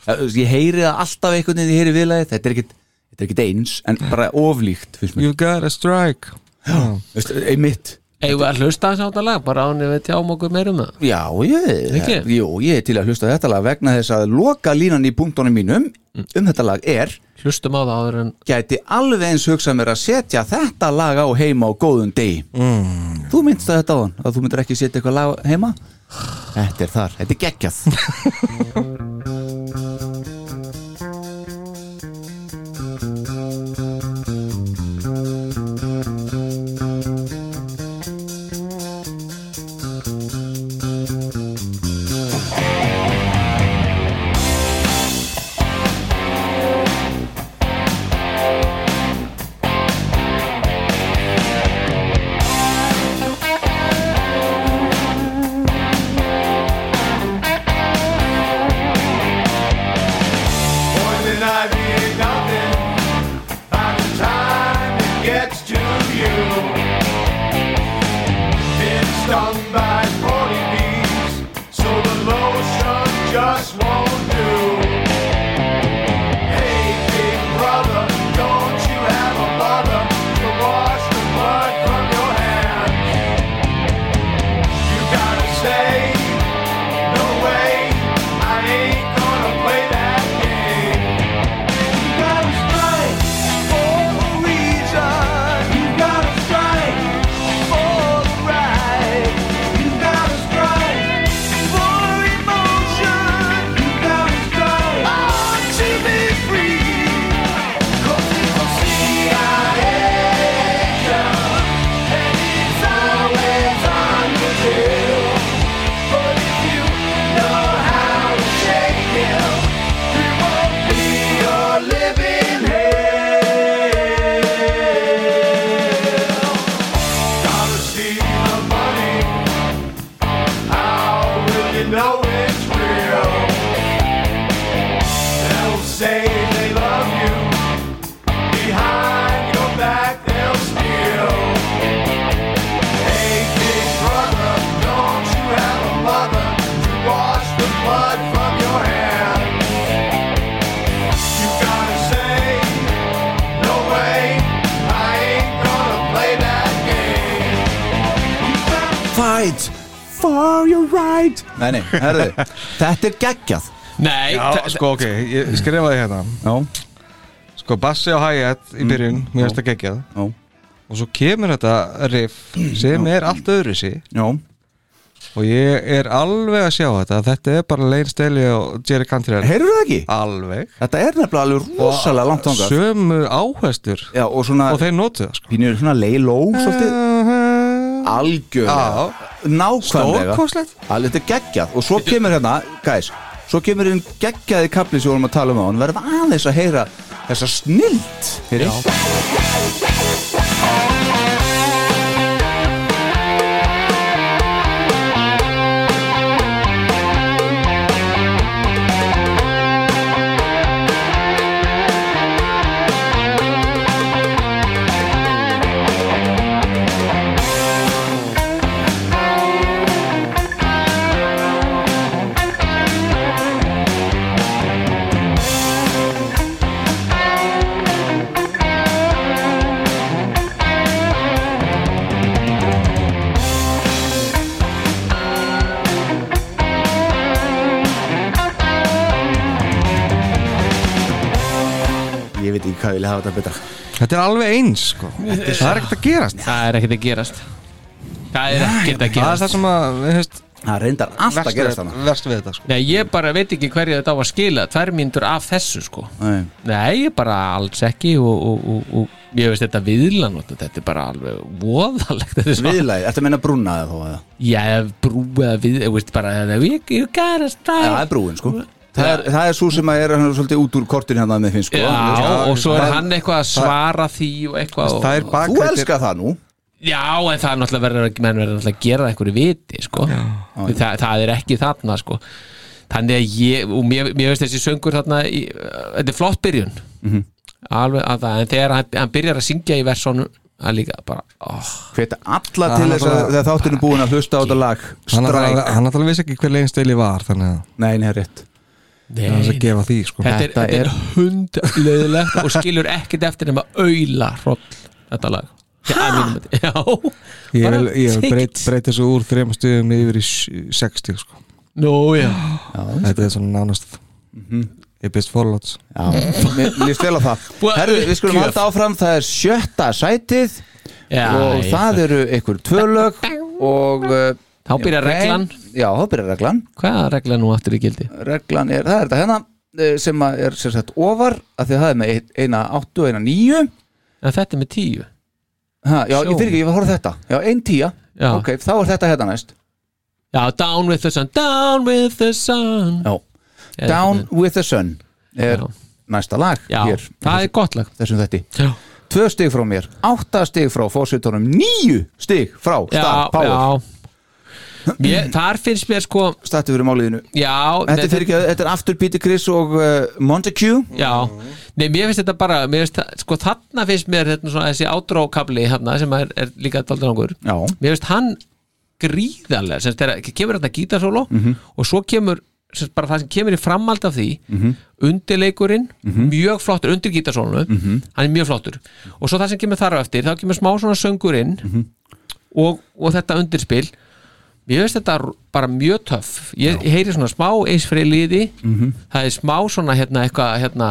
Speaker 3: Eh, þú veist, Ég heyri það alltaf einhvern veginn þegar ég heyri viðlæði þetta er ekkit Þetta er ekkit eins, en bara oflíkt finnst mér
Speaker 5: You gotta strike
Speaker 3: Veist, eh, Einmitt
Speaker 4: Eigum við að hlusta þess að lag, bara án ef við tjáum okkur meir um það
Speaker 3: Já, ég,
Speaker 4: Ekki?
Speaker 3: jú, ég er til að hlusta á þetta lag vegna þess að loka línan í punktunum mínum um þetta lag er
Speaker 4: Hlustum á það áður en
Speaker 3: gæti alveg eins hugsað mér að setja þetta lag á heima á góðum degi
Speaker 5: mm.
Speaker 3: Þú myndst það þetta á hann að þú myndir ekki setja eitthvað lag heima Þetta er þar, þetta er geggjað right For your right Nei, nei, herðu, þetta er geggjað
Speaker 4: Nei,
Speaker 5: Já, sko, ok, ég skrifaði hérna
Speaker 3: Já
Speaker 5: Sko, bassi á hi-hat í byrjun, mér finnst það geggjað
Speaker 3: Mm. Já
Speaker 5: Og svo kemur þetta riff sem er allt öðru sí
Speaker 3: Já
Speaker 5: Og ég er alveg að sjá þetta Þetta er bara Lane Staley og Jerry Cantrell
Speaker 3: Heyrðu það ekki?
Speaker 5: Alveg
Speaker 3: Þetta er nefnilega alveg rosalega langt þangað.
Speaker 5: Sömu áherslur
Speaker 3: Já, og Eh, svona
Speaker 5: Og þeir notu það, sko
Speaker 3: Pínu er svona lay low svolítið Algjörlega Nákvæmlega
Speaker 5: Stórkostlegt.
Speaker 3: Alveg þetta er geggjað Og svo kemur hérna, guys Svo kemur inn geggjaði kapli sem við vorum að tala um á hann Verða aðeins að heyra þessa snilt Heyri Ég veit ekki hvað ég vil hafa þetta betra
Speaker 5: Þetta er alveg eins sko. Það er ekkert að gerast
Speaker 4: Það er ekkert að gerast Það er ekkert að
Speaker 5: Það er
Speaker 4: gerast
Speaker 5: það sem að hefst,
Speaker 3: Það reyndar allt að gerast hana
Speaker 5: Verst við þetta sko.
Speaker 4: Nei, ég bara veit ekki hverju þetta á að skila Tvær mínútur af þessu sko
Speaker 3: Nei.
Speaker 4: Nei, ég bara alls ekki og, og, og, og ég veist þetta viðlan og þetta er bara alveg voðalegt þetta er svo-
Speaker 3: Viðlæði, ertu að meina brúna eða þó eða?
Speaker 4: Ég hef brúið við, ég veist bara You, you gotta stop
Speaker 3: Já, það er brúin sko Það er, það er svo sem að er hann svolítið út úr kortinu hann að með finnst sko
Speaker 4: Já, og svo er hann eitthvað að svara því og eitthvað og,
Speaker 5: Það er
Speaker 3: Þú
Speaker 5: bakrættir
Speaker 3: elskar það nú
Speaker 4: Já, en það er náttúrulega verður menn verður náttúrulega að gera það einhverju viti sko. Þa, það er ekki þarna sko. þannig að ég og mér, mér veist þessi söngur þarna í, uh, þetta er flott byrjun
Speaker 3: Mhm.
Speaker 4: alveg að það, en þegar hann, hann byrjar að syngja í versónu það er líka bara oh,
Speaker 3: Hveta alla til þess að þegar þátturinn er búin að hlusta á þetta lag
Speaker 5: Hann
Speaker 3: Stræk
Speaker 5: náttúrulega- Hann náttúrulega vissi ekki hver Lane Staley var Þannig að
Speaker 3: Nei, nei, rétt
Speaker 5: það er þess að gefa því sko.
Speaker 4: þetta, er,
Speaker 3: Þetta
Speaker 4: þetta er hundleðilegt og skilur ekkert eftir nema auðla hroll þetta lag Já, að mínum mati. Já,
Speaker 5: Ég
Speaker 4: bara
Speaker 5: vil, ég vil
Speaker 4: tikt.
Speaker 5: breyt, breyta þessu úr þrejum stuðum yfir í sj- 60 sko.
Speaker 4: Nú, já
Speaker 5: Þetta er svona nánast
Speaker 4: Mhm.
Speaker 5: Ég byrst forláts
Speaker 3: Mér mér líst vel á það
Speaker 4: Búa-
Speaker 3: Herru, við skulum
Speaker 4: gjöf.
Speaker 3: halda áfram, það er sjötta sætið
Speaker 4: Já,
Speaker 3: og
Speaker 4: ég-
Speaker 3: það eru einhver tvölög og uh,
Speaker 4: Þá byrjar
Speaker 3: ok.
Speaker 4: reglan.
Speaker 3: Já, þá byrjar reglan
Speaker 4: Hvað er regla nú aftur í gildi?
Speaker 3: Reglan er, það er þetta hérna eh, sem að er sem sagt ofar að því að það er með ein- eina áttu og eina níu
Speaker 4: En þetta er með tíu
Speaker 3: ha, Já, ég
Speaker 4: Sjó.
Speaker 3: fyrir ekki, ég var að horfa á þetta Já, ein tíja,
Speaker 4: Já.
Speaker 3: ok, þá er þetta hérna næst
Speaker 4: Já, down with the sun, down with the sun
Speaker 3: Já,
Speaker 4: Er
Speaker 3: Down
Speaker 4: þetta-
Speaker 3: with the Sun er
Speaker 4: Já.
Speaker 3: næsta lag
Speaker 4: Já,
Speaker 3: hér,
Speaker 4: það er gott lag
Speaker 3: þessum þetta
Speaker 4: Já,
Speaker 3: Tvö stig frá mér, átta stig frá fósitónum, níu stig frá Star
Speaker 4: já,
Speaker 3: Power
Speaker 4: já. Mér, Þar finnst mér sko
Speaker 3: Stattu fyrir máliðinu
Speaker 4: Já,
Speaker 3: Þetta er, fyrir, ekki- þetta er aftur Peter Chris og uh, Montague
Speaker 4: Já, nei, mér finnst þetta bara mér finnst, það- sko þarna finnst mér þetta, svona, þessi átrókabli hérna sem er, er líka daldur langur
Speaker 3: Já,
Speaker 4: Mér finnst hann gríðarlega sem sagt, þegar kemur þetta gítarsóló og svo kemur sem sagt, bara það sem kemur í framhald af því undirleikurinn, mjög flottur undir gítarsólunu, hann er mjög flottur og svo það sem kemur þar á eftir, þá kemur smá svona söngurinn og, og þetta undirspil Mér finnst þetta r- bara mjög töff Ég ég heyri svona smá eisfri liði Það er smá svona hérna eitthvað hérna,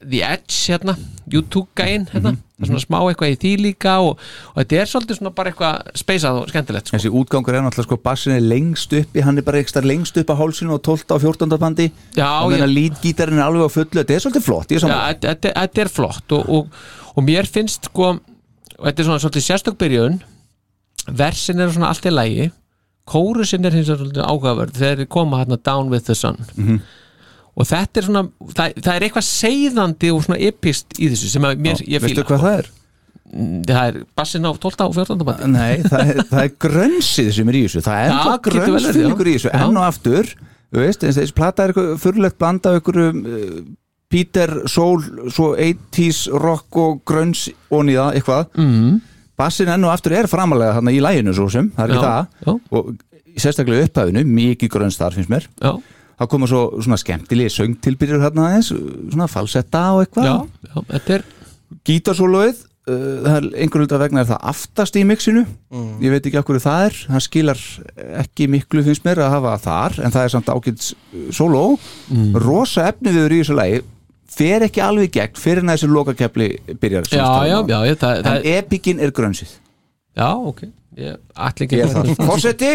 Speaker 4: The Edge hérna YouTube-gæin hérna Það er svona smá eitthvað í því líka og, og þetta er svolítið svona bara eitthvað speysað og skemmtilegt sko.
Speaker 3: þessi útgangur er náttúrulega sko bassin er lengst uppi, hann er bara ekstra lengst upp á hálsinu og 12 á 14 bandi
Speaker 4: Já,
Speaker 3: og meðan
Speaker 4: ég-
Speaker 3: lítgítarinn er alveg á fullu, þetta er svolítið flott ég er
Speaker 4: Já,
Speaker 3: sammála.
Speaker 4: þetta- Þetta þetta er flott og, og, og mér finnst sko og þetta er svona svolítið sérstök byrjun versin er svona allt í lægi kórusin er hins vegar svolítið áhugaverð þegar þeir koma hérna down with the sun
Speaker 3: Mhm.
Speaker 4: og þetta er svona það, það er eitthvað seiðandi og svona epist í þessu sem að mér, ég
Speaker 3: veistu
Speaker 4: fíla sko.
Speaker 3: hvað það er?
Speaker 4: það er bassin á 12. og 14. bandi
Speaker 3: Nei, það er, það er grönsið sem er í þessu það er
Speaker 4: Já,
Speaker 3: ennþá
Speaker 4: getur vel verið,
Speaker 3: grönsfylgur
Speaker 4: já.
Speaker 3: í þessu
Speaker 4: Já.
Speaker 3: enn og aftur, þú veist, eins og þessi plata er eitthvað fyrirlegt blanda af ykkur uh, Peter, Soul, svo 80s rock og gröns og nýða eitthvað,
Speaker 4: mm.
Speaker 3: bassin enn og aftur er framalega þarna í læginu svo sem, það er ekki
Speaker 4: Já, já.
Speaker 3: það og sérstaklega í upphæfinu, mikið gröns þar finnst mér
Speaker 4: já,
Speaker 3: það koma svo svona skemmtilegi söngtilbyrjur hérna aðeins, svona falsetta og
Speaker 4: já,
Speaker 3: eitthvað
Speaker 4: já, þetta er
Speaker 3: gítarsóluið uh, það er einhverjum hluta vegna er það aftast í mixinu
Speaker 5: Mm.
Speaker 3: ég veit ekki af hverju það er það skilar ekki miklu finnst mér að hafa það þar en það er samt ágætt solo
Speaker 4: Mm.
Speaker 3: rosa efniviður í þessu lagi fer ekki alveg í gegn fyrir en að þessi lokakefli byrjar
Speaker 4: Já, já, já, ég- það-
Speaker 3: en
Speaker 4: það-
Speaker 3: epikin er grönsið
Speaker 4: Já, ok Ég ætla ekki
Speaker 3: Ég er þar. Forseti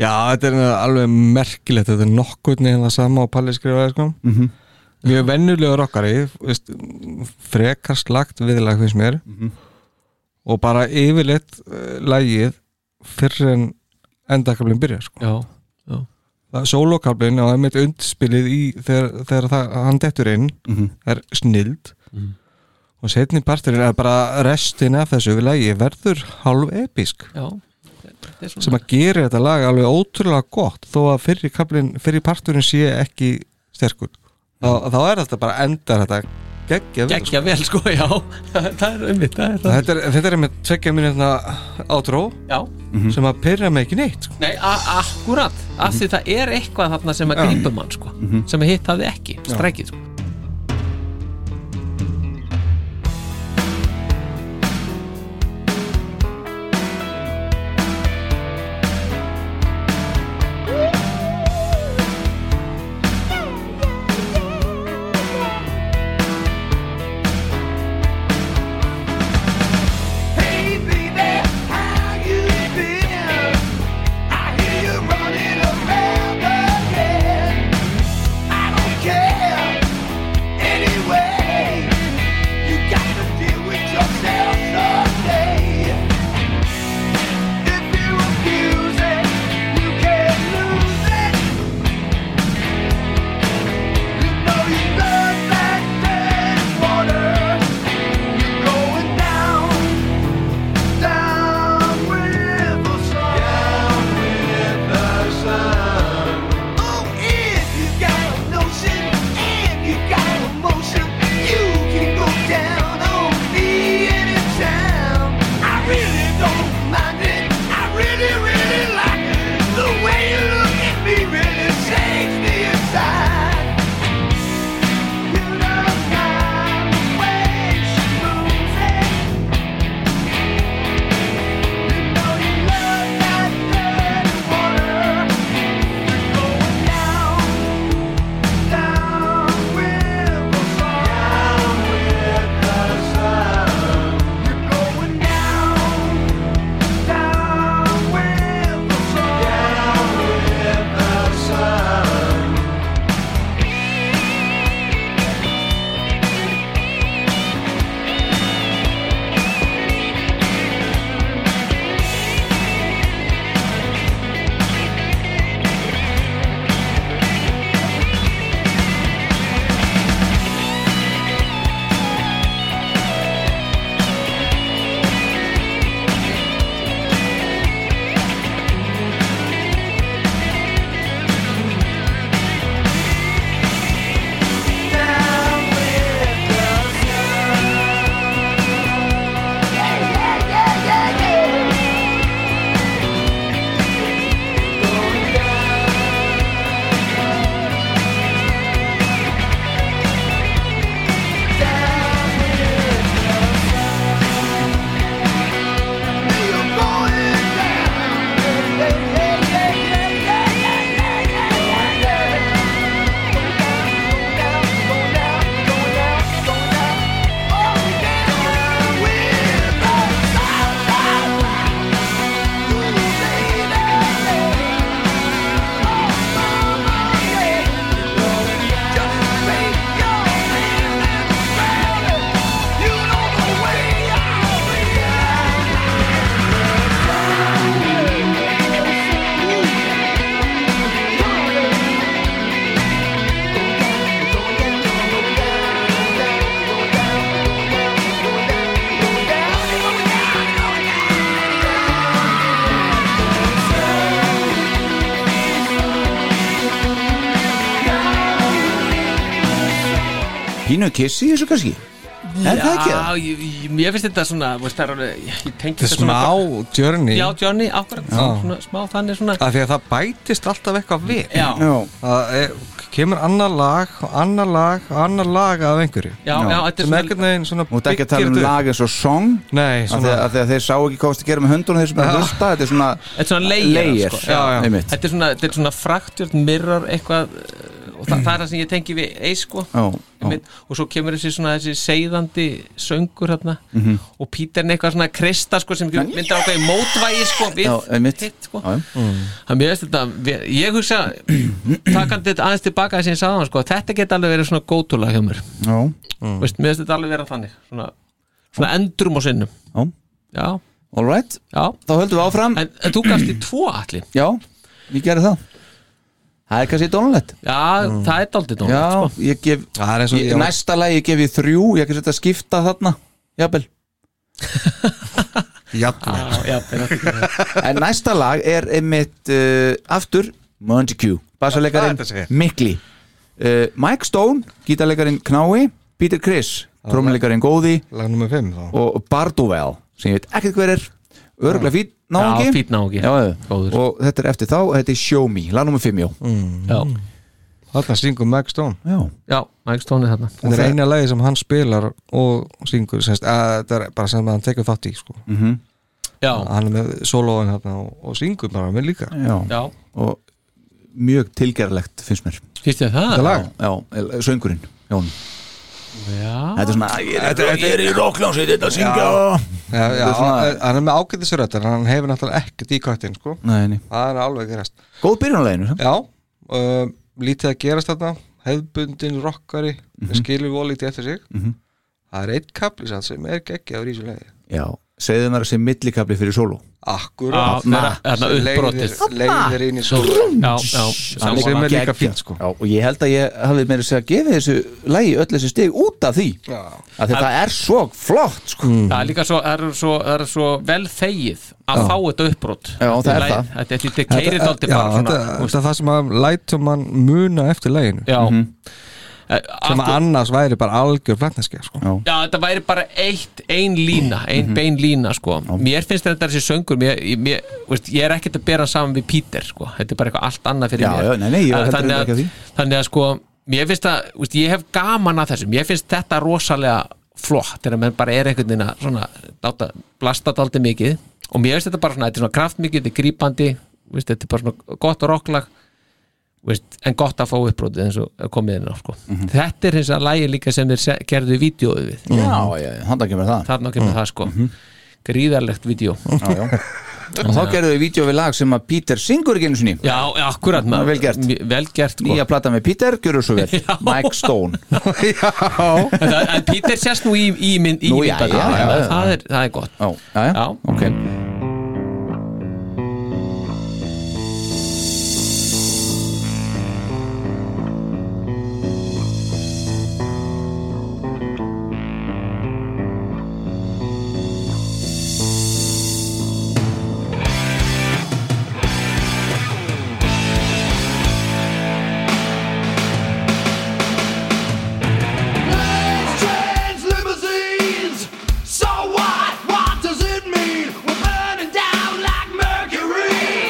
Speaker 5: Já, þetta er alveg merkilegt Þetta er nokkurn veginn það sama og Palli skrifaði sko.
Speaker 3: Mhm.
Speaker 5: Mjög vennulega rockari veist, Frekar slagt viðlag finnst mér
Speaker 3: Mhm.
Speaker 5: Og bara yfirleitt uh, Lægið fyrir en Endakablin byrja sko.
Speaker 4: Já, já.
Speaker 5: Sólókablin og einmitt undspilið í þegar, þegar það, hann dettur inn
Speaker 3: Mhm.
Speaker 5: er snild
Speaker 4: Mhm.
Speaker 5: og setni parturinn er bara restin af þessu við lagi verður hálf episk
Speaker 4: Já,
Speaker 5: sem að gera þetta lag alveg ótrúlega gott þó að fyrir, kaplin, fyrir parturinn sé ekki sterkur þá,
Speaker 3: Mm.
Speaker 5: þá er þetta bara endar þetta geggja vel
Speaker 4: Gekkja vel sko, já Það er einmitt, það er það
Speaker 5: þetta er, þetta er með tveggja minutna átró
Speaker 4: Já.
Speaker 3: Mhm.
Speaker 5: sem að pyrra mig ekki neitt sko.
Speaker 4: Nei, a- akkurat, af
Speaker 3: Mhm.
Speaker 4: því það er eitthvað þarna sem að
Speaker 5: Já.
Speaker 4: grípa mann sko sem að hitt hafði ekki,
Speaker 5: Já.
Speaker 4: strækið sko
Speaker 2: Hey baby, how you been? I hear you running around again. I don't care anyway. You got to deal with yourself someday. If you refuse it, you can lose it. You know you love that dead water. You're going down. Down with the sun. Down with the sun. Oh, if you got a notion, and you got emotion, you can go down Oh, on me anytime. I really don't mind it. I really, really like it. The way you look at me really shakes me inside. You know I'm the way she moves it.
Speaker 3: Pínu kissi í þessu kannski Er það ekki það?
Speaker 4: Já, ég, ég, ég finnst þetta svona, veist, það er alveg ég, ég tengi
Speaker 5: þetta er smá journey
Speaker 4: Já, Johnny, akkurat,
Speaker 5: Já.
Speaker 4: svona, smá þannig svona
Speaker 5: af því að það bætist alltaf eitthvað við
Speaker 4: Já. Já.
Speaker 5: Það er- kemur annar lag og annar lag og annar lag af einhverju
Speaker 4: Já, já, þetta er
Speaker 5: sem
Speaker 4: svona-
Speaker 5: ekkert neginn svona
Speaker 3: Þú ert ekki að tala um
Speaker 5: byggir þetta upp.
Speaker 3: lag eins og song Nei,
Speaker 5: svona-
Speaker 3: Af því að þeir sá ekki hvað það gera með höndunum þeir sem er að
Speaker 4: Já.
Speaker 3: hlusta Þetta er svona
Speaker 4: Þetta er svona layer, sko.
Speaker 3: Já, já Einmitt.
Speaker 4: Þetta er svona, þetta er svona fractured mirror eitthvað uh, og það, það er það sem ég tengi við eis sko
Speaker 3: Já, já.
Speaker 4: Einmitt. og svo kemur þessi svona þessi seiðandi söngur hérna
Speaker 3: Mhm.
Speaker 4: og Píter er eitthvað svona krista sko sem myndar ákveði mótvægi sko við
Speaker 3: Já, einmitt
Speaker 4: hitt sko
Speaker 3: Já, já.
Speaker 4: Það mér veist þetta, við- ég hugsa takandi þetta aðeins tilbaka þess að ég sagði hann sko þetta geta alveg verið svona gótulag hjá mér
Speaker 3: Já Mm.
Speaker 4: veist, mér veist þetta alveg vera þannig svona, svona endrum og sinnum
Speaker 3: Já,
Speaker 4: já.
Speaker 3: All right,
Speaker 4: já.
Speaker 3: þá höldum við áfram
Speaker 4: En, en þú gafst í tvo allir
Speaker 3: Já, ég gerði það Það er kannski dónalett
Speaker 4: Já, það er daldið
Speaker 3: Mm. Já,
Speaker 4: dónalegt sko.
Speaker 3: ég gef
Speaker 5: Það er
Speaker 4: eins og-
Speaker 3: ég, Næsta lagi gef ég þrjú Ég ekki setja að skipta þarna Jafnvel Ah.
Speaker 4: Jafnvel
Speaker 3: En næsta lag er einmitt uh, aftur Montague, bassarleikarin
Speaker 5: Hvað er þetta að segja?
Speaker 3: Mikli uh, Mike Stone, gítarleikarin Knái Peter Criss, trómuleikarin Góði
Speaker 5: Lag nummer 5 þá
Speaker 3: og Barduvel sem ég veit ekkert hver er örgulega fýt náungi
Speaker 4: Já, fínn náungi.
Speaker 3: Já, já. og þetta er eftir þá, þetta er Show Me, lag nummer 5 já.
Speaker 4: Já.
Speaker 5: Þarna syngur Mac Stone
Speaker 3: Já.
Speaker 4: Já, Mike Stone er þarna
Speaker 5: Þetta er eina lagi sem hann spilar og syngur semst, að, þetta er bara sem hann tekur þátt í sko.
Speaker 3: Mhm.
Speaker 4: Já.
Speaker 5: Hann er með soloðan hérna og, og syngur bara með líka
Speaker 3: Já.
Speaker 4: Já.
Speaker 3: og mjög tilgerlegt finnst mér
Speaker 4: Fyrst ég það?
Speaker 5: Þetta lag?
Speaker 3: Já, el- söngurinn, Jón
Speaker 4: Já.
Speaker 3: Þetta er svona, ég er, ég er í rocklánsið þetta að syngja
Speaker 5: Já, já,
Speaker 3: Þetta er svona-
Speaker 5: hann- hann er með ágættisröttar hann hefur náttúrulega ekkert í kvættin sko.
Speaker 3: Nei, nei.
Speaker 5: það er alveg gerast
Speaker 3: Góð byrjunarleginu
Speaker 5: Já, um, lítið að gerast þarna hefðbundin rockari mm skilur voru lítið eftir sig
Speaker 3: Mhm.
Speaker 5: það er einn kapli samt sem er geggjaður í þessu lagi
Speaker 3: Já, segðu mér að sé millikabli fyrir solo
Speaker 5: Akkurat
Speaker 3: Þarna.
Speaker 4: Þarna uppbrotið.
Speaker 5: Leiðir inn í solo
Speaker 4: Já, já,
Speaker 5: Sem
Speaker 3: Sammála.
Speaker 5: er líka
Speaker 3: Geggjað.
Speaker 5: fínt sko
Speaker 3: Já, og ég held að ég hafi meira að segja gefið þessu lægi öll þessi stig út af því
Speaker 5: Já.
Speaker 3: að þetta er svo flott sko.
Speaker 4: Það er líka svo, það er svo, það er svo vel þegið að
Speaker 3: Já.
Speaker 4: fá þetta uppbrot
Speaker 3: Já, það er það.
Speaker 4: Þetta er þetta keirið daldið bara
Speaker 5: þetta,
Speaker 4: svona
Speaker 5: þetta er það sem að lætum mann muna eftir leginu
Speaker 4: Já
Speaker 3: Mhm.
Speaker 5: sem að annars væri bara algjör flætneskja sko.
Speaker 4: Já, þetta væri bara eitt, ein lína ein
Speaker 3: Mhm.
Speaker 4: bein lína, sko Mér finnst þetta þessi söngur mér, ég- mér, veist, Ég er ekkert að bera hann saman við Píter, sko Þetta er bara eitthvað allt annað fyrir
Speaker 3: Já,
Speaker 4: mér
Speaker 3: já, nei, nei, ég var heldur
Speaker 4: þannig,
Speaker 3: ekki að
Speaker 4: að,
Speaker 3: því.
Speaker 4: þannig að, sko, mér finnst að veist, Ég hef gaman að þessum, ég finnst þetta rosalega flott Þegar menn bara er einhvern veginn að svona, láta, blasta daldið mikið Og mér finnst þetta bara svona, þetta er svona kraftmikið Þetta er grípandi, veist, þetta er bara svona gott og rocklag veist, en gott að fá uppbrótið eins og komið inn á sko.
Speaker 3: Mhm.
Speaker 4: þetta er hins að lægi líka sem þeir se- gerðu vídjóðu við
Speaker 3: Já, já, þannig að kemur það
Speaker 4: þarna kemur það sko
Speaker 3: Mhm.
Speaker 4: gríðarlegt vídeo
Speaker 3: já, já. og þá gerðu við vídeo við lag sem að Peter syngur ekki einu sinni
Speaker 4: já, akkurat
Speaker 3: Það er vel gert.
Speaker 4: vel gert sko.
Speaker 3: nýja plata með Peter, gjörðu svo vel
Speaker 4: Já.
Speaker 3: Mike Stone
Speaker 5: Já
Speaker 4: en, það- en Peter sérst nú í, í, mynd, í
Speaker 3: Nú, já,
Speaker 4: myndbandi.
Speaker 3: já, já, já.
Speaker 4: það, er, það er gott
Speaker 3: Já, já, já,
Speaker 4: Já.
Speaker 3: ok
Speaker 2: Trains, limousines. So what? What does it mean? We're burning down like mercury.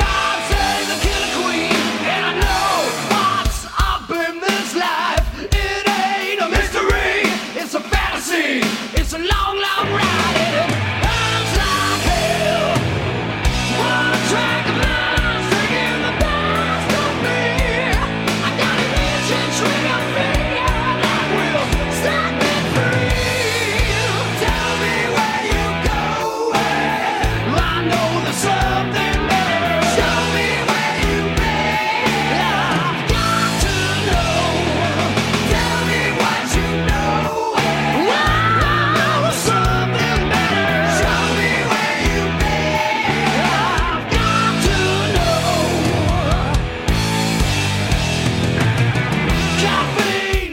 Speaker 2: God save the killer queen. And I know what's up in this life. It ain't a mystery. It's a fantasy. It's a long, long ride. And it burns like hell. What a track of lines taking the best of me. I got an itch and trigger finger that will set me free. Tell me where you going. I know there's something better. Show me where you've been. I've got to know. Tell me what you know. I know there's something better. Show me where you've been. I've got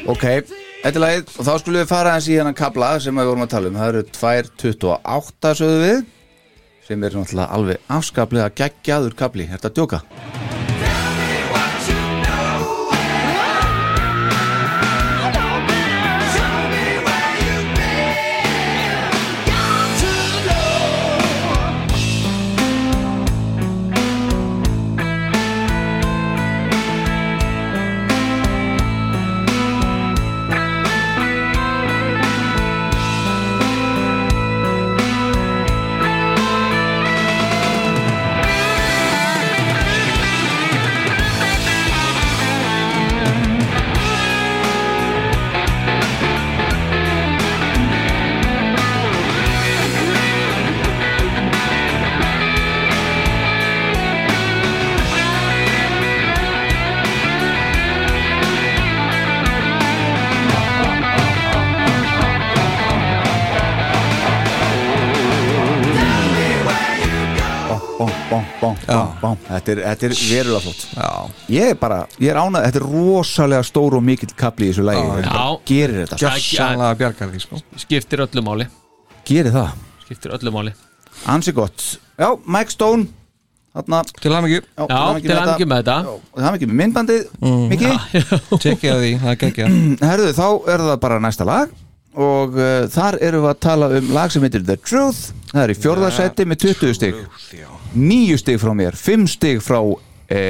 Speaker 2: to know. Caffeine.
Speaker 3: Ok, þetta er lagið og þá skulum við fara aðeins í hennan kabla sem við vorum að tala um það eru 2.28 sögðu við sem er náttúrulega alveg afskaplega geggjaður kabli, er þetta að djóka?
Speaker 2: Tell me
Speaker 3: bám, bám, bám Þetta er, þetta er verulega flott Já. Ég er bara, ég er ánað, þetta er rosalega stór og mikill kapli í þessu lægi
Speaker 4: Já.
Speaker 3: Gerir þetta
Speaker 4: Gjörsamlega
Speaker 5: bjargar því sko
Speaker 4: skiptir öllu máli
Speaker 3: Gerir það
Speaker 4: skiptir öllu máli
Speaker 3: Ansi gott Já, Mike Stone Þarna
Speaker 5: Til hamingju
Speaker 3: Já,
Speaker 4: Já, til hamingju með þetta.
Speaker 3: Til hamingju með myndbandið
Speaker 5: Mm.
Speaker 3: Mikki
Speaker 5: Tekja því, það gekkja
Speaker 3: Herðu, þá er það bara næsta lag Og uh, þar erum við að tala um lag sem heitir The Truth Það er í fjórðarsæti með 20 stig Níu stig frá mér, fimm stig frá e,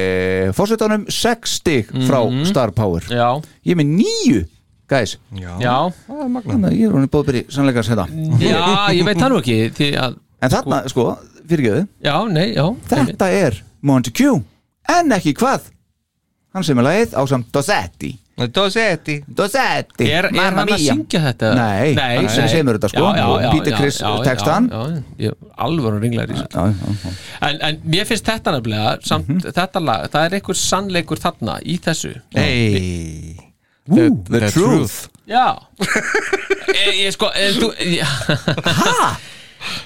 Speaker 3: Fórsetanum, sex stig frá
Speaker 4: Mhm.
Speaker 3: Star Power
Speaker 4: Já.
Speaker 3: Ég er með níu, guys
Speaker 4: Já.
Speaker 3: Þannig að ég er honum bóðbyrði sannleikars þetta
Speaker 4: Já, ég veit það nú ekki því að
Speaker 3: hérna. En þarna, sko, fyrirgeðu
Speaker 4: Já, nei, já
Speaker 3: Þetta er Montague En ekki hvað Hann sem er lagið á samt Dossetti
Speaker 5: Dossetti
Speaker 3: Dossetti
Speaker 4: Er, er hann að syngja þetta?
Speaker 3: Nei, hann sem semur þetta sko
Speaker 4: Já, já, já,
Speaker 3: Peter
Speaker 4: já,
Speaker 3: Chris
Speaker 4: já, já,
Speaker 3: textan
Speaker 4: já, já, ég er alvöru ringlar í þessu en, en mér finnst þetta nefnilega samt,
Speaker 3: Mhm.
Speaker 4: þetta lag, það er einhver sannleikur þarna í þessu
Speaker 5: Hey
Speaker 3: The,
Speaker 4: the truth. Já Ég, ég sko eh, þú, Hæ?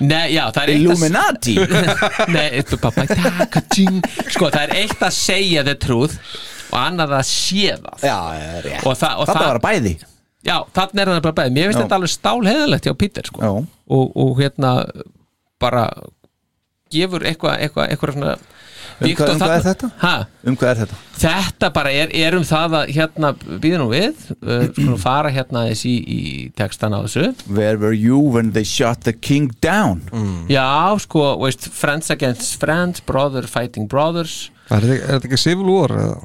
Speaker 4: Nei, já, það er eitt að-
Speaker 3: Illuminati?
Speaker 4: Nei, eh, þú pappa taka-ting. Sko, það er eitt að segja the truth og annað að sé það
Speaker 3: Já, já, já
Speaker 4: Og það- og
Speaker 3: Þetta
Speaker 4: það-
Speaker 3: var bæði
Speaker 4: Já, þannig er það bara bæðið Mér finnst
Speaker 3: Já.
Speaker 4: þetta alveg stálheðalegt hjá Pítur sko.
Speaker 3: og,
Speaker 4: og hérna bara gefur eitthvað eitthvað eitthva svona
Speaker 3: Um
Speaker 4: Viktor
Speaker 3: hvað, um hvað er
Speaker 4: þarna-
Speaker 3: þetta?
Speaker 4: Ha,
Speaker 3: Um hvað er þetta?
Speaker 4: þetta bara er, er um það að hérna býða nú við uh, skulum fara hérna aðeins í, í textan á þessu
Speaker 3: Where were you when they shot the king down?
Speaker 5: Mm.
Speaker 4: Já, sko, veist, friends against friends brother fighting brothers
Speaker 5: Er þetta- er þetta ekki Civil War eða?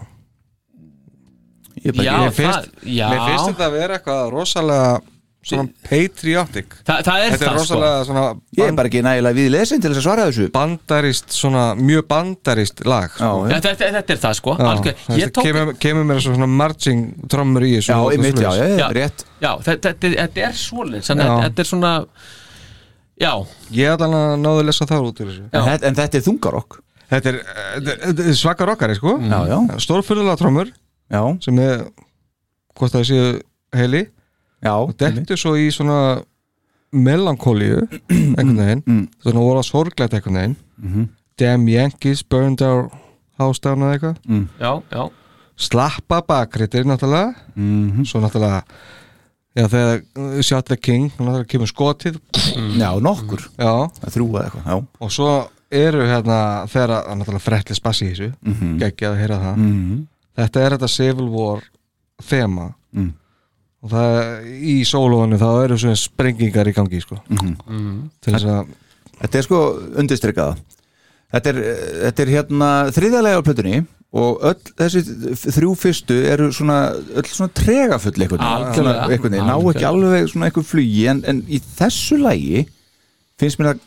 Speaker 3: Ég
Speaker 4: bara- Já,
Speaker 5: mér finnst,
Speaker 4: það- já.
Speaker 5: Mér finnst þetta að vera eitthvað rosalega svona patriotic
Speaker 4: Þa, það sko.
Speaker 5: Þetta er rosalega svona
Speaker 3: Ég er bara ekki nægilega við lesin til þess að svara þessu
Speaker 5: Bandarist, svona mjög bandarist lag sko.
Speaker 4: já. Þetta- þetta- þetta er það, sko,
Speaker 5: Já,
Speaker 4: algjör-
Speaker 5: þetta
Speaker 4: ég tók-
Speaker 5: kemur, kemur mér svona marching trommur í þessu
Speaker 3: Já,
Speaker 5: og
Speaker 3: einmitt, já, já,
Speaker 5: svoleiðis.
Speaker 3: já, rétt
Speaker 4: Já, þetta, þetta, þetta er svoleið
Speaker 5: Já.
Speaker 4: þannig að þetta er svona Já,
Speaker 5: Ég ætla að náðu að lesa það út úr þessu
Speaker 3: en, þetta- en þetta er þungarokk
Speaker 5: Þetta er, eh, þetta er svaka rockari sko
Speaker 3: Já, já
Speaker 5: Stórfyrðulega trommur
Speaker 3: Já
Speaker 5: Sem er, hvort það séu heili
Speaker 3: Já Og
Speaker 5: dettur svo í svona melankóliu einhvern veginn Svona voru að sorglega einhvern veginn
Speaker 3: Mm, Mhm.
Speaker 5: Damn Yankees burned our house down eða eitthvað
Speaker 3: Mm.
Speaker 4: já, já
Speaker 5: Slappa bakritir náttúrulega
Speaker 3: Mhm.
Speaker 5: Svo náttúrulega Já, þegar uh, Shot the King náttúrulega kemur skotið
Speaker 3: Já, nokkur
Speaker 5: Já
Speaker 3: Þrjú eða eitthvað, já
Speaker 5: og svo eru hérna þegar að náttúrulega fretli spassi í þessu mm
Speaker 3: Mhm.
Speaker 5: geggjað að heyra það
Speaker 3: Mhm.
Speaker 5: þetta er þetta Civil War þema
Speaker 3: Mm.
Speaker 5: og það í sólóinu þá eru svona sprengingar í gangi sko
Speaker 3: Mhm.
Speaker 5: til þess að
Speaker 3: Þetta er sko undirstrykkaða Þetta er, þetta er hérna þriðalega á plötunni og öll þessi þrjú fyrstu eru svona öll svona tregafull einhvern
Speaker 4: Algjörlega.
Speaker 3: Svona einhvern veginn, ná ekki alveg svona einhver flugi en, en í þessu lægi finnst mér það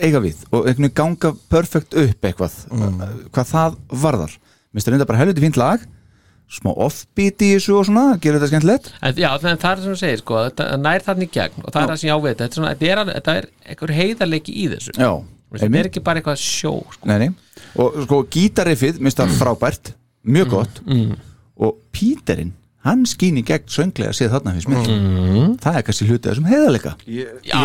Speaker 3: eiga við og einhvern veginn ganga perfekt upp eitthvað uh, hvað það varðar Mér finnst það reynda bara helviti fínt lag smá offbeat í þessu og svona gerir þetta skemmtilegt
Speaker 4: En, já, þannig það er sem þú segir sko, þetta það nær þarna í gegn og það er það sem ég ávita þetta, er svona- þetta, er alveg- þetta er einhver heiðarleiki í þessu
Speaker 3: Já,
Speaker 4: þetta er ekki bara eitthvað sjó sko.
Speaker 3: nei, nei. og sko gítariffið minnst það frábært, mjög gott og Píterinn hann skýni gegn sönglega séð þarna fyrst mér það er kannski hluti af þessum heiðarleika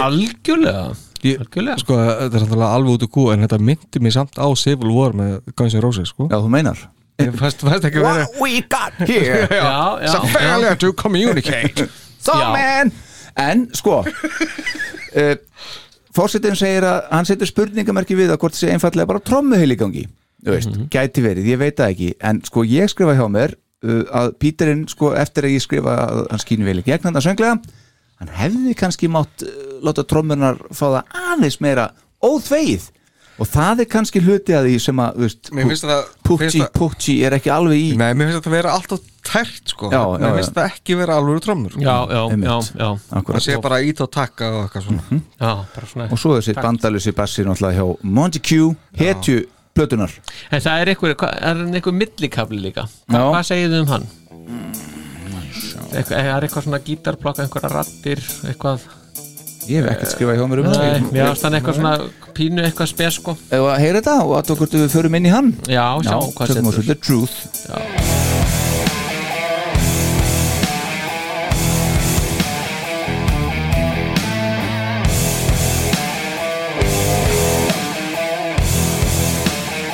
Speaker 4: algjörlega
Speaker 5: ég, sko þetta er náttúrulega alveg út úr kú en þetta myndi mér samt á Civil War með Guns N' Roses sko
Speaker 3: Já, þú meinar
Speaker 5: Ég fæst, fæst ekki verið
Speaker 3: we got
Speaker 5: here
Speaker 4: Já, já.
Speaker 5: It's a failure to communicate
Speaker 3: so man en sko uh, fórsetin segir að hann setur spurningamarki við að hvort það sé einfallega bara trommuhyl í gangi þú veist, gæti verið, ég veit það ekki en sko ég skrifa hjá mér uh, að Píterinn sko eftir að ég skrifa að hann skýni vel í gegn hann að sönglega hann hefði kannski mátt uh, láta trommunar fá það aðeins meira óþvegið og það er kannski hluti að því sem að, þú veist,
Speaker 5: Mér finnst það- finnst
Speaker 3: Pucci,
Speaker 5: það-
Speaker 3: Pucci er ekki alveg í
Speaker 5: Nei, mér finnst þetta vera alltaf tært sko
Speaker 3: Já, já,
Speaker 5: Mér finnst
Speaker 3: já.
Speaker 5: það ekki vera alveg trommur sko.
Speaker 4: já, já, já, já.
Speaker 3: Akkúrat.
Speaker 5: Það sé bara Mhm. ít og takka og eitthvað svona
Speaker 4: já bara svona
Speaker 3: og svo þessi
Speaker 4: Takk.
Speaker 3: bandalusi bassi náttúrulega hjá Montague, hetju plötunar
Speaker 4: en það er einhver, hvað- er hann einhver millikabli líka Hva,
Speaker 3: Já.
Speaker 4: hvað segir þið um hann? Eitthvað, er eitthvað svona gítarblokka einhverja rattir, eitthvað
Speaker 3: Ég hef ekkert skrifað hjá mér um
Speaker 4: Nei, mér ást hann eitthvað svona pínu eitthvað spes sko
Speaker 3: Ef að heyra þetta og að okkur við förum inn í hann
Speaker 4: Já, sjá hvað
Speaker 3: tökum
Speaker 4: setur.
Speaker 3: við The Truth
Speaker 4: Já.
Speaker 2: Truth.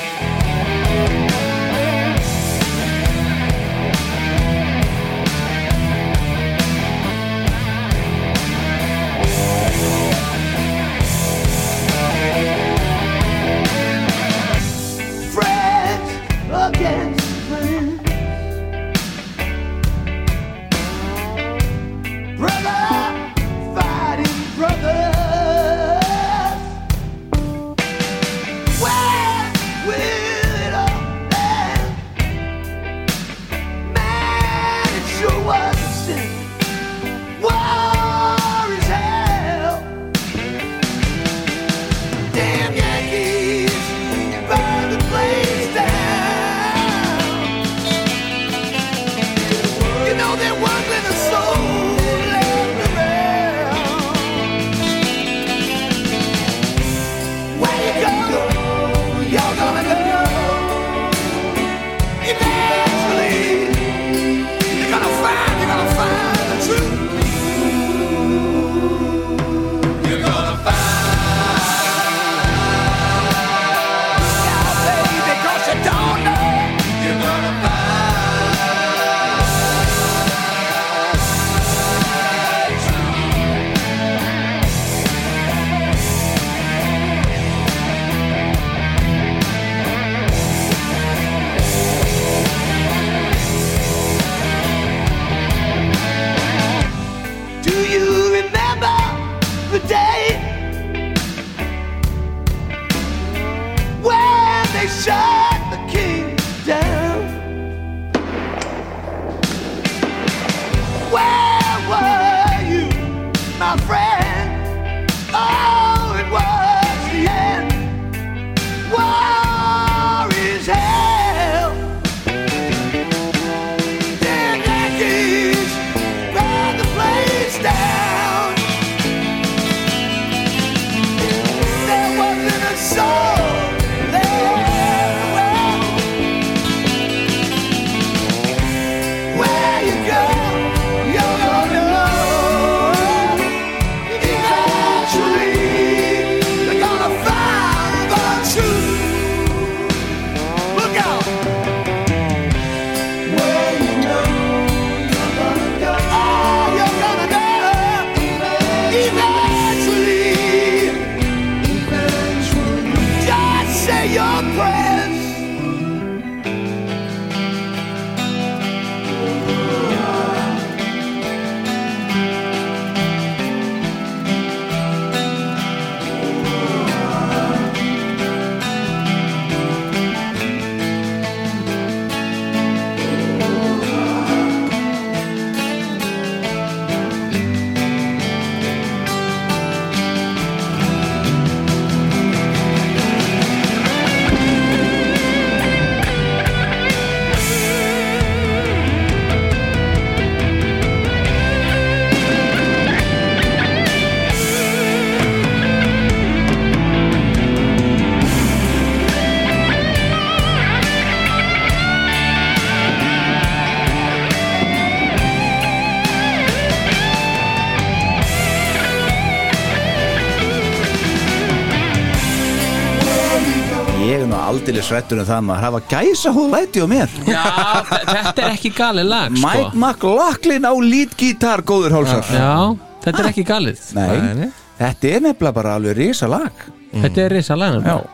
Speaker 2: Oh,
Speaker 3: ég er nú aldrei srættur um það maður hafa gæsa læti á mér
Speaker 4: Sko. Já, þe- þetta er ekki galið lag sko.
Speaker 3: Mike McLaughlin á lítgítar góður hálsar
Speaker 4: Já, þetta er ekki galið
Speaker 3: Nei, Mm. þetta er nefnilega bara alveg risa lag
Speaker 4: Þetta er risa lag nefnilega.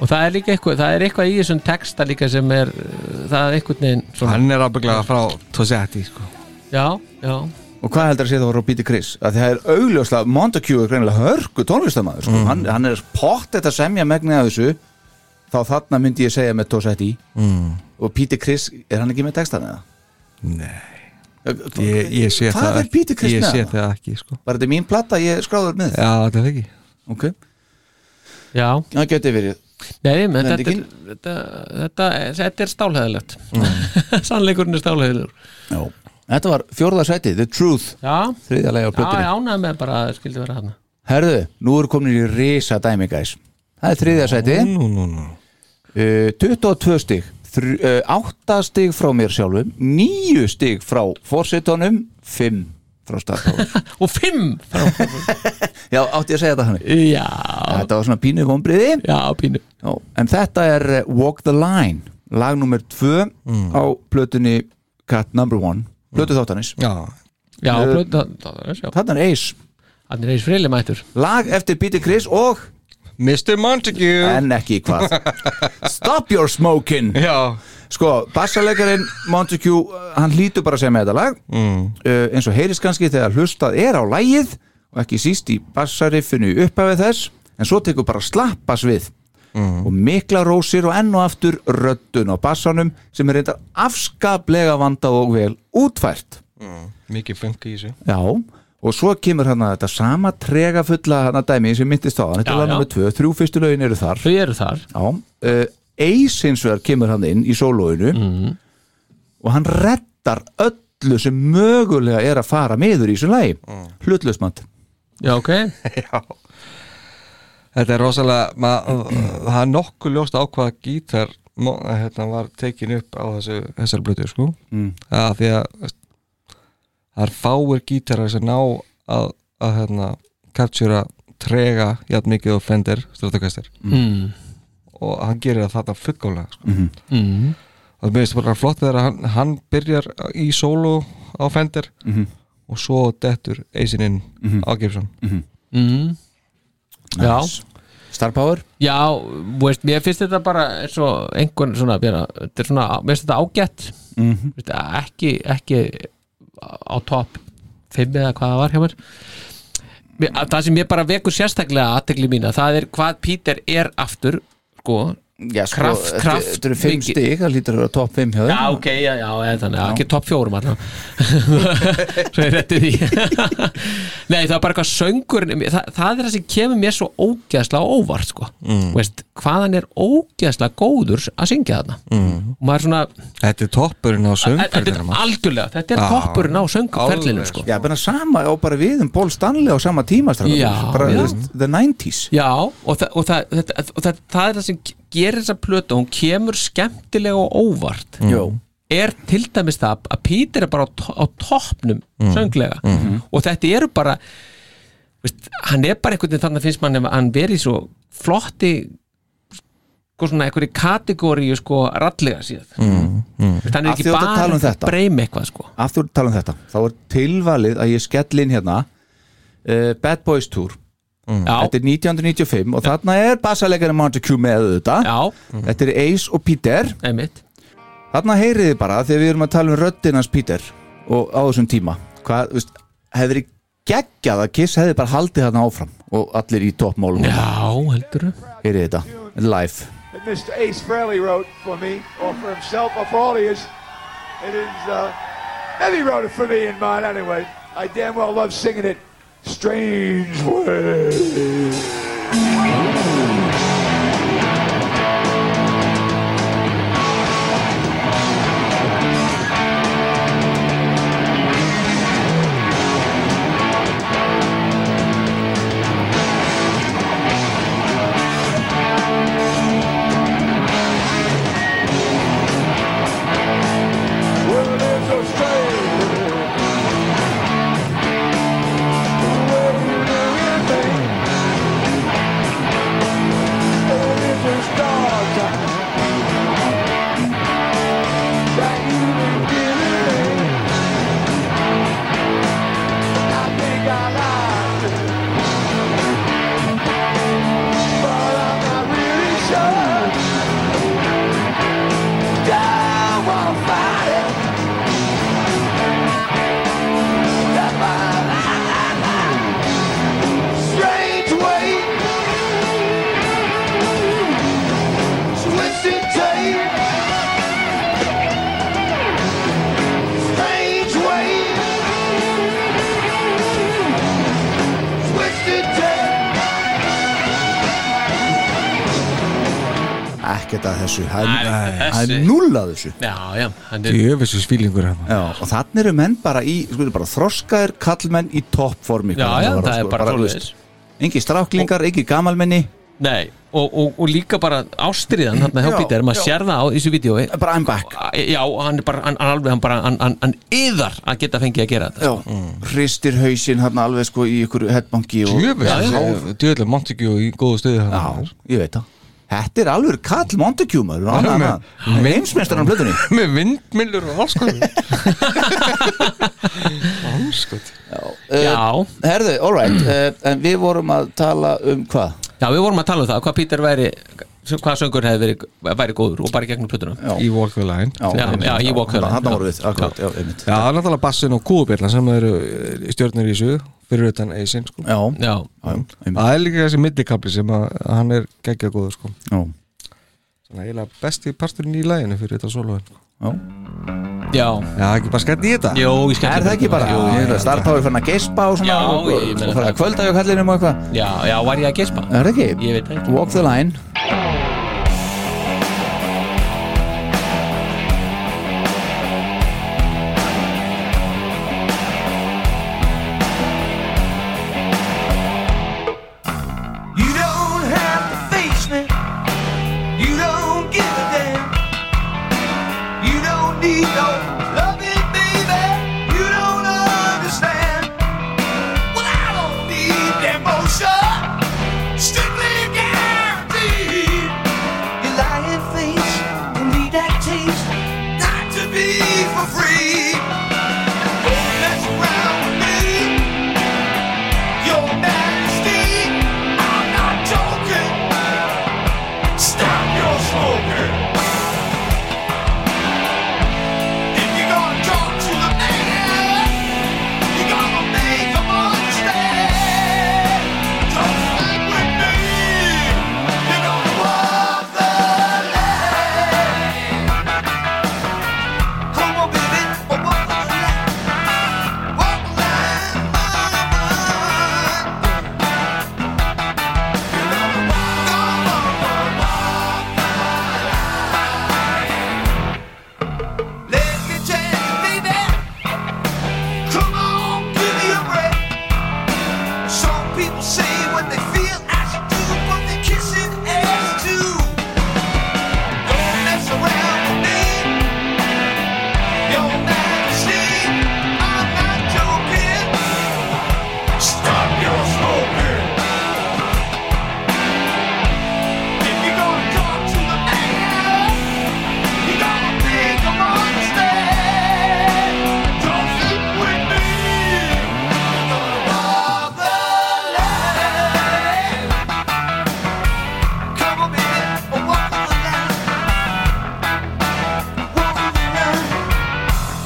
Speaker 4: Og það er líka eitthvað, það er eitthvað í þessum texta líka sem er, uh, það er eitthvað neginn
Speaker 5: Hann er ábygglega frá Tosetti sko.
Speaker 4: Já, já
Speaker 3: Og hvað heldur að sé það voru á Bíti Chris? Að það er augljóslega, Montague er greinilega hörku tónlistamæður, sko.
Speaker 5: Mm.
Speaker 3: hann, hann er pott þetta semja megnið af þessu þá þarna myndi ég segja með Tosetti
Speaker 5: mm.
Speaker 3: og Píti Chris, er hann ekki með textan eða?
Speaker 5: Nei
Speaker 3: Ég,
Speaker 5: Ég, ég sé
Speaker 3: Hvað
Speaker 5: það
Speaker 3: er Píti Chris
Speaker 5: Ég
Speaker 3: með
Speaker 5: sé
Speaker 3: það?
Speaker 5: það ekki sko.
Speaker 3: Var þetta mín platta, ég skráður með
Speaker 5: Já, þetta er ekki
Speaker 3: Ok
Speaker 4: Já
Speaker 3: Það geti verið
Speaker 4: Nei, menn
Speaker 3: Nefndi
Speaker 4: þetta,
Speaker 3: ekki.
Speaker 4: er- þetta, þetta, þetta er stálheðilegt Sannleikurinn er stálheðilegur
Speaker 3: Já Þetta var fjórða sæti, The Truth
Speaker 4: Já,
Speaker 3: Þriðja lagi á plötunni.
Speaker 4: Já, ég ánægði með bara að það skildi vera hana
Speaker 3: Herðu, nú eru komin í risa dæmi gæs Það er þriðja sæti
Speaker 5: nú, nú, nú.
Speaker 3: Uh, 22 stig Þr- uh, 8 stig frá mér sjálfum 9 stig frá fórsetunum 5 frá starfhóður
Speaker 4: Og 5
Speaker 3: Já, átti ég að segja þetta þannig
Speaker 4: Já
Speaker 3: Þetta var svona pínu kombriði
Speaker 4: Já, pínu
Speaker 3: Já, En þetta er uh, Walk the Line Lag nummer 2 á plötunni Cat number 1 Plötu þáttanis
Speaker 5: Já,
Speaker 4: Já,
Speaker 3: Eh,
Speaker 4: blöð, það, það, já.
Speaker 3: Þarna er Ace
Speaker 4: Þannig er eins frili mættur
Speaker 3: Lag eftir Bíti Chris og
Speaker 5: Mr. Montague
Speaker 3: En ekki hvað Stop your smoking
Speaker 5: Já.
Speaker 3: Sko, bassalegarinn Montague uh, Hann hlýtur bara að segja með þetta lag
Speaker 5: Mm.
Speaker 3: uh, Eins og heyrist kannski þegar hlustað er á lagið Og ekki síst í bassariffinu í upphafið þess En svo tekur bara slappas við Og mikla rósir og enn og aftur röddun á bassanum Sem er reyndar afskaplega vandað og vel útfært
Speaker 5: Mikið fengi í þessu
Speaker 3: Já, og svo kemur hann að þetta sama trega fulla hann að dæmi sem myndist á hann, þetta
Speaker 5: Já,
Speaker 3: er lag
Speaker 5: já.
Speaker 3: nummer 2 þrjú fyrstu lögin eru þar
Speaker 4: Þau eru þar
Speaker 3: Já, uh, Eis hins vegar kemur hann inn í sólóinu
Speaker 4: Mhm.
Speaker 3: og hann reddar öllu sem mögulega er að fara meður í þessu lagi mm. hlutlausmant
Speaker 4: Já, ok
Speaker 5: Já Þetta er rosalega maður- Það er nokkuð ljóst á hvaða gítar mo- hérna, var tekin upp á þessu, þessar blötu sko
Speaker 3: Mm.
Speaker 5: að því að veist, það er fáir gítarar sem ná að, að hérna, captura trega jafn mikið og Fender Stratocaster
Speaker 4: Mm.
Speaker 5: og hann gerir það þarna fullkomlega sko.
Speaker 3: Mhm.
Speaker 4: Mhm.
Speaker 5: og mér finnst bara flott þegar hann, hann byrjar í solo á Fender
Speaker 3: Mhm.
Speaker 5: og svo dettur Eisin inn
Speaker 3: Mhm.
Speaker 5: á Gibson
Speaker 3: Mhm.
Speaker 4: mm. Já
Speaker 3: Star Power
Speaker 4: Já, veist, mér finnst þetta bara eins og einhvern svona, björna, þetta er svona mér finnst þetta ágætt
Speaker 3: Mhm.
Speaker 4: veist, ekki, ekki á topp 5 eða hvað það var hjá mér Mér- að það sem mér bara vekur sérstaklega aðtegli mína, það er hvað Peter er aftur, sko
Speaker 3: Já, sko,
Speaker 4: kraft,
Speaker 3: þetta-
Speaker 4: kraft
Speaker 3: þetta eru 5
Speaker 4: mikið.
Speaker 3: stig, það lítur að vera topp 5 hjá
Speaker 4: Já, ok, já, já, eða þannig, já. ekki topp fjórum allan Svo ég rétti því Nei, það er bara eitthvað söngur það, það er það sem kemur mér svo ógeðslega á óvart, sko
Speaker 5: Mm.
Speaker 4: Veist, hvað hann er ógeðslega góður að syngja þarna
Speaker 5: mm.
Speaker 4: Og maður svona
Speaker 5: Þetta er toppurinn á
Speaker 4: Þetta er
Speaker 5: söngferðinu
Speaker 4: algjörlega, þetta er
Speaker 3: Já.
Speaker 4: toppurinn á söngferlinu, sko
Speaker 3: Já, bara sama á bara við um Paul Stanley á sama tíma strákar.
Speaker 4: Já,
Speaker 3: bara,
Speaker 4: já.
Speaker 3: þú veist, the 90s
Speaker 4: Já, og, þa og, þa þetta, og þa það er það sem gerir þessa plötu hún kemur skemmtilega og óvart
Speaker 3: Mm.
Speaker 4: er til dæmis það að Peter er bara á, to á toppnum
Speaker 5: Mm.
Speaker 4: sönglega
Speaker 3: Mm-hmm.
Speaker 5: Mhm.
Speaker 4: og þetta eru bara veist, hann er bara einhvern veginn þannig að finnst mann ef hann verið svo flotti sko svona einhverju kategóri sko rallega síðan
Speaker 5: mm, mm.
Speaker 4: Veist, hann er
Speaker 3: Af
Speaker 4: ekki
Speaker 3: því þú ert að tala
Speaker 4: bara
Speaker 3: um þetta.
Speaker 4: breym eitthvað sko
Speaker 3: af þú ert að tala um þetta þá er tilvalið að ég skell inn hérna uh, Bad Boys Tour
Speaker 4: Já.
Speaker 3: Mm. þetta er 1995 og þarna er bassalegarinn Montague með þetta
Speaker 4: Já.
Speaker 3: Mhm. þetta er Ace og Peter
Speaker 4: Einmitt.
Speaker 3: þarna heyriði bara þegar við erum að tala um röddinans Peter og á þessum tíma hvað, þú veist, hefði verið geggjað að Kiss hefði bara haldið þarna áfram og allir í toppmálum
Speaker 4: Já, heldur
Speaker 3: heyriði þetta live
Speaker 1: that Mr. Ace Frehley wrote for me, or for himself, or for all he is. It is, uh, Evie wrote it for me and mine anyway. I damn well love singing it. Strange Ways.
Speaker 3: ekkert að þessu Það
Speaker 4: Nei,
Speaker 3: er-
Speaker 4: þessi-
Speaker 3: það er null að þessu
Speaker 4: Já, já, hann er
Speaker 3: Jöfessu svílingur
Speaker 5: hérna.
Speaker 3: hann Já, og þannig eru menn bara í, sko, bara þroskaðir kallmenn í toppformi
Speaker 4: Já, já,
Speaker 3: sko
Speaker 4: það er bara svoleiðis.
Speaker 3: Engi stráklingar, engi gamalmenni
Speaker 4: Nei, og, og, og líka bara ástriðan hérna hjá
Speaker 3: Já,
Speaker 4: Peter, maður
Speaker 3: já.
Speaker 4: sér það á þessu vídeo
Speaker 3: Bara I'm back
Speaker 4: Já, hann er bara, hann, hann alveg, hann bara, hann, hann, hann yðar að geta fengið að gera þetta
Speaker 3: Já, hristir hausinn hann alveg sko í ykkur headbanki og
Speaker 5: Djöfell eh, Montague í góðu stuði hérna. Já,
Speaker 3: ég veit það Þetta er alveg kall Montague maður
Speaker 5: Já, með-
Speaker 3: Heimsmeistar hann plötunni
Speaker 5: Með vindmillur og alls konar
Speaker 3: Hanskot Já Eh, Herðu, all right uh, En við vorum að tala um hvað?
Speaker 4: Já, við vorum að tala um það, hvað Peter væri hvað söngur hefði verið, væri góður og bara í gegnum plötuna
Speaker 5: Í Walk the Line
Speaker 4: já, já, í Walk the Line, Þarna já. vorum
Speaker 3: við, akkurat, já, einmitt
Speaker 5: Já, það er náttúrulega bassin og kúðubirna sem eru eh, stjörnur í þessu fyrir utan Eisin sko.
Speaker 3: Já,
Speaker 4: já
Speaker 5: Það er líka þessi middikabli sem að, að hann er geggja góður sko.
Speaker 3: Já
Speaker 5: Svona eiginlega besti parturinn í læginu fyrir þetta soloðin sko.
Speaker 3: Já
Speaker 4: Já
Speaker 5: Já, ekki bara skemmt í þetta
Speaker 4: Jó, ég
Speaker 3: Er það ekki bara? Ég veit að starftáði fann að gespa og svona
Speaker 4: Já,
Speaker 3: og,
Speaker 4: ég
Speaker 3: og,
Speaker 4: meina
Speaker 3: og fara
Speaker 4: það.
Speaker 3: að kvölda hjá kallinum og eitthvað
Speaker 4: Já, já, var ég að gespa?
Speaker 3: Er það ekki?
Speaker 4: Ég veit það ekki
Speaker 3: Walk the line
Speaker 2: You don't have to face me. You don't give a damn. You don't need no loving, baby. You don't understand. Well, I don't need emotion. Strictly guaranteed. Your lying face will need that taste not to be for free. Don't mess around with me. Your majesty. I'm not joking. Stop your smoking. If you're gonna talk to the man, you gotta make him understand. Just like with me, you're gonna walk the line. Come on, baby, walk the line. Walk the line, mama. Let me tell you, baby. Come on, give me a break. Some people say what they feel I should do, but they kissing ass too. Don't mess around with me. Your Majesty, I'm not joking. Stop your smoking. If you're gonna talk to the man, you gotta make him understand. Don't sit with me. You're gonna walk the line. Come on, baby, walk the line. Walk the line.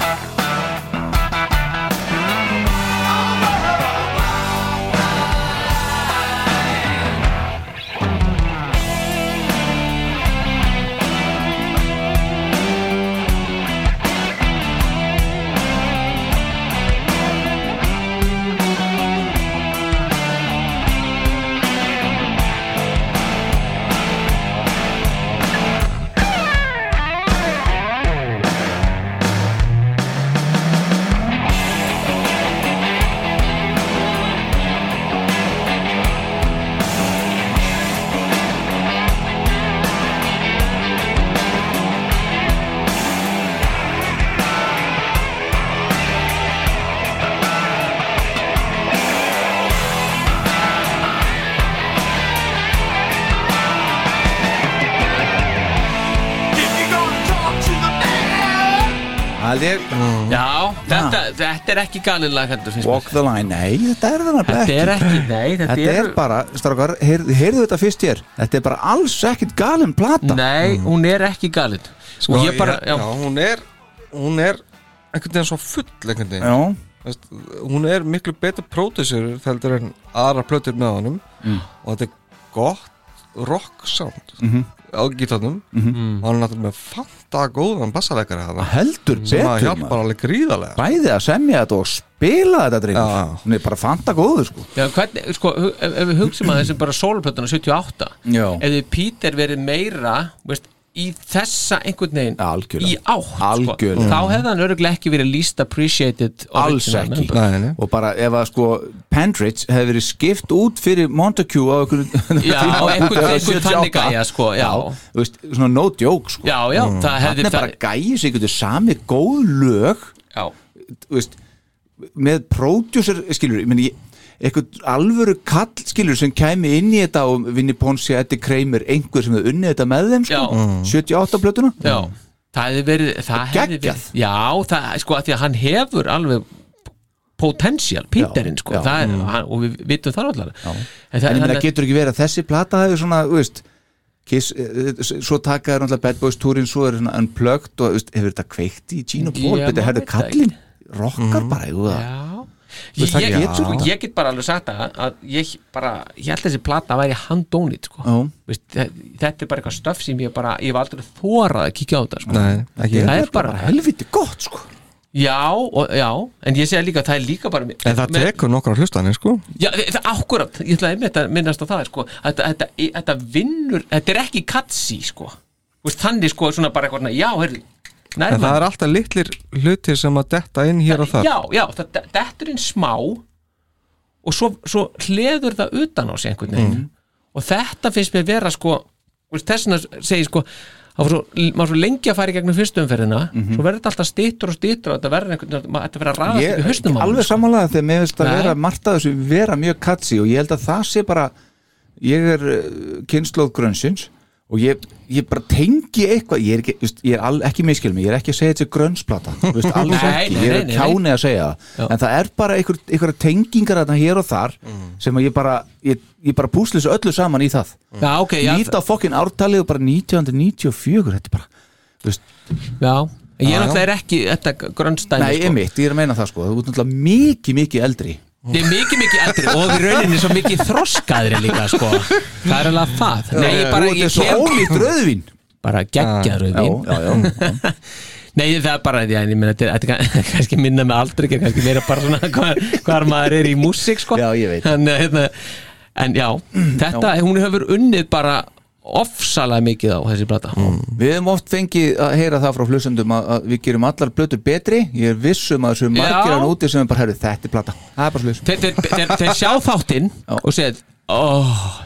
Speaker 3: Það er
Speaker 4: Já, þetta, þetta er ekki galið lag heldur, finnst
Speaker 3: Walk the line, nei, þetta er það nefnilega
Speaker 4: Þetta er ekki, nei, þetta
Speaker 3: Þetta er
Speaker 4: eru-
Speaker 3: bara, strákar, heyrðu heyrðu þetta fyrst hér Þetta er bara alls ekkert galin plata
Speaker 4: Nei, hún er ekki galin
Speaker 5: Sko,
Speaker 4: Og ég bara,
Speaker 5: já,
Speaker 4: já.
Speaker 5: hún er hún er einhvern veginn svo full einhvern veginn
Speaker 3: Já.
Speaker 5: Veist, hún er miklu betur pródusur heldur en aðra plötur með honum
Speaker 3: Mm.
Speaker 5: og þetta er gott rock sound
Speaker 3: Mhm.
Speaker 5: á gítarnum
Speaker 3: Mhm.
Speaker 4: Mm.
Speaker 5: og hann er náttúrulega með fanta góðan bassalegari hana
Speaker 3: Heldur
Speaker 5: sem að
Speaker 3: betur,
Speaker 5: hjálpar
Speaker 3: maður.
Speaker 5: alveg gríðarlega
Speaker 3: Bæði að semja þetta og spila þetta drengur Hún er bara fanta góður sko
Speaker 4: Já, hvernig, sko, hu- ef, ef við hugsaum að þessum bara sólplötuna 78
Speaker 3: Já.
Speaker 4: ef þið Peter verið meira veist, í þessa einhvern veginn
Speaker 3: Algjörlega.
Speaker 4: í átt
Speaker 3: Algjörlega.
Speaker 4: sko. þá hefði hann öruglega ekki verið least appreciated
Speaker 3: alls
Speaker 4: original
Speaker 3: ekki
Speaker 4: member.
Speaker 3: og bara ef að sko Pendridge hefði verið skipt út fyrir Montague á einhvern
Speaker 4: Já, einhvern- einhvern þannig gæja, sko, já.
Speaker 3: þú veist, svona no joke sko.
Speaker 4: já, já, það hefði
Speaker 3: Þarna er bara gæja sig einhvern sami góð lög
Speaker 4: já.
Speaker 3: veist, með producer skilur, ég meni, einhvern alvöru kall skilur sem kæmi inn í þetta og Vinnie Ponsi, Eddie Kramer, einhver sem hefði unnið þetta með þeim sko,
Speaker 4: Já.
Speaker 3: 78 plötuna
Speaker 4: já, það hefði verið það hefði verið,
Speaker 3: Mm. Geggjað.
Speaker 4: já, það, sko að því að hann hefur alveg potential, Peterinn sko
Speaker 3: já. Mm.
Speaker 4: það er, hann, og við vitum það allavega en,
Speaker 3: en ég meina,
Speaker 4: hann-
Speaker 3: getur ekki verið að þessi plata hefur svona, þú veist Kiss, eh, eh, svo taka þér náttúrulega Bad Boys túrin svo er svona unplugged og þú veist, hefur þetta kveikt í Gene og Paul,
Speaker 4: Já,
Speaker 3: betur
Speaker 4: maður
Speaker 3: herðu
Speaker 4: veit það
Speaker 3: kallin rockar bara, jú það
Speaker 4: Já
Speaker 3: Þú veist,
Speaker 4: Ég,
Speaker 3: það
Speaker 4: ég,
Speaker 3: getur
Speaker 4: sko,
Speaker 3: þetta.
Speaker 4: ég get bara alveg sagt það að ég bara, ég held að þessi plata væri handónit sko. Veist, þe- þetta er bara eitthvað stöf sem ég bara, ég hef aldrei þórað að kíkja á þetta sko.
Speaker 5: Nei, ekki
Speaker 4: það
Speaker 5: heldur,
Speaker 4: er
Speaker 5: sko,
Speaker 4: bara
Speaker 5: bara
Speaker 3: helviti gott sko.
Speaker 4: já, og, já, en ég segja líka að það er líka bara
Speaker 5: En það
Speaker 4: með-
Speaker 5: tekur nokkra hlustanir sko
Speaker 4: Já, það akkurat, ég ætlaði einmitt að minnast á það sko, að þetta- þetta, í- þetta vinnur þetta er ekki katsi sko. Þú veist, þannig sko, svona bara eitthvað svona, já, heyrðu
Speaker 5: En
Speaker 4: nærmann.
Speaker 5: það er alltaf litlir hlutir sem að detta inn hér og þar
Speaker 4: já, já, það de- dettur inn smá og svo, svo hleður það utan á sig einhvern veginn
Speaker 3: Mm.
Speaker 4: og þetta finnst mér vera sko þú veist, þess vegna segi ég, sko það var svo, maður svo lengi að fara í gegnum fyrstu umferðina svo verður þetta alltaf stýttur og stýttur og þetta verður einhvern veginn, maður- þetta verður að raðast
Speaker 3: Mhm. ég
Speaker 4: ykkur haustum á
Speaker 3: alveg
Speaker 4: honum, sko.
Speaker 3: samanlega þegar mér finnst að
Speaker 4: Nei.
Speaker 3: vera margt að þessu vera mjög katsi og ég held að það sé bara ég er kynnslóð grönsins og ég, ég bara tengi eitthvað ég er ekki, veist, ég er all, ekki miskil mig, ég er ekki að segja þetta er grönsplata veist, alls
Speaker 4: Nei,
Speaker 3: ekki,
Speaker 4: nei,
Speaker 3: ég
Speaker 4: nei,
Speaker 3: er
Speaker 4: nei,
Speaker 3: kjáni að segja það en það er bara einhver, einhverja tengingar þarna hér og þar sem að ég bara ég, ég bara púslis öllu saman í það
Speaker 4: Já, ok, já.
Speaker 3: Líta á fokkin ártalið og bara 1994, þetta er bara þú veist,
Speaker 4: já, ég er
Speaker 3: Já, já.
Speaker 4: náttúrulega er ekki þetta grönnstæmi
Speaker 3: Nei,
Speaker 4: sko.
Speaker 3: einmitt, ég er að meina það sko Þú ert náttúrulega mikið, mikið eldri
Speaker 4: Ég er mikið, mikið eldri og í rauninni svo mikið þroskaðri líka, sko. Það er alveg það. Nei, ég bara,
Speaker 3: Þú ert
Speaker 4: ég
Speaker 3: eins og ólíkt rauðvín.
Speaker 4: Bara geggjað rauðvín.
Speaker 3: Já, já,
Speaker 4: Nei, það er bara, já, en ég meina, þetta er- þetta er kann- kannski minna með aldri, ekki, kannski meira bara svona hvar, hvar maður er í músík, sko. Já, ég veit. En, hérna, en já, þetta, hún hefur unnið bara ofsalega mikið á þessi blata.
Speaker 3: Við hefum oft fengið að heyra það frá hlusendum að, að við gerum allar blötur betri Ég er viss um að þessu margir
Speaker 4: Já.
Speaker 3: hann úti sem er bara herru þetta er plata Það er bara slus
Speaker 4: Þeir, þeir, þeir, þeir sjá þáttinn og segja, ó,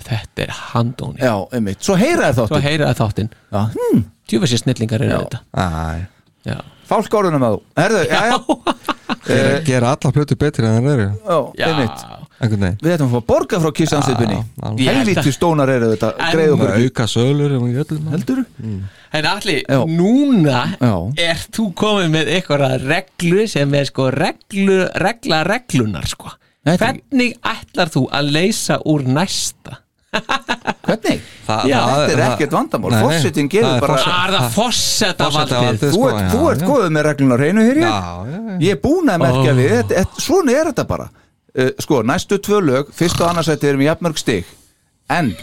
Speaker 4: þetta er handóni.
Speaker 3: Já, einmitt, svo heyra þér
Speaker 4: Svo
Speaker 3: þáttin
Speaker 4: heyra þér þáttinn.
Speaker 3: hmm.
Speaker 4: Tjúfa sér snillingar eru þetta.
Speaker 5: Æ.
Speaker 4: Já.
Speaker 3: Fálk orðunum að þú Herðu, já, já,
Speaker 5: Gera,
Speaker 3: Eh.
Speaker 5: gera alla plötu betri en það eru
Speaker 3: já, einmitt
Speaker 5: Einhvern veginn
Speaker 3: Við ætlum að fá að borga frá kissanslipinni
Speaker 5: alveg.
Speaker 3: Helvíti stónar eru þetta,
Speaker 4: En-
Speaker 3: greið okkur ekki.
Speaker 5: Auka sölur og í öllum
Speaker 3: Heldur
Speaker 4: En allir, núna
Speaker 3: Já.
Speaker 4: er þú komið með eitthvað reglu sem er sko reglu, regla reglunar sko Hvernig ætlar þú að leysa úr næsta?
Speaker 3: Hvernig?
Speaker 5: Það-
Speaker 4: Já,
Speaker 5: það-
Speaker 3: Þetta er
Speaker 5: það-
Speaker 3: ekkert vandamál,
Speaker 5: Nei, nei.
Speaker 3: forsetin gerir
Speaker 5: Það er
Speaker 3: bara
Speaker 5: forseti-
Speaker 4: Að það fosseta valdið
Speaker 3: Þú ert, þú ert góðið með reglun á reynu hér ég
Speaker 5: sko, Já, já, já.
Speaker 3: Ég er búin að merkja við þetta, þetta, Svona er þetta bara uh, Sko, næstu tvö lög, fyrst og annarsætti erum við jafnmörg stig En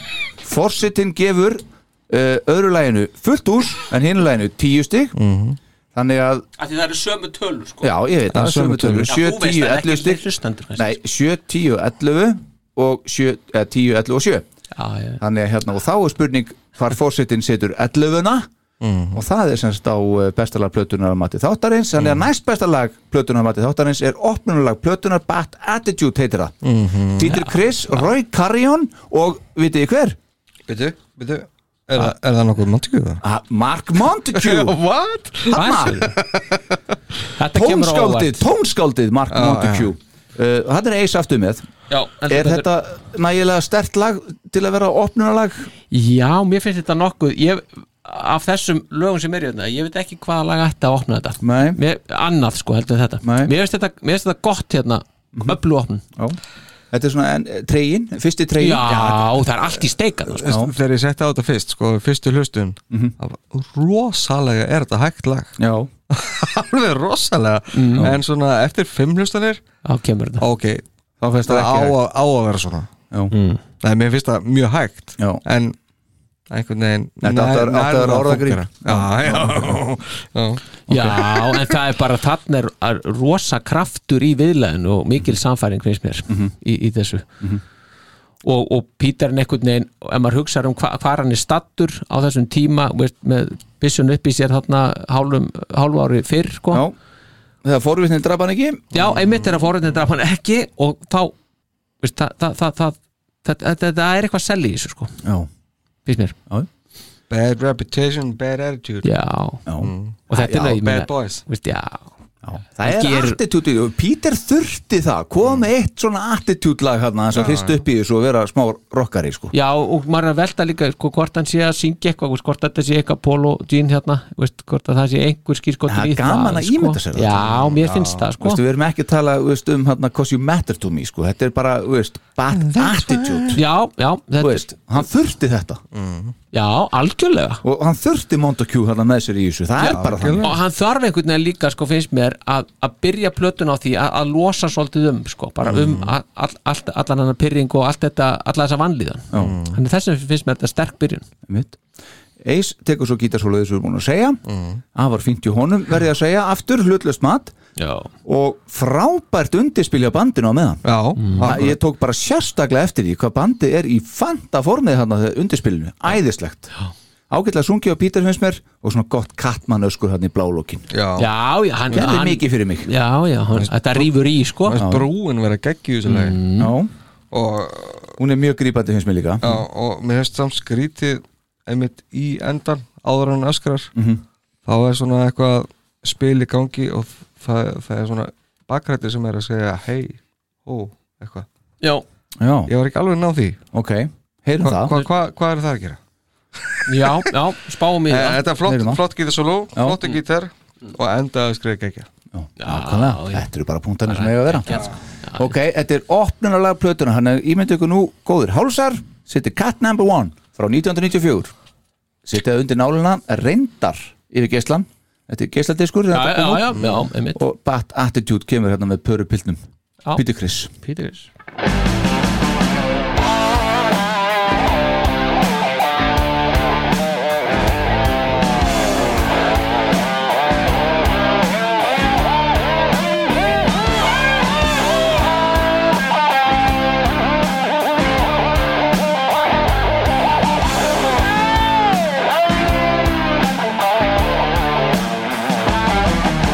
Speaker 3: Forsetin gefur uh, öðru læginu fullt ús En hinu læginu tíu stig Þannig að,
Speaker 4: Því það eru sömu tölur sko
Speaker 3: já, ég veit
Speaker 5: Það
Speaker 3: það
Speaker 5: er sömu
Speaker 3: Sömu tölur,
Speaker 4: Já,
Speaker 3: 7,
Speaker 4: þú veist
Speaker 3: 10,
Speaker 4: það
Speaker 3: 11
Speaker 4: ekki
Speaker 3: stig
Speaker 4: hlustendur kannski.
Speaker 3: Nei, 7, 10, 11 og 7, eh, 10, 11 og 7
Speaker 4: Já, já.
Speaker 3: Þannig að hérna, og þá er spurning hvar fórsetin setur 11-una
Speaker 4: Mhm.
Speaker 3: og það er semst á eh, besta lag plötunar að mati þáttarins, þannig að
Speaker 4: Mhm.
Speaker 3: næst besta lag plötunar að mati þáttarins er opnunulag plötunar Bad Attitude heitir það
Speaker 4: Mhm.
Speaker 3: Dieter Chris, Roy Carrion og vitið þið hver?
Speaker 5: Byrju, byrju Er, það- er það nokkuð Montague það?
Speaker 3: Ah, Mark Montague
Speaker 5: What?
Speaker 3: Hanna,
Speaker 4: Þetta kemur á
Speaker 3: tónskáldið,
Speaker 4: óvart
Speaker 3: tónskáldið Mark Montague uh, og þetta er eis aftur með
Speaker 4: Já, heldur
Speaker 3: Er
Speaker 4: betur.
Speaker 3: þetta nægilega stert lag til að vera opnunulag?
Speaker 4: Já, mér finnst þetta nokkuð ég, Af þessum lögum sem er í þetta Ég veit ekki hvaða lag ætti að opna þetta
Speaker 3: Nei,
Speaker 4: mér, Annað sko heldur en þetta
Speaker 3: Nei.
Speaker 4: Mér finnst þetta, mér finnst þetta gott hérna Öflu opnun
Speaker 3: já Þetta er svona tregin, fyrsti
Speaker 4: Já,
Speaker 3: tregin
Speaker 4: það er allt í steikað sko.
Speaker 5: Veistu, Þegar ég setti á þetta fyrst, sko, fyrstu hlustun það var Rosalega er þetta hægt lag
Speaker 3: Já,
Speaker 5: Alveg rosalega En svona eftir fimm hlustanir
Speaker 4: Þá kemur þetta
Speaker 5: Ok,
Speaker 3: þá finnst
Speaker 5: það Mm.
Speaker 3: það
Speaker 5: á,
Speaker 3: ekki
Speaker 5: að- á að vera svona
Speaker 3: Já.
Speaker 5: Nei, mér finnst það mjög hægt
Speaker 3: Já.
Speaker 5: En einhvern veginn
Speaker 3: Þetta átti að- átti að vera orðagrín.
Speaker 5: Já, já, já.
Speaker 4: Já, en það er bara þarna er- er Mhm. rosa kraftur í viðlæðinu og mikil samfæring finnst mér í, í þessu og, og Pítar en einhvern veginn ef maður hugsaður um hva, hvar hann er stattur á þessum tíma veist, með byssun upp í sér þarna hálfum, hálfu ári fyrr sko. Já,
Speaker 3: þegar forvitnin draf hann ekki
Speaker 4: Já, einmitt þegar forvitnin draf hann ekki og þá veist, það, það, það, það, það, það, það, það er eitthvað sell í þessu sko.
Speaker 3: Já,
Speaker 4: Fyrst mér
Speaker 3: Já
Speaker 5: Bad reputation, bad attitude
Speaker 4: Já, já. og þetta er
Speaker 5: Já,
Speaker 4: lagið, ég meina,
Speaker 5: Bad boys
Speaker 4: veist, já.
Speaker 3: Mm. Það er
Speaker 4: Ger-
Speaker 3: ger... attitude, og Peter þurfti það koma með eitt svona attitude lag hérna þess
Speaker 4: Mm. Já,
Speaker 3: að fyrst
Speaker 4: já.
Speaker 3: upp í þessu og vera smá rockari sko.
Speaker 4: Já, og maður er að velta líka sko, hvort hann sé að syngja eitthvað, veist, hvort þetta sé eitthvað polo jean hérna, veist, hvort að það sé einhver skýrskotur
Speaker 3: Það
Speaker 4: í
Speaker 3: er gaman að
Speaker 4: sko.
Speaker 3: ímynda sér það
Speaker 4: Já, mér finnst það sko.
Speaker 3: Vistu, Við erum ekki að tala viðst, um hérna Cause you matter to me sko. Þetta er bara viðst, bad attitude
Speaker 4: Já, já þetta... Mm.
Speaker 3: viðst, Hann þurfti þetta
Speaker 4: Já, algjörlega
Speaker 3: Og hann þurfti Montague hérna með sér í þessu Það er bara þannig
Speaker 4: og hann þarf einhvern veginn líka sko, finnst mér að, að byrja plötun á því að, að losa svolítið um sko, bara um
Speaker 3: Mm.
Speaker 4: all, all, all, allan hann pyrring og allt þetta, alla þessa vanlíðan
Speaker 3: Já.
Speaker 4: þannig að þessum finnst mér þetta sterk byrjun
Speaker 3: Mitt. Eis tekur svo gítarsóluðið sem við erum búin að segja
Speaker 4: Mm.
Speaker 3: Það var fínt í honum, verði að segja aftur hlutlust mat
Speaker 4: Já.
Speaker 3: og frábært undirspilja bandinu á meðan
Speaker 5: Já,
Speaker 3: Það, ég tók bara sérstaklega eftir því hvað bandið er í fanta formið þarna þegar undirspilinu, æðislegt ágætlega sungið á Pítar finnst mér og svona gott kattmann öskur hann í blálókin
Speaker 5: Já,
Speaker 4: Já, já, hann-
Speaker 3: Gerði
Speaker 4: hann-
Speaker 3: mikið fyrir mig
Speaker 4: Já, já, hann, þetta rýfur í sko
Speaker 5: brúin vera geggju þessu lagi
Speaker 3: Mm.
Speaker 5: og,
Speaker 3: Hún er mjög grípandi finnst mér líka
Speaker 5: já, og mér finnst samt skrítið einmitt í endan áður en hann öskrar
Speaker 3: Mhm.
Speaker 5: þá er svona eitthvað spil í gangi og það, það er svona bakrætti sem er að segja hei, ó, eitthvað
Speaker 4: Já.
Speaker 3: Já.
Speaker 5: Ég var ekki alveg náð því
Speaker 3: Ok, heyrum
Speaker 5: Hva-
Speaker 3: það.
Speaker 5: Hvað hva, hva er það að gera?
Speaker 4: Já, já, spáum í
Speaker 5: Eh,
Speaker 4: það
Speaker 5: Þetta er flott, flott gítar solo,
Speaker 4: Já.
Speaker 5: flott gítar og endaði skriði geggja
Speaker 3: Nákvæmlega, þetta eru bara punktarnir sem eiga að vera
Speaker 4: sko.
Speaker 3: Ok, þetta er opnunarlega plötuna hann er ímyndu ykkur nú góður hálsar sittir Cat Number One frá 1994 sittir það undir náluna reyndar yfir geislan þetta er geisladiskur
Speaker 4: Já,
Speaker 3: þetta
Speaker 4: já,
Speaker 3: kom út.
Speaker 4: já, já,
Speaker 3: og Bat Attitude kemur hérna með pöru pilnum
Speaker 4: Já.
Speaker 3: Peter Chris
Speaker 4: Peter Chris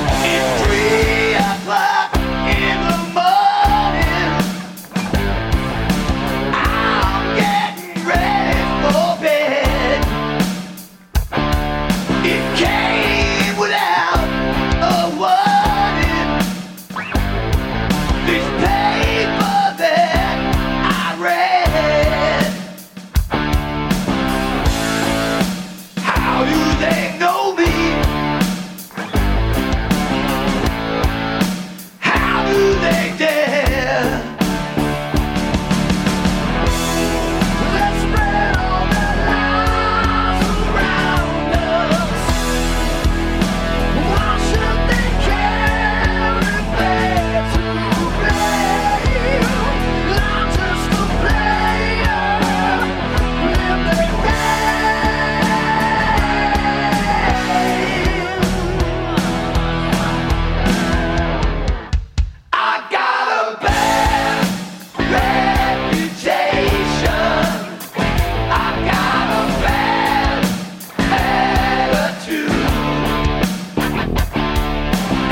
Speaker 2: Three o'clock in the morning. I'm getting ready for bed. It came without a warning. This paper that I read. How do they know me? How do they dare? Let's spread all the lies around us. Why should they care if they're to blame? I'm just a player. Live their I got a bad reputation. I got a bad attitude.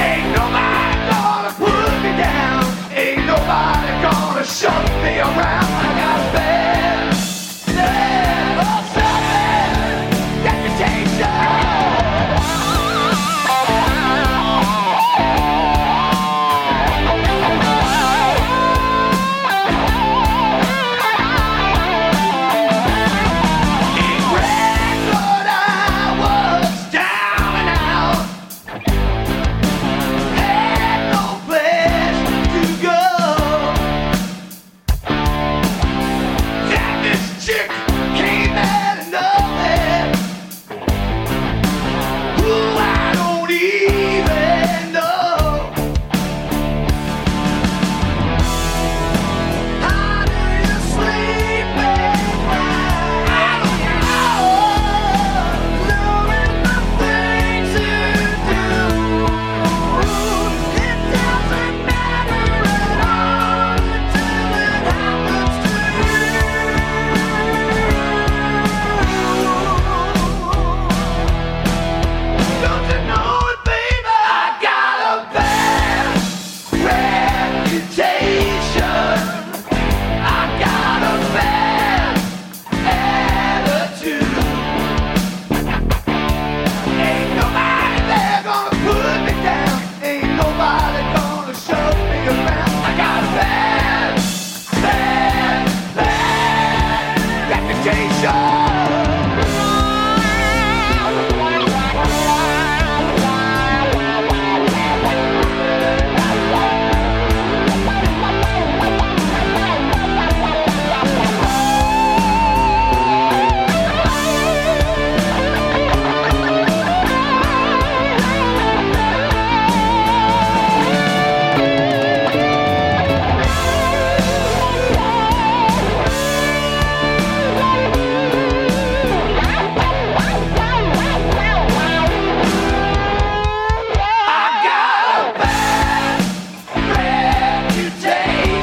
Speaker 2: Ain't nobody gonna put me down. Ain't nobody gonna shut me around. I got a bad, bad, a bad reputation.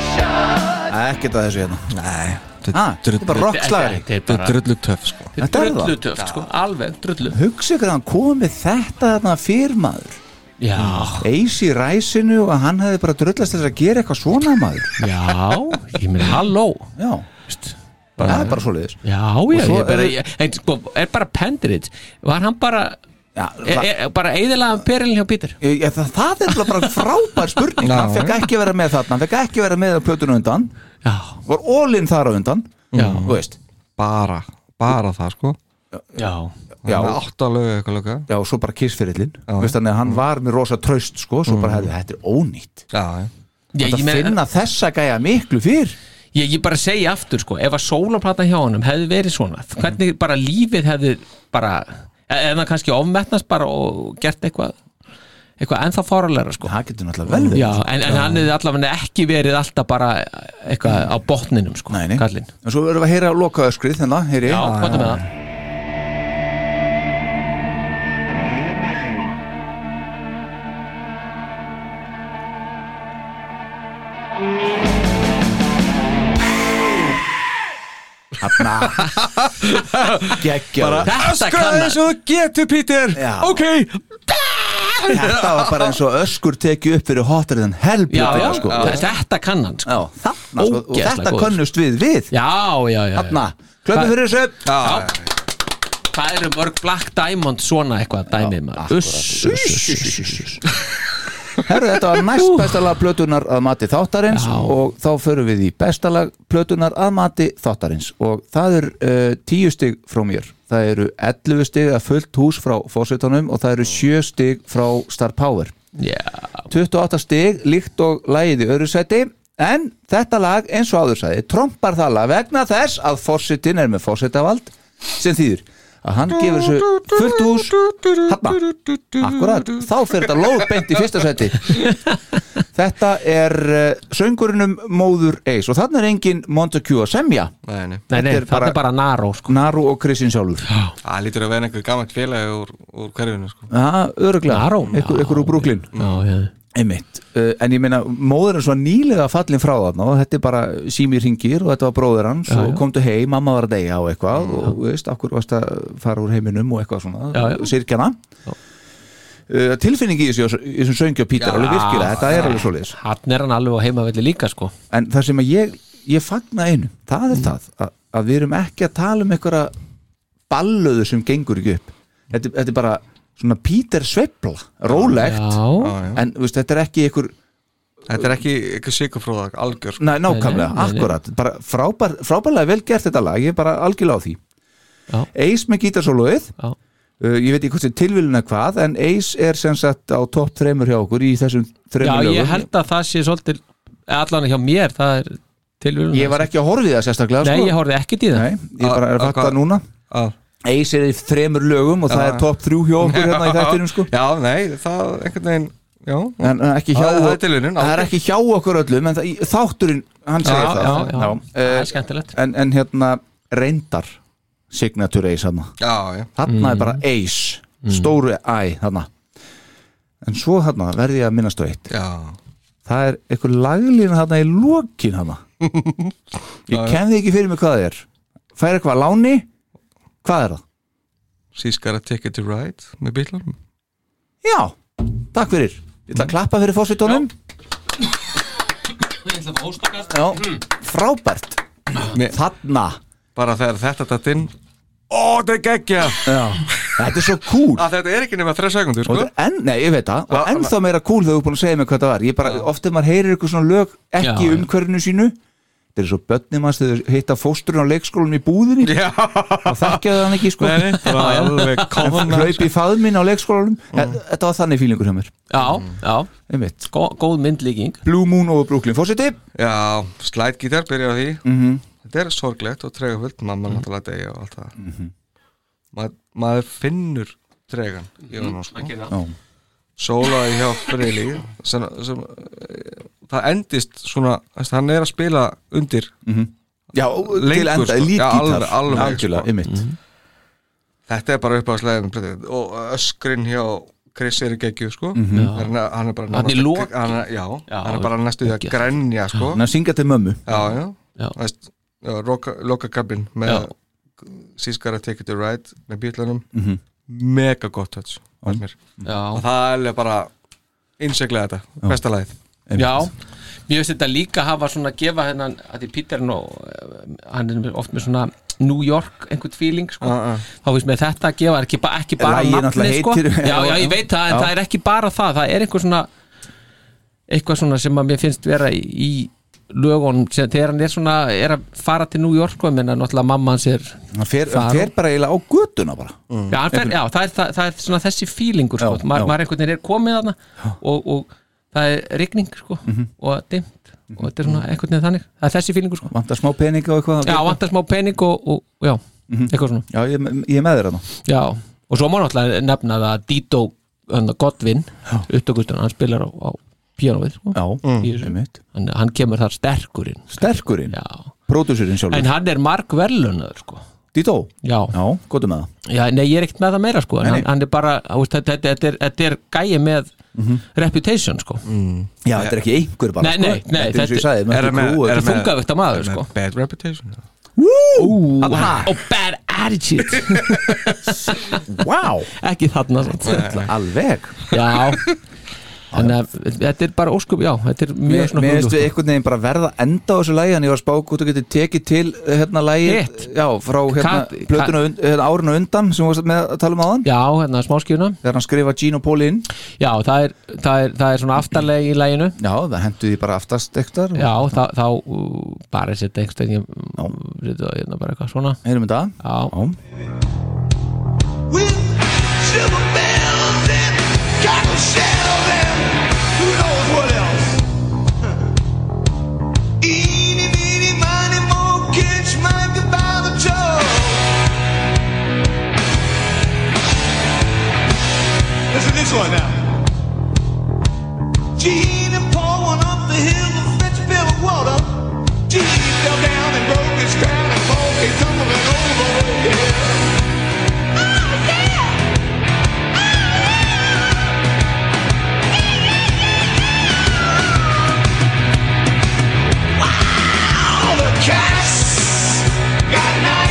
Speaker 3: ekkert að þessu hérna
Speaker 5: Nei
Speaker 3: Ah, Þetta er bara rockslagari
Speaker 5: Þetta er drullu töf sko
Speaker 3: Þetta er
Speaker 4: drullu
Speaker 3: það
Speaker 4: töft, sko, alveg drullu
Speaker 3: Hugsa ykkur að hann komið með þetta þarna fyrir maður
Speaker 4: Já
Speaker 3: Eis í ræsinu og að hann hefði bara drullast þess að gera eitthvað svona maður
Speaker 4: Já, ég meina halló
Speaker 3: Já
Speaker 4: Bara-
Speaker 3: Það er bara svoleiðis
Speaker 4: Já,
Speaker 3: Og
Speaker 4: já,
Speaker 3: svo
Speaker 4: ég bara,
Speaker 3: eru-
Speaker 4: ég, en sko, er bara pendrit Var hann bara
Speaker 3: já,
Speaker 4: er, er, bara eðilaðan perilin hjá Pítur
Speaker 3: Já, það, það er bara frábær spurning
Speaker 4: Já.
Speaker 3: hann fekk ekki vera með þarna, hann fekk ekki vera með á plötuna undan
Speaker 4: Já.
Speaker 3: var ólinn þar á undan
Speaker 4: Já.
Speaker 3: þú veist
Speaker 5: bara, bara það sko
Speaker 4: Já,
Speaker 3: já,
Speaker 5: Hann er átta lögu eitthvað lögu
Speaker 3: já og svo bara kissferillin veist þannig að hann var með rosa traust sko, svo
Speaker 4: Mm.
Speaker 3: bara hefði þetta er ónýtt
Speaker 5: já,
Speaker 4: Já,
Speaker 3: þetta
Speaker 4: ég meina-
Speaker 3: finna þessa gæja miklu fyrr
Speaker 4: Ég, ég bara segi aftur sko, ef að sólaplata hjá honum hefði verið svona,
Speaker 3: Mhm.
Speaker 4: hvernig bara lífið hefði bara, eða hann kannski ofmetnast bara og gert eitthvað eitthvað ennþá fáralega sko
Speaker 3: það getur náttúrulega vel verið.
Speaker 4: Já, en, en hann hefði allavega ekki verið alltaf bara eitthvað á botninum sko, nei, nei. kallinn
Speaker 3: en svo verðum við að heyra loka öskrið þennan, heyri
Speaker 4: Já, hvað með það?
Speaker 3: Hanna Gekkjað
Speaker 5: Bara öskraði eins og þú getur Pítur
Speaker 3: Já.
Speaker 5: Ok
Speaker 3: Þetta var bara eins og öskur tekið upp fyrir hotar en
Speaker 4: Já,
Speaker 3: helbjöð
Speaker 4: já,
Speaker 3: sko.
Speaker 4: þe- þetta kann hann sko.
Speaker 3: Já, þarna, sko, og
Speaker 4: Ógeðslega
Speaker 3: þetta
Speaker 4: góður.
Speaker 3: könnust við við
Speaker 4: Já, já, já, já.
Speaker 3: Þarna, klöppum fyrir þessu
Speaker 4: Já. Hvað eru mörg Black Diamond svona eitthvað dæmið maður? Uss, uss, uss, uss, uss.
Speaker 3: Herru, þetta var næst bestalag plötunar að mati þáttarins og þá förum við í bestalag plötunar að mati þáttarins og það er uh, tíu stig frá mér það eru 11 stig að fullt hús frá fósitunum og það eru 7 stig frá Star Power
Speaker 4: yeah.
Speaker 3: 28 stig líkt og lagið í öðru sæti en þetta lag eins og áður sæti trompar það lag vegna þess að fósitin er með fósitavald sem þýður að hann gefur þessu fullt hús hafna Akkurat, þá fyrir þetta lóðbeint í fyrsta seti Þetta er uh, söngurinnum Móður Eis og þannig er engin Montague að semja
Speaker 5: Nei, nei
Speaker 4: Nei, nei, þetta er bara Naró sko.
Speaker 3: Naru og Kristín sjálfur Já,
Speaker 5: Það lítur að vera einhver gammalt félagi úr, úr hverfinu sko
Speaker 3: öruglega
Speaker 4: Naró,
Speaker 3: Ykkur, ykkur úr Brooklyn
Speaker 4: Já, já,
Speaker 3: Einmitt, uh, en ég meina móður hans var nýlega fallin frá þarna og þetta er bara sími ringir og þetta var bróður hans
Speaker 4: Já,
Speaker 3: og
Speaker 4: já.
Speaker 3: komdu heim, mamma var að deyja og eitthvað og veist, akkur varst að fara úr heiminum og eitthvað svona,
Speaker 4: Já, já.
Speaker 3: sirkjana uh, tilfinningi í þessu- í þessum söngja Pítur, alveg virkilega, þetta er alveg svoleiðis
Speaker 4: Hann er hann alveg á heimavelli líka sko
Speaker 3: en það sem að ég, ég fagna einu það
Speaker 4: Mm.
Speaker 3: er það að, að við erum ekki að tala um einhverja ballöðu sem gengur ekki upp þetta, er- þetta er bara svona Peter Sveipla rólegt,
Speaker 4: Já.
Speaker 3: en þú veist, þetta er ekki einhver
Speaker 5: Þetta er ekki eitthvað sigurfróða algjör sko.
Speaker 3: Nei, nákvæmlega,
Speaker 4: Nei, nei, nei, nei.
Speaker 3: akkurat bara frábær, frábærlega vel gert þetta lag ég er bara algjörlega á því
Speaker 4: Já.
Speaker 3: Ace með gítarsóluið
Speaker 4: Já.
Speaker 3: uh, ég veit ekki hvort sem tilvíluna hvað en Ace er sem sagt á topp þreymur hjá okkur í þessum
Speaker 4: Já,
Speaker 3: þreymur
Speaker 4: ég held að það sé svolítið allan hjá mér, það er tilvíðun
Speaker 3: ég var ekki að horfa í það sérstaklega
Speaker 4: Nei,
Speaker 3: sko.
Speaker 4: ég horfði ekkert í það
Speaker 3: Nei, ég bara er að
Speaker 5: Að- að
Speaker 3: fatta
Speaker 5: hvað-
Speaker 3: núna
Speaker 5: að-
Speaker 3: Ace er í þremur lögum og það
Speaker 5: Já.
Speaker 3: er topp þrjú hjá okkur hérna í þættinum sko
Speaker 5: Já, nei, það einhvern veginn Já,
Speaker 3: en en ekki hjá,
Speaker 5: Það- það er tilviljun,
Speaker 3: það er
Speaker 5: ágætt.
Speaker 3: ekki hjá okkur öllum en það, í- þátturinn, hann segir
Speaker 4: Já,
Speaker 3: það
Speaker 4: já, já. Það er
Speaker 3: Eh,
Speaker 4: skemmtilegt
Speaker 3: en, en hérna reyndar signature Ace hann
Speaker 5: já, já
Speaker 3: þarna er bara Ace, stóru æ þarna en svo þarna verði ég að minnast á eitt
Speaker 5: Já,
Speaker 3: það er eitthvað laglína þarna í lokin þarna ég kenði ekki fyrir mig hvað það er fær eitthvað að láni hvað er það?
Speaker 5: she's got a ticket to ride með bílarnum
Speaker 3: Já, takk fyrir Ég ætla að klappa fyrir fósitónum Já, frábært
Speaker 5: Mér-
Speaker 3: Þarna
Speaker 5: Bara þegar þetta datt inn Ó, þetta er geggja
Speaker 3: Já. Þetta er svo cool
Speaker 5: að Þetta er ekki nema 3 sekundur
Speaker 3: Og
Speaker 5: sko.
Speaker 3: þetta er enn, nei, ég veit það
Speaker 5: Já,
Speaker 3: Og ennþá meira cool þegar þú er búin að segja mér hvað það var Ég bara, oft ef maður heyrir eitthvað svona lög Ekki
Speaker 4: Já, já.
Speaker 3: í umhverfinu sínu Þetta er svo börnum hans þegar þau hitta fóstrun á leikskólanum í búðinni
Speaker 5: Já,
Speaker 3: og þekkja það hann ekki sko
Speaker 5: nei, sko. bara alveg
Speaker 3: En
Speaker 5: common
Speaker 3: hlaup í faðminn á leikskólanum mm. Þetta var þannig fílingur hjá mér
Speaker 4: Já, já,
Speaker 3: Einmitt.
Speaker 4: Gó, góð myndlíking
Speaker 3: Blue Moon og Brooklyn Fósiti
Speaker 5: Já, slætgítar byrja á því
Speaker 3: Mhm.
Speaker 5: Þetta er sorglegt og tregafullt Mamma náttúrulega degja og allt það Ma Maður finnur tregan í honum sko.
Speaker 3: Já.
Speaker 5: Sólaði hjá Freyli sem, sem, eh, Það endist svona þessi, Hann er að spila undir
Speaker 3: Já, til
Speaker 5: Lengur,
Speaker 3: enda,
Speaker 5: sko.
Speaker 3: lít
Speaker 5: Já,
Speaker 3: gítar
Speaker 5: alveg- alveg, sko.
Speaker 3: Algjörlega, einmitt
Speaker 5: Þetta er bara upp á slæðum Og öskrin hjá Chris er í geggju sko. hann, er- hann er bara
Speaker 4: Hann er
Speaker 5: nánast-
Speaker 4: lok-
Speaker 5: hann er, já,
Speaker 4: Já,
Speaker 5: hann er bara næstu því að
Speaker 4: geggjað.
Speaker 5: grænja sko.
Speaker 3: Þannig að syngja til mömmu
Speaker 5: Já, já Æst, já, loka, loka gabin með sískara Take It To Ride með bílunum
Speaker 3: Mhm.
Speaker 5: mega gott touch fannst mér.
Speaker 4: Já.
Speaker 5: og það er alveg bara innseglega þetta, besta lagið
Speaker 4: Já, mér finnst þetta líka hafa svona að gefa hennan, að því Peter er nú, eh, hann er með- oft með svona New York einhvern feeling sko.
Speaker 5: Já, já.
Speaker 4: þá finnst mér þetta að gefa ekki, ba- ekki bara
Speaker 3: Ah, Lagið náttúrulega
Speaker 4: sko.
Speaker 3: heitir-
Speaker 4: já, já, ég veit það, en
Speaker 3: Já.
Speaker 4: það er ekki bara það það er einhver svona eitthvað svona sem að mér finnst vera í, í lögunum, sem þegar hann er svona er að fara til New York, sko, menn að náttúrulega mamma hans er
Speaker 3: hann fer,
Speaker 4: Fara.
Speaker 3: hann fer bara eiginlega á göduna bara
Speaker 5: Mm.
Speaker 4: Já, hann fer, já það, er, það, það er svona þessi fílingur sko.
Speaker 3: Já,
Speaker 4: Ma,
Speaker 3: já.
Speaker 4: maður einhvern veginn er komið þarna og, og það er rigning sko,
Speaker 3: Mhm.
Speaker 4: og dimmt og þetta er svona einhvern veginn þannig það er þessi fílingur sko.
Speaker 3: vantar smá pening og eitthvað
Speaker 4: já, vantar smá pening og, og og já,
Speaker 3: Mhm.
Speaker 4: eitthvað svona
Speaker 3: já, ég, ég er með þér þarna
Speaker 4: já. og svo má náttúrulega nefna það að Dito hann, Godwin, upptökustun hann spilar á, á píanóið sko,
Speaker 3: já,
Speaker 4: í
Speaker 5: Mm.
Speaker 4: þessu. hann, hann kemur þar sterkurinn
Speaker 3: sterkurinn, pródúsurinn sjálfur
Speaker 4: en hann er mark verðlunaður sko.
Speaker 3: Dító,
Speaker 4: já,
Speaker 3: já, gott um það
Speaker 4: Já, nei, ég er ekkert með það meira sko en
Speaker 3: Nei, nei.
Speaker 4: hann, hann er bara, þú veist, þetta, þetta, þetta, er, þetta er gæi með
Speaker 3: Mhm.
Speaker 4: reputation sko mm.
Speaker 3: Já, þetta er ekki einhver bara
Speaker 4: Nei,
Speaker 3: sko.
Speaker 4: nei, nei,
Speaker 3: Þetta er eins og ég sagði,
Speaker 4: er
Speaker 3: með
Speaker 4: með,
Speaker 3: krú
Speaker 4: er
Speaker 3: og-
Speaker 4: með þungavíkta maður sko
Speaker 5: Bad Reputation
Speaker 3: Woo!
Speaker 4: Aha. Og bad attitude
Speaker 3: Wow
Speaker 4: Ekki þarna samt.
Speaker 3: Alveg
Speaker 4: Já Þannig að þetta er bara óskup, já, þetta er mjög
Speaker 3: Mér
Speaker 4: svona
Speaker 3: mér finnst
Speaker 4: hugljúft,
Speaker 3: við
Speaker 4: sko.
Speaker 3: einhvern veginn bara verða að enda á þessu lægi Þannig ég var að spá hvort þú getur tekið til uh, hérna lægi
Speaker 4: Hitt.
Speaker 3: Já, frá hérna
Speaker 4: Kat-
Speaker 3: plötuna und- hérna, árinu undan sem við varst með að tala um áðan
Speaker 4: Já, hérna smáskjuna
Speaker 3: Þegar hann skrifa Gino Poli inn
Speaker 4: Já, það er, það er, það er svona aftarlega í læginu
Speaker 3: Já, það hendu því bara aftast ektar
Speaker 4: Já, þá, þá uh, bara setja einhvern veginn setja það hérna bara eitthvað svona
Speaker 3: Heyrum þetta
Speaker 4: Já,
Speaker 3: já.
Speaker 2: Silver bells and cotton shells and who knows what else. Eeny, meeny, miny, moe, catch Mike by the toe. Listen to this one now. Gene and Paul went up the hill to fetch a bill of water. Gene fell down and broke his crown and Paul came tumbling over. Yeah. All the cats got nine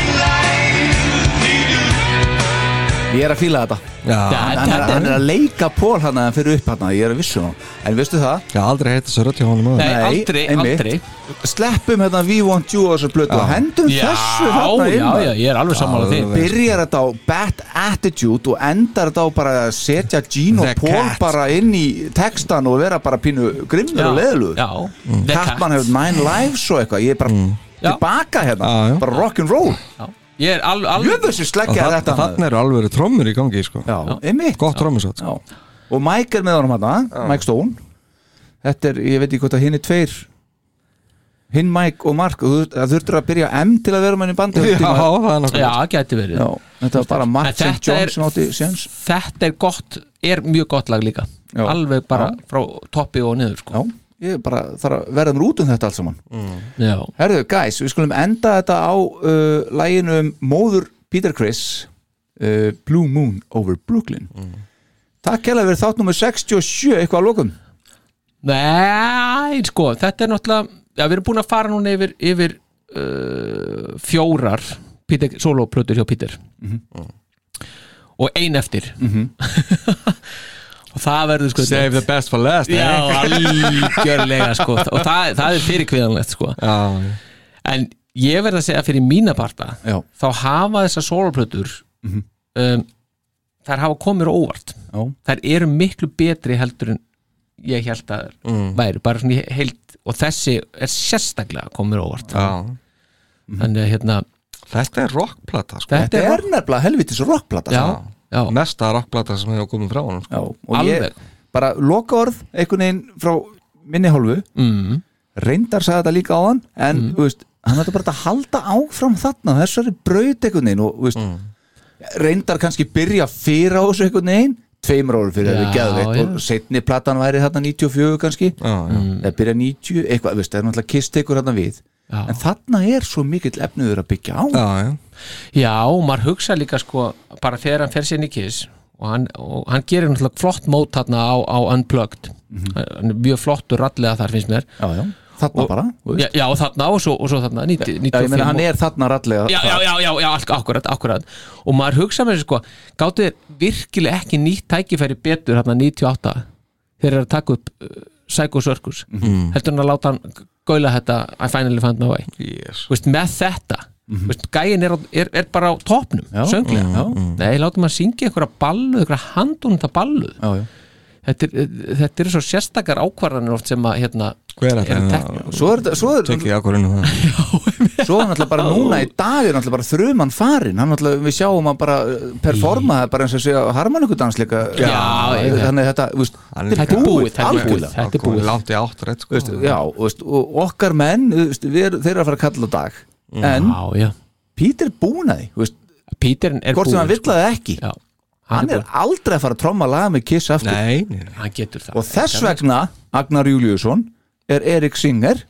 Speaker 3: Ég er að fíla þetta
Speaker 5: Já.
Speaker 3: hann, hann, er, hann er að leika Pól hann að hann fyrir upp hann Ég er að vissu hann En veistu það?
Speaker 5: Já, aldrei heita svo rödd hjá honum áður.
Speaker 3: Sleppum hérna We Want You á þessu blötu og hendum
Speaker 4: Já,
Speaker 3: þessu þarna inn,
Speaker 4: já,
Speaker 3: maður.
Speaker 4: já, ég er alveg sammála því.
Speaker 3: Byrjar þetta á bad attitude og endar þetta á bara að setja Gene
Speaker 4: The
Speaker 3: og Paul
Speaker 4: cat.
Speaker 3: bara inn í textan og vera bara pínu grimmur
Speaker 4: Já,
Speaker 3: og leðlugur
Speaker 4: já. Mm. The Mm.
Speaker 3: Kattmann hefur Nine Lives og eitthvað Ég er bara tilbaka hérna bara rock'n'roll
Speaker 4: Ég er al, al,
Speaker 3: Jöfnvessu
Speaker 5: Og
Speaker 3: sleggja
Speaker 5: þarna
Speaker 3: þetta maður.
Speaker 5: þarna eru alveg trommur í gangi sko.
Speaker 3: Já, einmitt
Speaker 5: Gott trommusat sko.
Speaker 3: Og Mike er með honum hérna, Mike Stone Þetta er, ég veit ekki hvort að hinn er tveir Hinn Mike og Mark og þú- Það þurftur að byrja M til að vera með henni bandi
Speaker 5: Já, það er
Speaker 4: Já,
Speaker 5: nákvæmlega
Speaker 4: gæti verið
Speaker 3: Já, þetta var bara
Speaker 4: En
Speaker 3: Mark St.
Speaker 4: þetta
Speaker 3: John
Speaker 4: er-
Speaker 3: sem átti séns
Speaker 4: Þetta er gott, er mjög gott lag líka
Speaker 3: Já.
Speaker 4: Alveg bara frá toppi og niður sko.
Speaker 3: Já, ég bara þarf að verða mér út um þetta allt saman
Speaker 4: Já.
Speaker 3: Herðu, guys, við skulum enda þetta á uh, læginu um móður Peter Criss uh, Blue Moon over Brooklyn Takk hella fyrir þátt nummer 67 eitthvað að lokum
Speaker 4: Nei, sko, þetta er náttúrulega Já, við erum búin að fara núna yfir, yfir uh, fjórar Peter, soloplötur hjá Peter
Speaker 3: Mhm.
Speaker 4: og ein eftir og það verður sko
Speaker 5: Save the best for last eh?
Speaker 4: Já, algjörlega sko og það, það er fyrirkviðanlegt sko
Speaker 5: Já,
Speaker 4: en ég verð að segja fyrir mína parta
Speaker 3: Já. Mhm.
Speaker 4: þá hafa þessar soloplötur um, þær hafa komið mér á óvart
Speaker 3: Já.
Speaker 4: þær eru miklu betri heldur en ég held að þær
Speaker 3: Mm.
Speaker 4: væri bara svona í heild og þessi er sérstaklega komið mér á óvart
Speaker 5: já.
Speaker 4: þannig að hérna
Speaker 5: Þetta er rockplata sko.
Speaker 3: Þetta
Speaker 4: þetta,
Speaker 3: er nefnilega helvitis rockplata
Speaker 4: já, já,
Speaker 5: Mesta rockplata sem hefur komið frá honum sko.
Speaker 3: Já, og
Speaker 4: alveg
Speaker 3: ég bara loka orð einhvern veginn frá minni hálfu
Speaker 4: mm,
Speaker 3: reyndar sagði þetta líka á hann en þú veist, hann ætti bara að halda áfram þarna þessari braut einhvern veginn og þú veist, reyndar kannski byrja fyrir á þessu einhvern veginn tveimur árum fyrir
Speaker 4: Já,
Speaker 3: þetta geðveitt
Speaker 4: já.
Speaker 3: og setni platan væri þarna 94 kannski
Speaker 5: Já, já.
Speaker 3: eða byrja 90, eitthvað, þú veist, það er náttúrulega kist tekur þarna við
Speaker 4: Já.
Speaker 3: en þarna er svo mikill efnuður að byggja á
Speaker 5: já, já.
Speaker 4: Já, og maður hugsa líka sko bara þegar hann fer sér nikkis og hann, og hann gerir
Speaker 3: Mhm.
Speaker 4: náttúrulega flott mót þarna á, á Unplugged hann er mjög flottur rallega þar finnst mér
Speaker 3: já, já. Þarna bara þú veist.
Speaker 4: já, já, og þarna og svo, og svo þarna 90,
Speaker 3: Já, ég meina, hann er þarna rallega
Speaker 4: já, já, já, já, já, alk- akkurat, akkurat og maður hugsa með þessu sko gáttu þeir virkilega ekki nýtt tækifæri betur hérna 98 þeir eru að taka upp uh, Psycho Circus
Speaker 3: Mhm.
Speaker 4: heldur hann að láta hann gaula þetta I finally found my way
Speaker 5: yes.
Speaker 4: Vist, með þetta mm Vist, gæin er, á- er, er bara á topnum
Speaker 3: Mhm. Já, Mhm.
Speaker 4: sönglega
Speaker 3: já, já.
Speaker 4: nei, látum hann syngja einhverja ballu einhverja handunta ballu
Speaker 3: já, já.
Speaker 4: Þetta, er, þetta er svo sérstakar ákvarðanir oft sem að hérna,
Speaker 5: Hver er
Speaker 4: eru
Speaker 5: þetta?
Speaker 4: teknar.
Speaker 3: Svo er þetta Svo er
Speaker 5: Tekið ákvörðinu það
Speaker 3: Svo er náttúrulega bara núna í dag er náttúrulega bara þruman farin hann náttúrulega, við sjáum að bara uh, performa það bara eins og segja harmanikudansleika
Speaker 5: Já,
Speaker 4: já.
Speaker 3: þannig að þetta, þú veist,
Speaker 5: Hann er
Speaker 3: þetta er
Speaker 5: líka-
Speaker 3: búið
Speaker 4: þetta er búið,
Speaker 3: algjörlega.
Speaker 4: þetta er búið.
Speaker 5: Langt í átt rétt
Speaker 3: Þú
Speaker 5: sko.
Speaker 3: veist, já, þú veist, og okkar menn þú veist, við er, þeir eru að fara að kalla á dag en
Speaker 4: já, já.
Speaker 3: Pítur er búin að því þú veist,
Speaker 4: Peter er
Speaker 3: hvort sem
Speaker 4: búinn,
Speaker 3: hann vill
Speaker 4: sko.
Speaker 3: að ekki
Speaker 4: Já, hann
Speaker 3: hann
Speaker 4: er
Speaker 3: er aldrei að fara að tromma laga með Kiss aftur
Speaker 5: Nei, nei, nei.
Speaker 4: hann getur það
Speaker 3: og þess vegna Agnar Júliusson er Erik Singer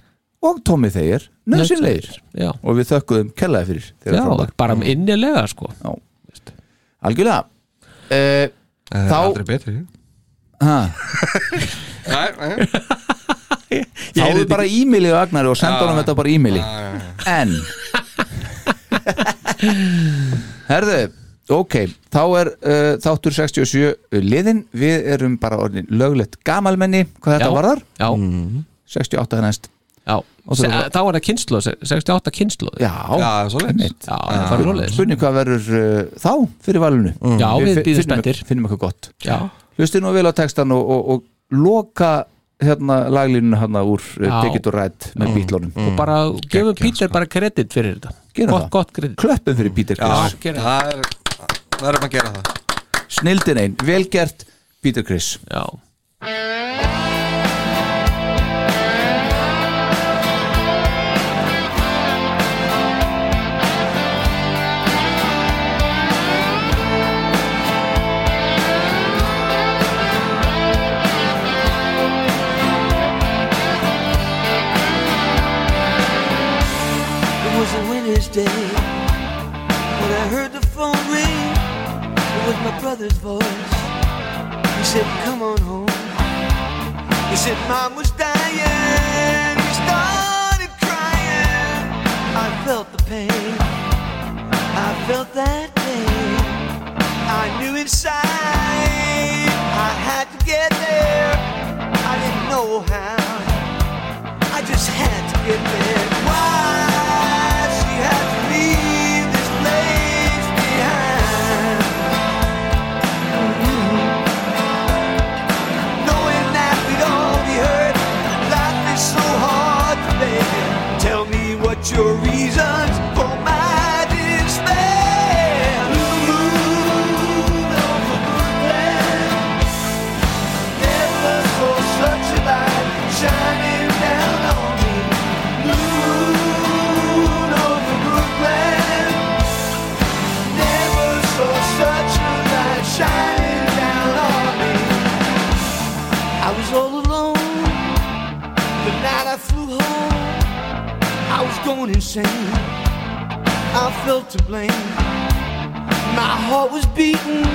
Speaker 3: og Tommy Thayer nöðsynleir
Speaker 4: Já.
Speaker 3: og við þökkuðum kellaði fyrir þegar
Speaker 4: Já,
Speaker 3: frá dag.
Speaker 4: bara innilega sko
Speaker 3: Já. algjörlega uh,
Speaker 5: Það er
Speaker 3: Þá-
Speaker 5: Eh, aldrei betri
Speaker 3: ha,
Speaker 5: Nei, nei
Speaker 3: þá er bara e-maili og Agnari og senda honum þetta bara e-maili en herðu ok, þá er uh, þáttur 67 liðin, við erum bara orðin löglegt gamalmenni, hvað þetta
Speaker 4: Já.
Speaker 3: varðar
Speaker 4: Já,
Speaker 3: 68 er næst
Speaker 4: já
Speaker 3: Og
Speaker 4: Se,
Speaker 3: þú-
Speaker 4: Þá er það kynnslóð, 68 kynnslóð Já,
Speaker 3: já,
Speaker 5: Já, svo leitt
Speaker 4: það er svoleiðis Mm.
Speaker 3: spurning hvað verður uh, þá fyrir valinu
Speaker 4: Já,
Speaker 3: Mm.
Speaker 4: við
Speaker 3: fi-
Speaker 4: býðum
Speaker 3: finnum-
Speaker 4: spenntir
Speaker 3: finnum eitthvað gott
Speaker 4: Já,
Speaker 3: hlustið nú vel á textan og, og, og loka hérna laglínuna hérna úr uh,
Speaker 4: Já.
Speaker 3: Take It or Ride með bítlónum
Speaker 4: og bara gefum Peter bara kredit fyrir þetta
Speaker 3: Mm. sko. Gerum
Speaker 4: Gott,
Speaker 3: það.
Speaker 4: gott kredit
Speaker 3: klöppum fyrir Peter Chris
Speaker 4: gera það.
Speaker 5: Það er Það erum að gera það
Speaker 3: snildin einn, velgert Peter Chris
Speaker 4: Já
Speaker 2: It was a winter's day when I heard the phone ring. It was my brother's voice. He said, Come on home. He said, Mom was dying. He started crying. I felt the pain. I felt that pain. I knew inside I had to get there. I didn't know how. I just had to get there. Why she had to leave this place behind? Knowing that we'd all be hurt, life is so hard to bear. Tell me what your reasons for my despair. Moved on from Brooklyn. Never saw such a light shining down on me. Moon over Brooklyn. Never saw such a light shining down on me. I was all alone. The night I flew home, I was going insane. I felt to blame. My heart was beating.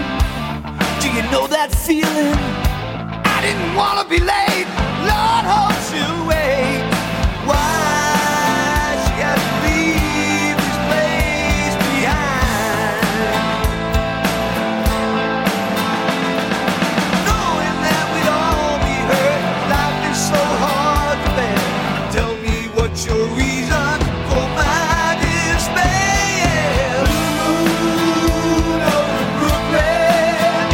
Speaker 2: Do you know that feeling? I didn't wanna be late. Lord, hope to wait. Why she had to leave this place behind? Knowing that we'd all be hurt, life is so hard to bear. Tell me what's your reason for my despair? Moon over Brooklyn.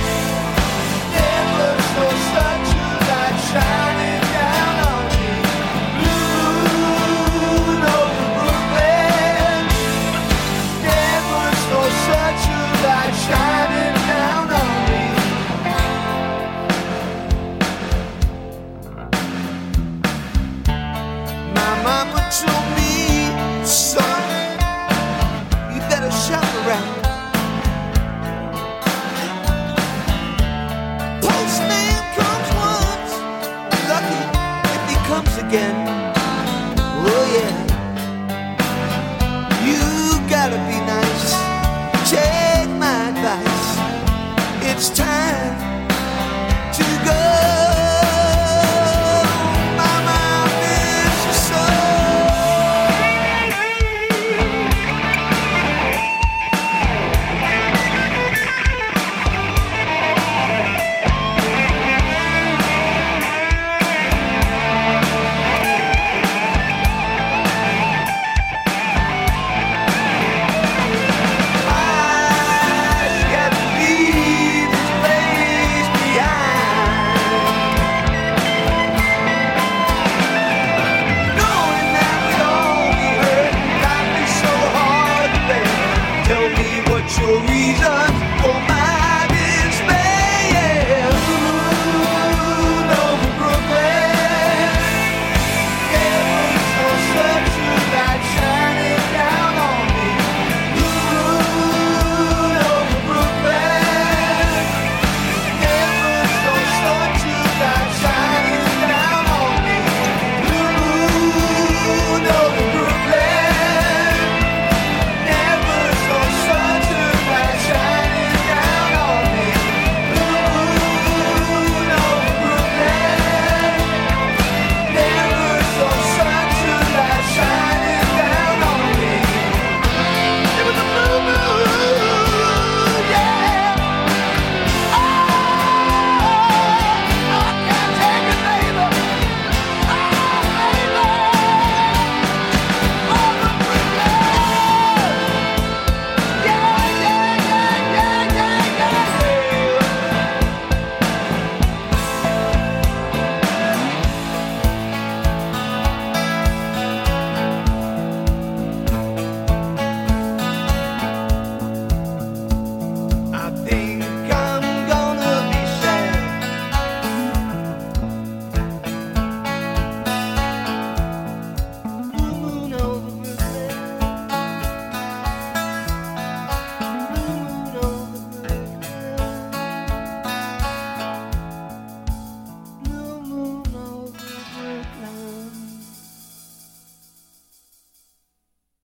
Speaker 2: Never saw such a light shining down on me. Moon over Brooklyn. Never saw such a light shining down on me. My mama told me, son, you better shop around. Postman comes once, lucky if he comes again. Oh yeah. You gotta be nice. Take my advice. It's time